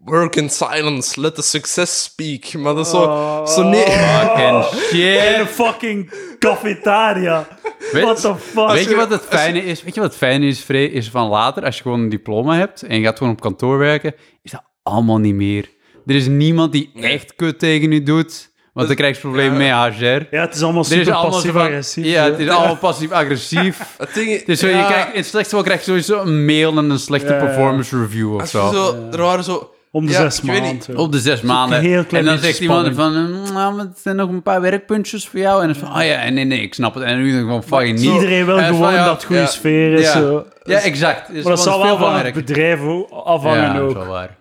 C: Work in silence, let the success speak. Maar dat is zo... zo nee.
B: Fucking
A: Een
B: shit.
A: fucking cafetaria.
B: Weet-
A: What the fuck?
B: Weet je wat het fijne is? Weet je wat het fijne is, Free? Is van later, als je gewoon een diploma hebt en je gaat gewoon op kantoor werken, is dat allemaal niet meer. Er is niemand die echt kut tegen je doet, want dan krijg je problemen met HR.
A: Ja, het is allemaal
B: Er is
A: super
B: allemaal zo van-
A: passief-agressief.
B: Ja, het is allemaal passief-agressief.
C: Het ding is-
B: Dus zo, je
C: ja,
B: krijgt, in het slechtste geval krijg je sowieso een mail en een slechte
A: Ja, ja.
B: performance review of
C: als je
B: zo.
C: zo, Er waren zo...
A: Om de
C: ja,
A: zes
C: ik weet niet.
A: maanden.
B: Op de zes maanden.
A: heel klein
B: en dan
A: beetje
B: zegt iemand van, "Mm, nou, maar het zijn nog een paar werkpuntjes voor jou. En dan is van, oh ja, nee, nee, ik snap het. En nu denk ik van, fucking niet.
A: Iedereen wil
B: En van,
A: gewoon
B: ja,
A: dat het goede
C: ja,
A: sfeer is.
B: ja.
A: Zo.
B: Ja, exact. Dus
A: Maar dat zal wel van het
B: belangrijk.
A: bedrijf ook afhangen
B: ja, dat is
A: ook.
B: wel waar.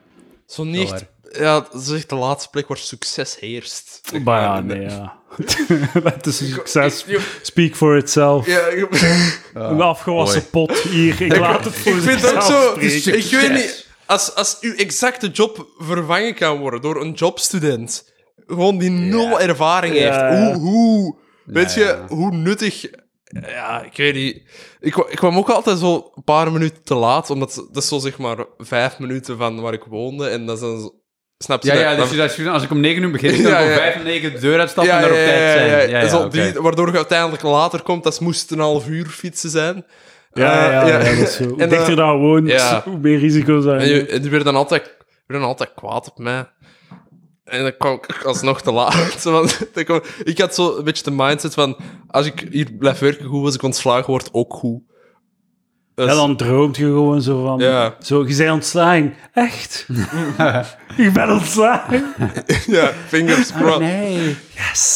C: Zo niet echt- Ja, dat is echt de laatste plek waar succes heerst.
A: Maar ja, nee, ja. Dat is een succes. Speak for itself.
C: Ja, ik-
A: een afgewassen pot hier. Ik laat het voor
C: Ik vind het ook
A: zichzelf
C: zo.
A: spreken.
C: Ik weet niet. Als, als uw exacte job vervangen kan worden door een jobstudent, gewoon die nul ervaring
A: Ja.
C: heeft, hoe, hoe weet
B: Nee,
C: je,
B: ja.
C: hoe nuttig. Ja, ik weet niet. Ik, kwa- ik kwam ook altijd zo een paar minuten te laat, omdat ze- dat is zo zeg maar vijf minuten van waar ik woonde en dat is dan. zo- Snap je
B: Ja,
C: dat?
B: ja,
C: Dan-
B: dus als, je- als ik om 9 uur begin, dan
C: Ja,
B: kan ik
C: ja.
B: om 5 en 9 de deur uitstappen
C: ja,
B: en daar op tijd zijn. Ja, ja,
C: Zo
B: oké.
C: die, waardoor je uiteindelijk later komt, dat moest een half uur fietsen zijn.
A: Ja,
C: Eh,
A: ja, ja, dat is zo. Hoe
C: En,
A: dichter
C: eh,
A: daar woont,
C: ja.
A: hoe meer risico's daar.
C: En je, en die werd dan altijd, die werd dan altijd kwaad op mij. En dan kwam ik alsnog te laat. Zo van- dan kwam- ik had zo een beetje de mindset van... Als ik hier blijf werken goed, als ik ontslagen word, ook goed. Dus-
A: Ja, dan droomt je gewoon zo van...
C: Ja.
A: Zo, je bent ontslagen. Echt? ik ben ontslagen.
C: ja, fingers
B: Oh,
C: crossed.
B: nee.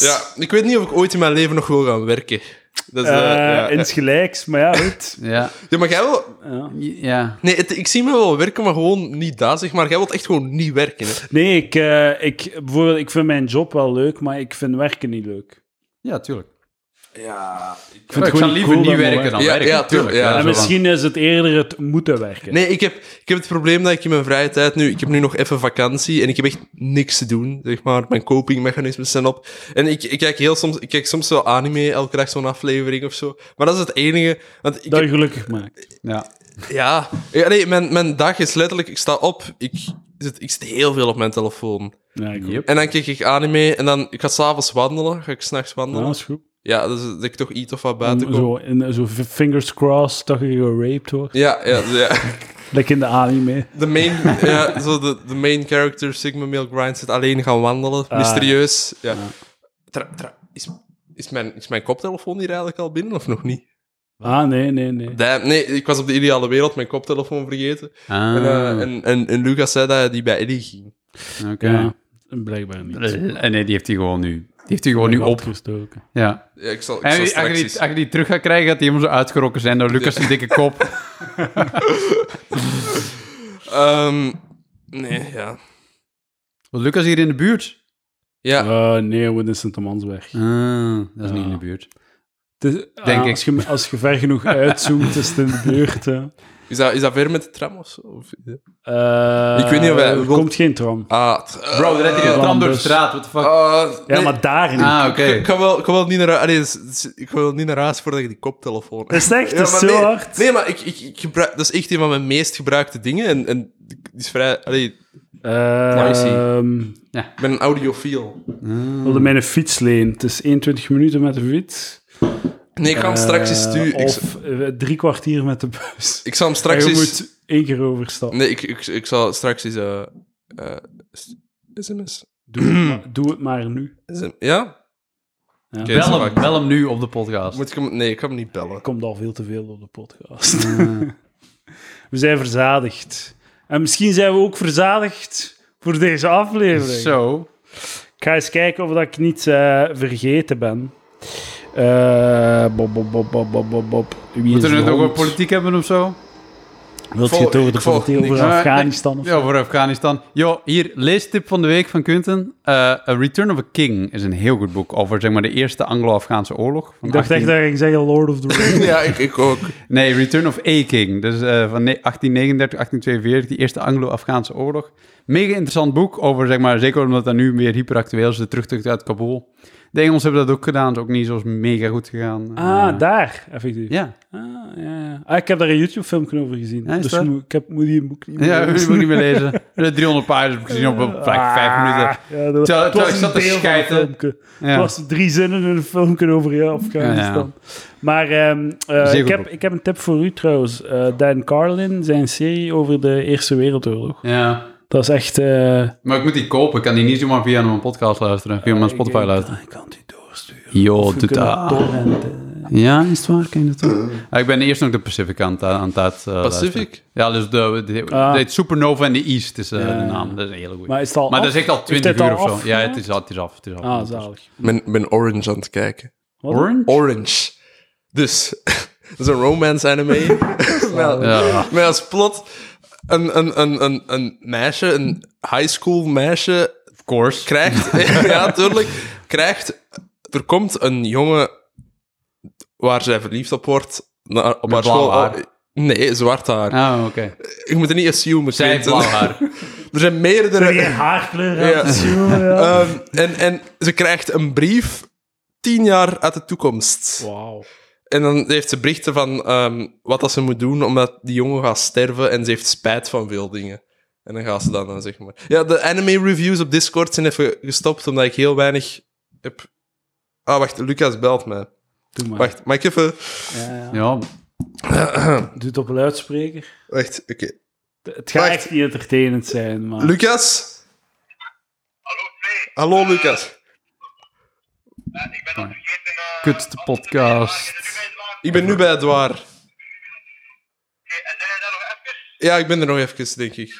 C: Ja, ik weet niet of ik ooit in mijn leven nog wil gaan werken. Dat is, eh, ja.
A: Eh, Insgelijks, maar ja, goed.
B: Ja.
C: Ja, maar jij wil...
A: Ja.
B: Ja.
C: Nee, het- ik zie me wel werken, maar gewoon niet daar, zeg maar. Jij wilt echt gewoon niet werken, hè.
A: Nee, ik, eh, ik, bijvoorbeeld, ik vind mijn job wel leuk, maar ik vind werken niet leuk.
B: Ja, tuurlijk.
A: Ik,
B: Ik,
A: vind het
B: zou
A: gewoon
B: liever
A: cool
B: niet
A: dan
B: werken dan
C: Ja,
B: werken.
C: ja, tuurlijk, ja.
B: zo
A: En
B: van-
A: misschien is het eerder het moeten werken.
C: Nee, ik heb, ik heb het probleem dat ik in mijn vrije tijd nu... Ik heb nu nog even vakantie en ik heb echt niks te doen, zeg maar. Mijn copingmechanismen zijn op. En ik, ik kijk heel soms... Ik kijk soms wel anime, elke dag zo'n aflevering of zo. Maar dat is het enige... Want ik
A: Dat
C: heb-
A: je gelukkig maakt.
B: Ja.
C: ja. ja, nee, mijn, mijn dag is letterlijk... Ik sta op, ik zit, ik zit heel veel op mijn telefoon.
A: Ja, ik
B: Yep.
C: En dan kijk ik anime en dan... Ik ga s'avonds wandelen, ga ik s'nachts
A: Ja,
C: wandelen.
A: dat is goed.
C: Ja, dus dat ik toch iets of wat buiten
A: Om
C: kom.
A: Zo, in, zo f- fingers crossed dat je geraped wordt.
C: Ja, ja, ja.
A: Lekker in de anime.
C: De main, ja, zo de, de main character, Sigma Male Grind, zit alleen gaan wandelen. Mysterieus. Ja. Tra- tra- is, is, mijn, is mijn koptelefoon hier eigenlijk al binnen of nog niet?
A: Ah, nee, nee, nee.
C: Damn, nee, ik was op de ideale wereld mijn koptelefoon vergeten.
B: Ah,
C: En, eh, en, en, en Lucas zei dat die bij Eddie ging.
B: Ah, oké.
A: Ja, blijkbaar niet.
B: Eh, Nee, die heeft hij gewoon nu. Die heeft hij gewoon nu op.
A: Opgestoken.
B: Ja.
C: Ja, ik zal, ik
B: En
C: zal
B: als je,
C: straks
B: die,
C: iets-
B: als je die terug gaat krijgen, gaat die helemaal zo uitgerokken zijn door Lucas' een dikke kop.
C: Ehm, nee, ja.
B: Want Lucas is hier in de buurt.
C: Ja,
A: Ah, nee, we in Sint-Amansweg.
B: Ah, dat is
A: Ja.
B: niet in de buurt.
A: Het is- ah,
B: Denk ik.
A: als, je, als je ver genoeg uitzoomt, is het in de buurt. hè.
C: is dat, is dat ver met de tram of zo? Of-
A: Eh,
C: Ik weet niet of wij-
A: Er
C: wil-
A: komt geen tram.
C: Ah, t-
B: Bro, er rijdt hier een
A: Eh,
B: tram door de
A: dus-
B: straat. What the fuck?
C: Ah,
A: Ja,
C: nee,
A: maar daar niet.
B: ah, oké.
C: Ik ga wel, ik ga wel niet naar hu- allee, s- s- ik ga wel niet naar huis voordat ik die koptelefoon
A: Dat is echt,
C: Ja,
A: dat is
C: maar
A: zo
C: nee,
A: hard.
C: Nee, maar ik, ik, ik gebruik, dat is echt een van mijn meest gebruikte dingen. En, en die is vrij. Allee,
A: Ehm,
B: ik zie.
C: ik ben een audiofiel. Hmm.
A: wilde mij een fiets leen. Het is 21 minuten met de fiets.
C: Nee, ik ga hem straks eens
A: Eh,
C: sturen. Ik, z-
A: Of eh, drie kwartier met de bus.
C: ik zal hem straks
A: En je
C: eens.
A: moet één keer overstappen.
C: Nee, ik, ik, ik zal straks eens. eh eh, s- SMS.
A: Doe, het maar, doe het maar nu.
C: SM ja?
A: Ja.
C: Oké,
B: Bel,
C: zo
B: hem,
C: ga ik-
B: bel hem nu op de podcast.
C: Moet ik hem, nee, ik ga hem niet bellen.
A: Er komt al veel te veel op de podcast. we zijn verzadigd. En misschien zijn we ook verzadigd voor deze aflevering.
B: Zo.
A: Ik ga eens kijken of dat ik niet eh, vergeten ben. Eh, bob, bob, bob, bob, bob, bob, bob. Wie
B: Moeten we
A: is
B: het ook
A: rond?
B: over politiek hebben of zo?
A: Wilt je het over de
C: Ik volg
A: politiek, over
C: niks.
B: Eh,
A: Afghanistan of
B: Ja, voor Afghanistan. Jo, hier, leestip van de week van Quinten. Eh, A Return of a King is een heel goed boek over zeg maar, de eerste Anglo-Afghaanse oorlog. van
A: Ik dacht
B: 18
A: echt dat ik zeggen Lord of the Rings.
C: Ja, ik, ik ook.
B: Nee, Return of a King. Dus eh, van ne- 1839, 1842, die eerste Anglo-Afghaanse oorlog. Mega interessant boek over, zeg maar, zeker omdat dat nu weer hyperactueel is, de terugtocht uit Kabul. De Engels hebben dat ook gedaan, is ook niet zo mega goed gegaan.
A: ah, daar, effectief.
B: Ja,
A: Ah, ja, ja. Ah, ik heb daar een YouTube-filmpje over gezien.
B: Ja, is
A: dus
B: dat?
A: moet- ik heb, moet die boek niet meer
B: ja dat
A: lezen.
B: moet ik niet meer lezen. De 300 pagina's heb ik gezien op eh, vijf, vijf minuten.
A: Ah, ja, dat,
B: Terwijl-
A: het
B: terwijl ik
A: was een
B: zat te
A: deel van een
B: schijten.
A: filmpje. Het
B: Ja.
A: was drie zinnen in een filmpje over ja, Afghanistan. dus Maar ehm, eh,
B: Zeer
A: ik,
B: goed
A: heb,
B: boek.
A: ik heb een tip voor u trouwens. Eh, Dan Carlin, zijn serie over de Eerste Wereldoorlog.
B: ja.
A: Dat is echt... eh,
B: Maar ik moet die kopen. Ik kan die niet zomaar via mijn podcast luisteren. Via mijn Spotify
A: Ah, ik-
B: luisteren. Oh, ah.
A: Ik kan het u doorsturen.
B: Yo,
A: Of u
B: doe
A: kunt het
B: dat.
A: torrenten.
B: Ja, is het waar? Kan je dat doen? Ah, ik ben eerst nog de Pacific aan het aan het uit, eh, luisteren.
C: Pacific?
B: Ja, dus de, de, de-
A: Ah.
B: de Supernova in the East is eh,
A: Ja.
B: de naam. Dat is een hele goeie.
A: Maar
B: Maar,
A: is het al
B: dat is echt al
A: Heeft
B: 20
A: het al
B: uur of zo. Ja,
A: afgemaakt?
B: het is, al- het is af. Het is af.
A: Ah, zalig.
C: Ik ben, ben Orange aan het kijken.
A: Wat?
B: Orange?
C: Orange. Dus, dat is een romance anime. met,
B: Ja.
C: met als plot een, een, een, een, een meisje, een high school meisje,
B: Of course.
C: krijgt, ja, tuurlijk, krijgt, er komt een jongen waar zij verliefd op wordt, naar, op
B: Met
C: haar
B: blauw
C: school. Oh,
B: haar.
C: Nee, zwart haar.
B: Ah, oké.
C: Je moet het niet assumen,
B: Zij heeft
C: Quinten.
B: blauw haar.
C: Er zijn meerdere...
A: Heb jij haarkleur aan
C: Ja.
A: het zien, ja.
C: Ehm, en, en ze krijgt een brief tien jaar uit de toekomst.
A: Wauw.
C: En dan heeft ze berichten van ehm, wat dat ze moet doen, omdat die jongen gaat sterven en ze heeft spijt van veel dingen. En dan gaat ze dan, dan zeg maar. Ja, de anime reviews op Discord zijn even gestopt, omdat ik heel weinig heb. Ah, wacht, Lucas belt mij.
A: Doe maar.
C: Wacht, mag ik even.
A: Ja, ja.
B: Ja.
A: Doe het op een luidspreker.
C: Wacht, oké.
A: Het- Het gaat
C: Wacht.
A: echt niet entertainend zijn, maar...
C: Lucas? Hallo, Lucas.
D: eh,
B: Kutste podcast.
C: Ik ben nu bij het waar.
D: eh,
C: Ja, ik ben er nog even, denk ik.
D: Ik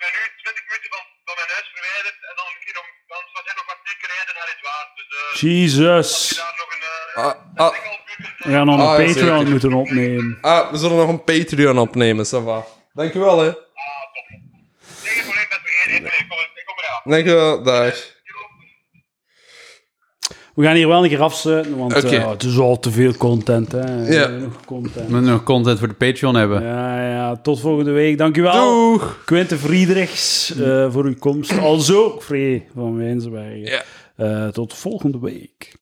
D: ben nu 20 minuten van, van mijn huis verwijderd en dan misschien om, want we zijn nog wat dikke rijden naar het waard. Dus eh,
A: Jesus.
D: daar nog een eh
C: Ah, ah,
A: We gaan nog een
C: Ah, ja,
A: Patreon
C: zeker.
A: moeten opnemen.
C: ah, we zullen nog een Patreon opnemen, Sava. Dankjewel, hè.
D: tegen probleem met vergeten. Ik, eh, ik, kom, ik kom eraan.
C: Dankjewel, dag.
A: We gaan hier wel een keer afsluiten, want eh,
C: Oké.
A: het is al te veel content. Hè. We
C: Ja.
A: hebben nog content.
B: We moeten nog content voor de Patreon hebben.
A: Ja, ja, tot volgende week. Dankjewel,
C: Doeg!
A: Quinten Friedrichs, eh, voor uw komst. Alzo, Free van Wijnsbergen.
C: Ja.
A: Eh, tot volgende week.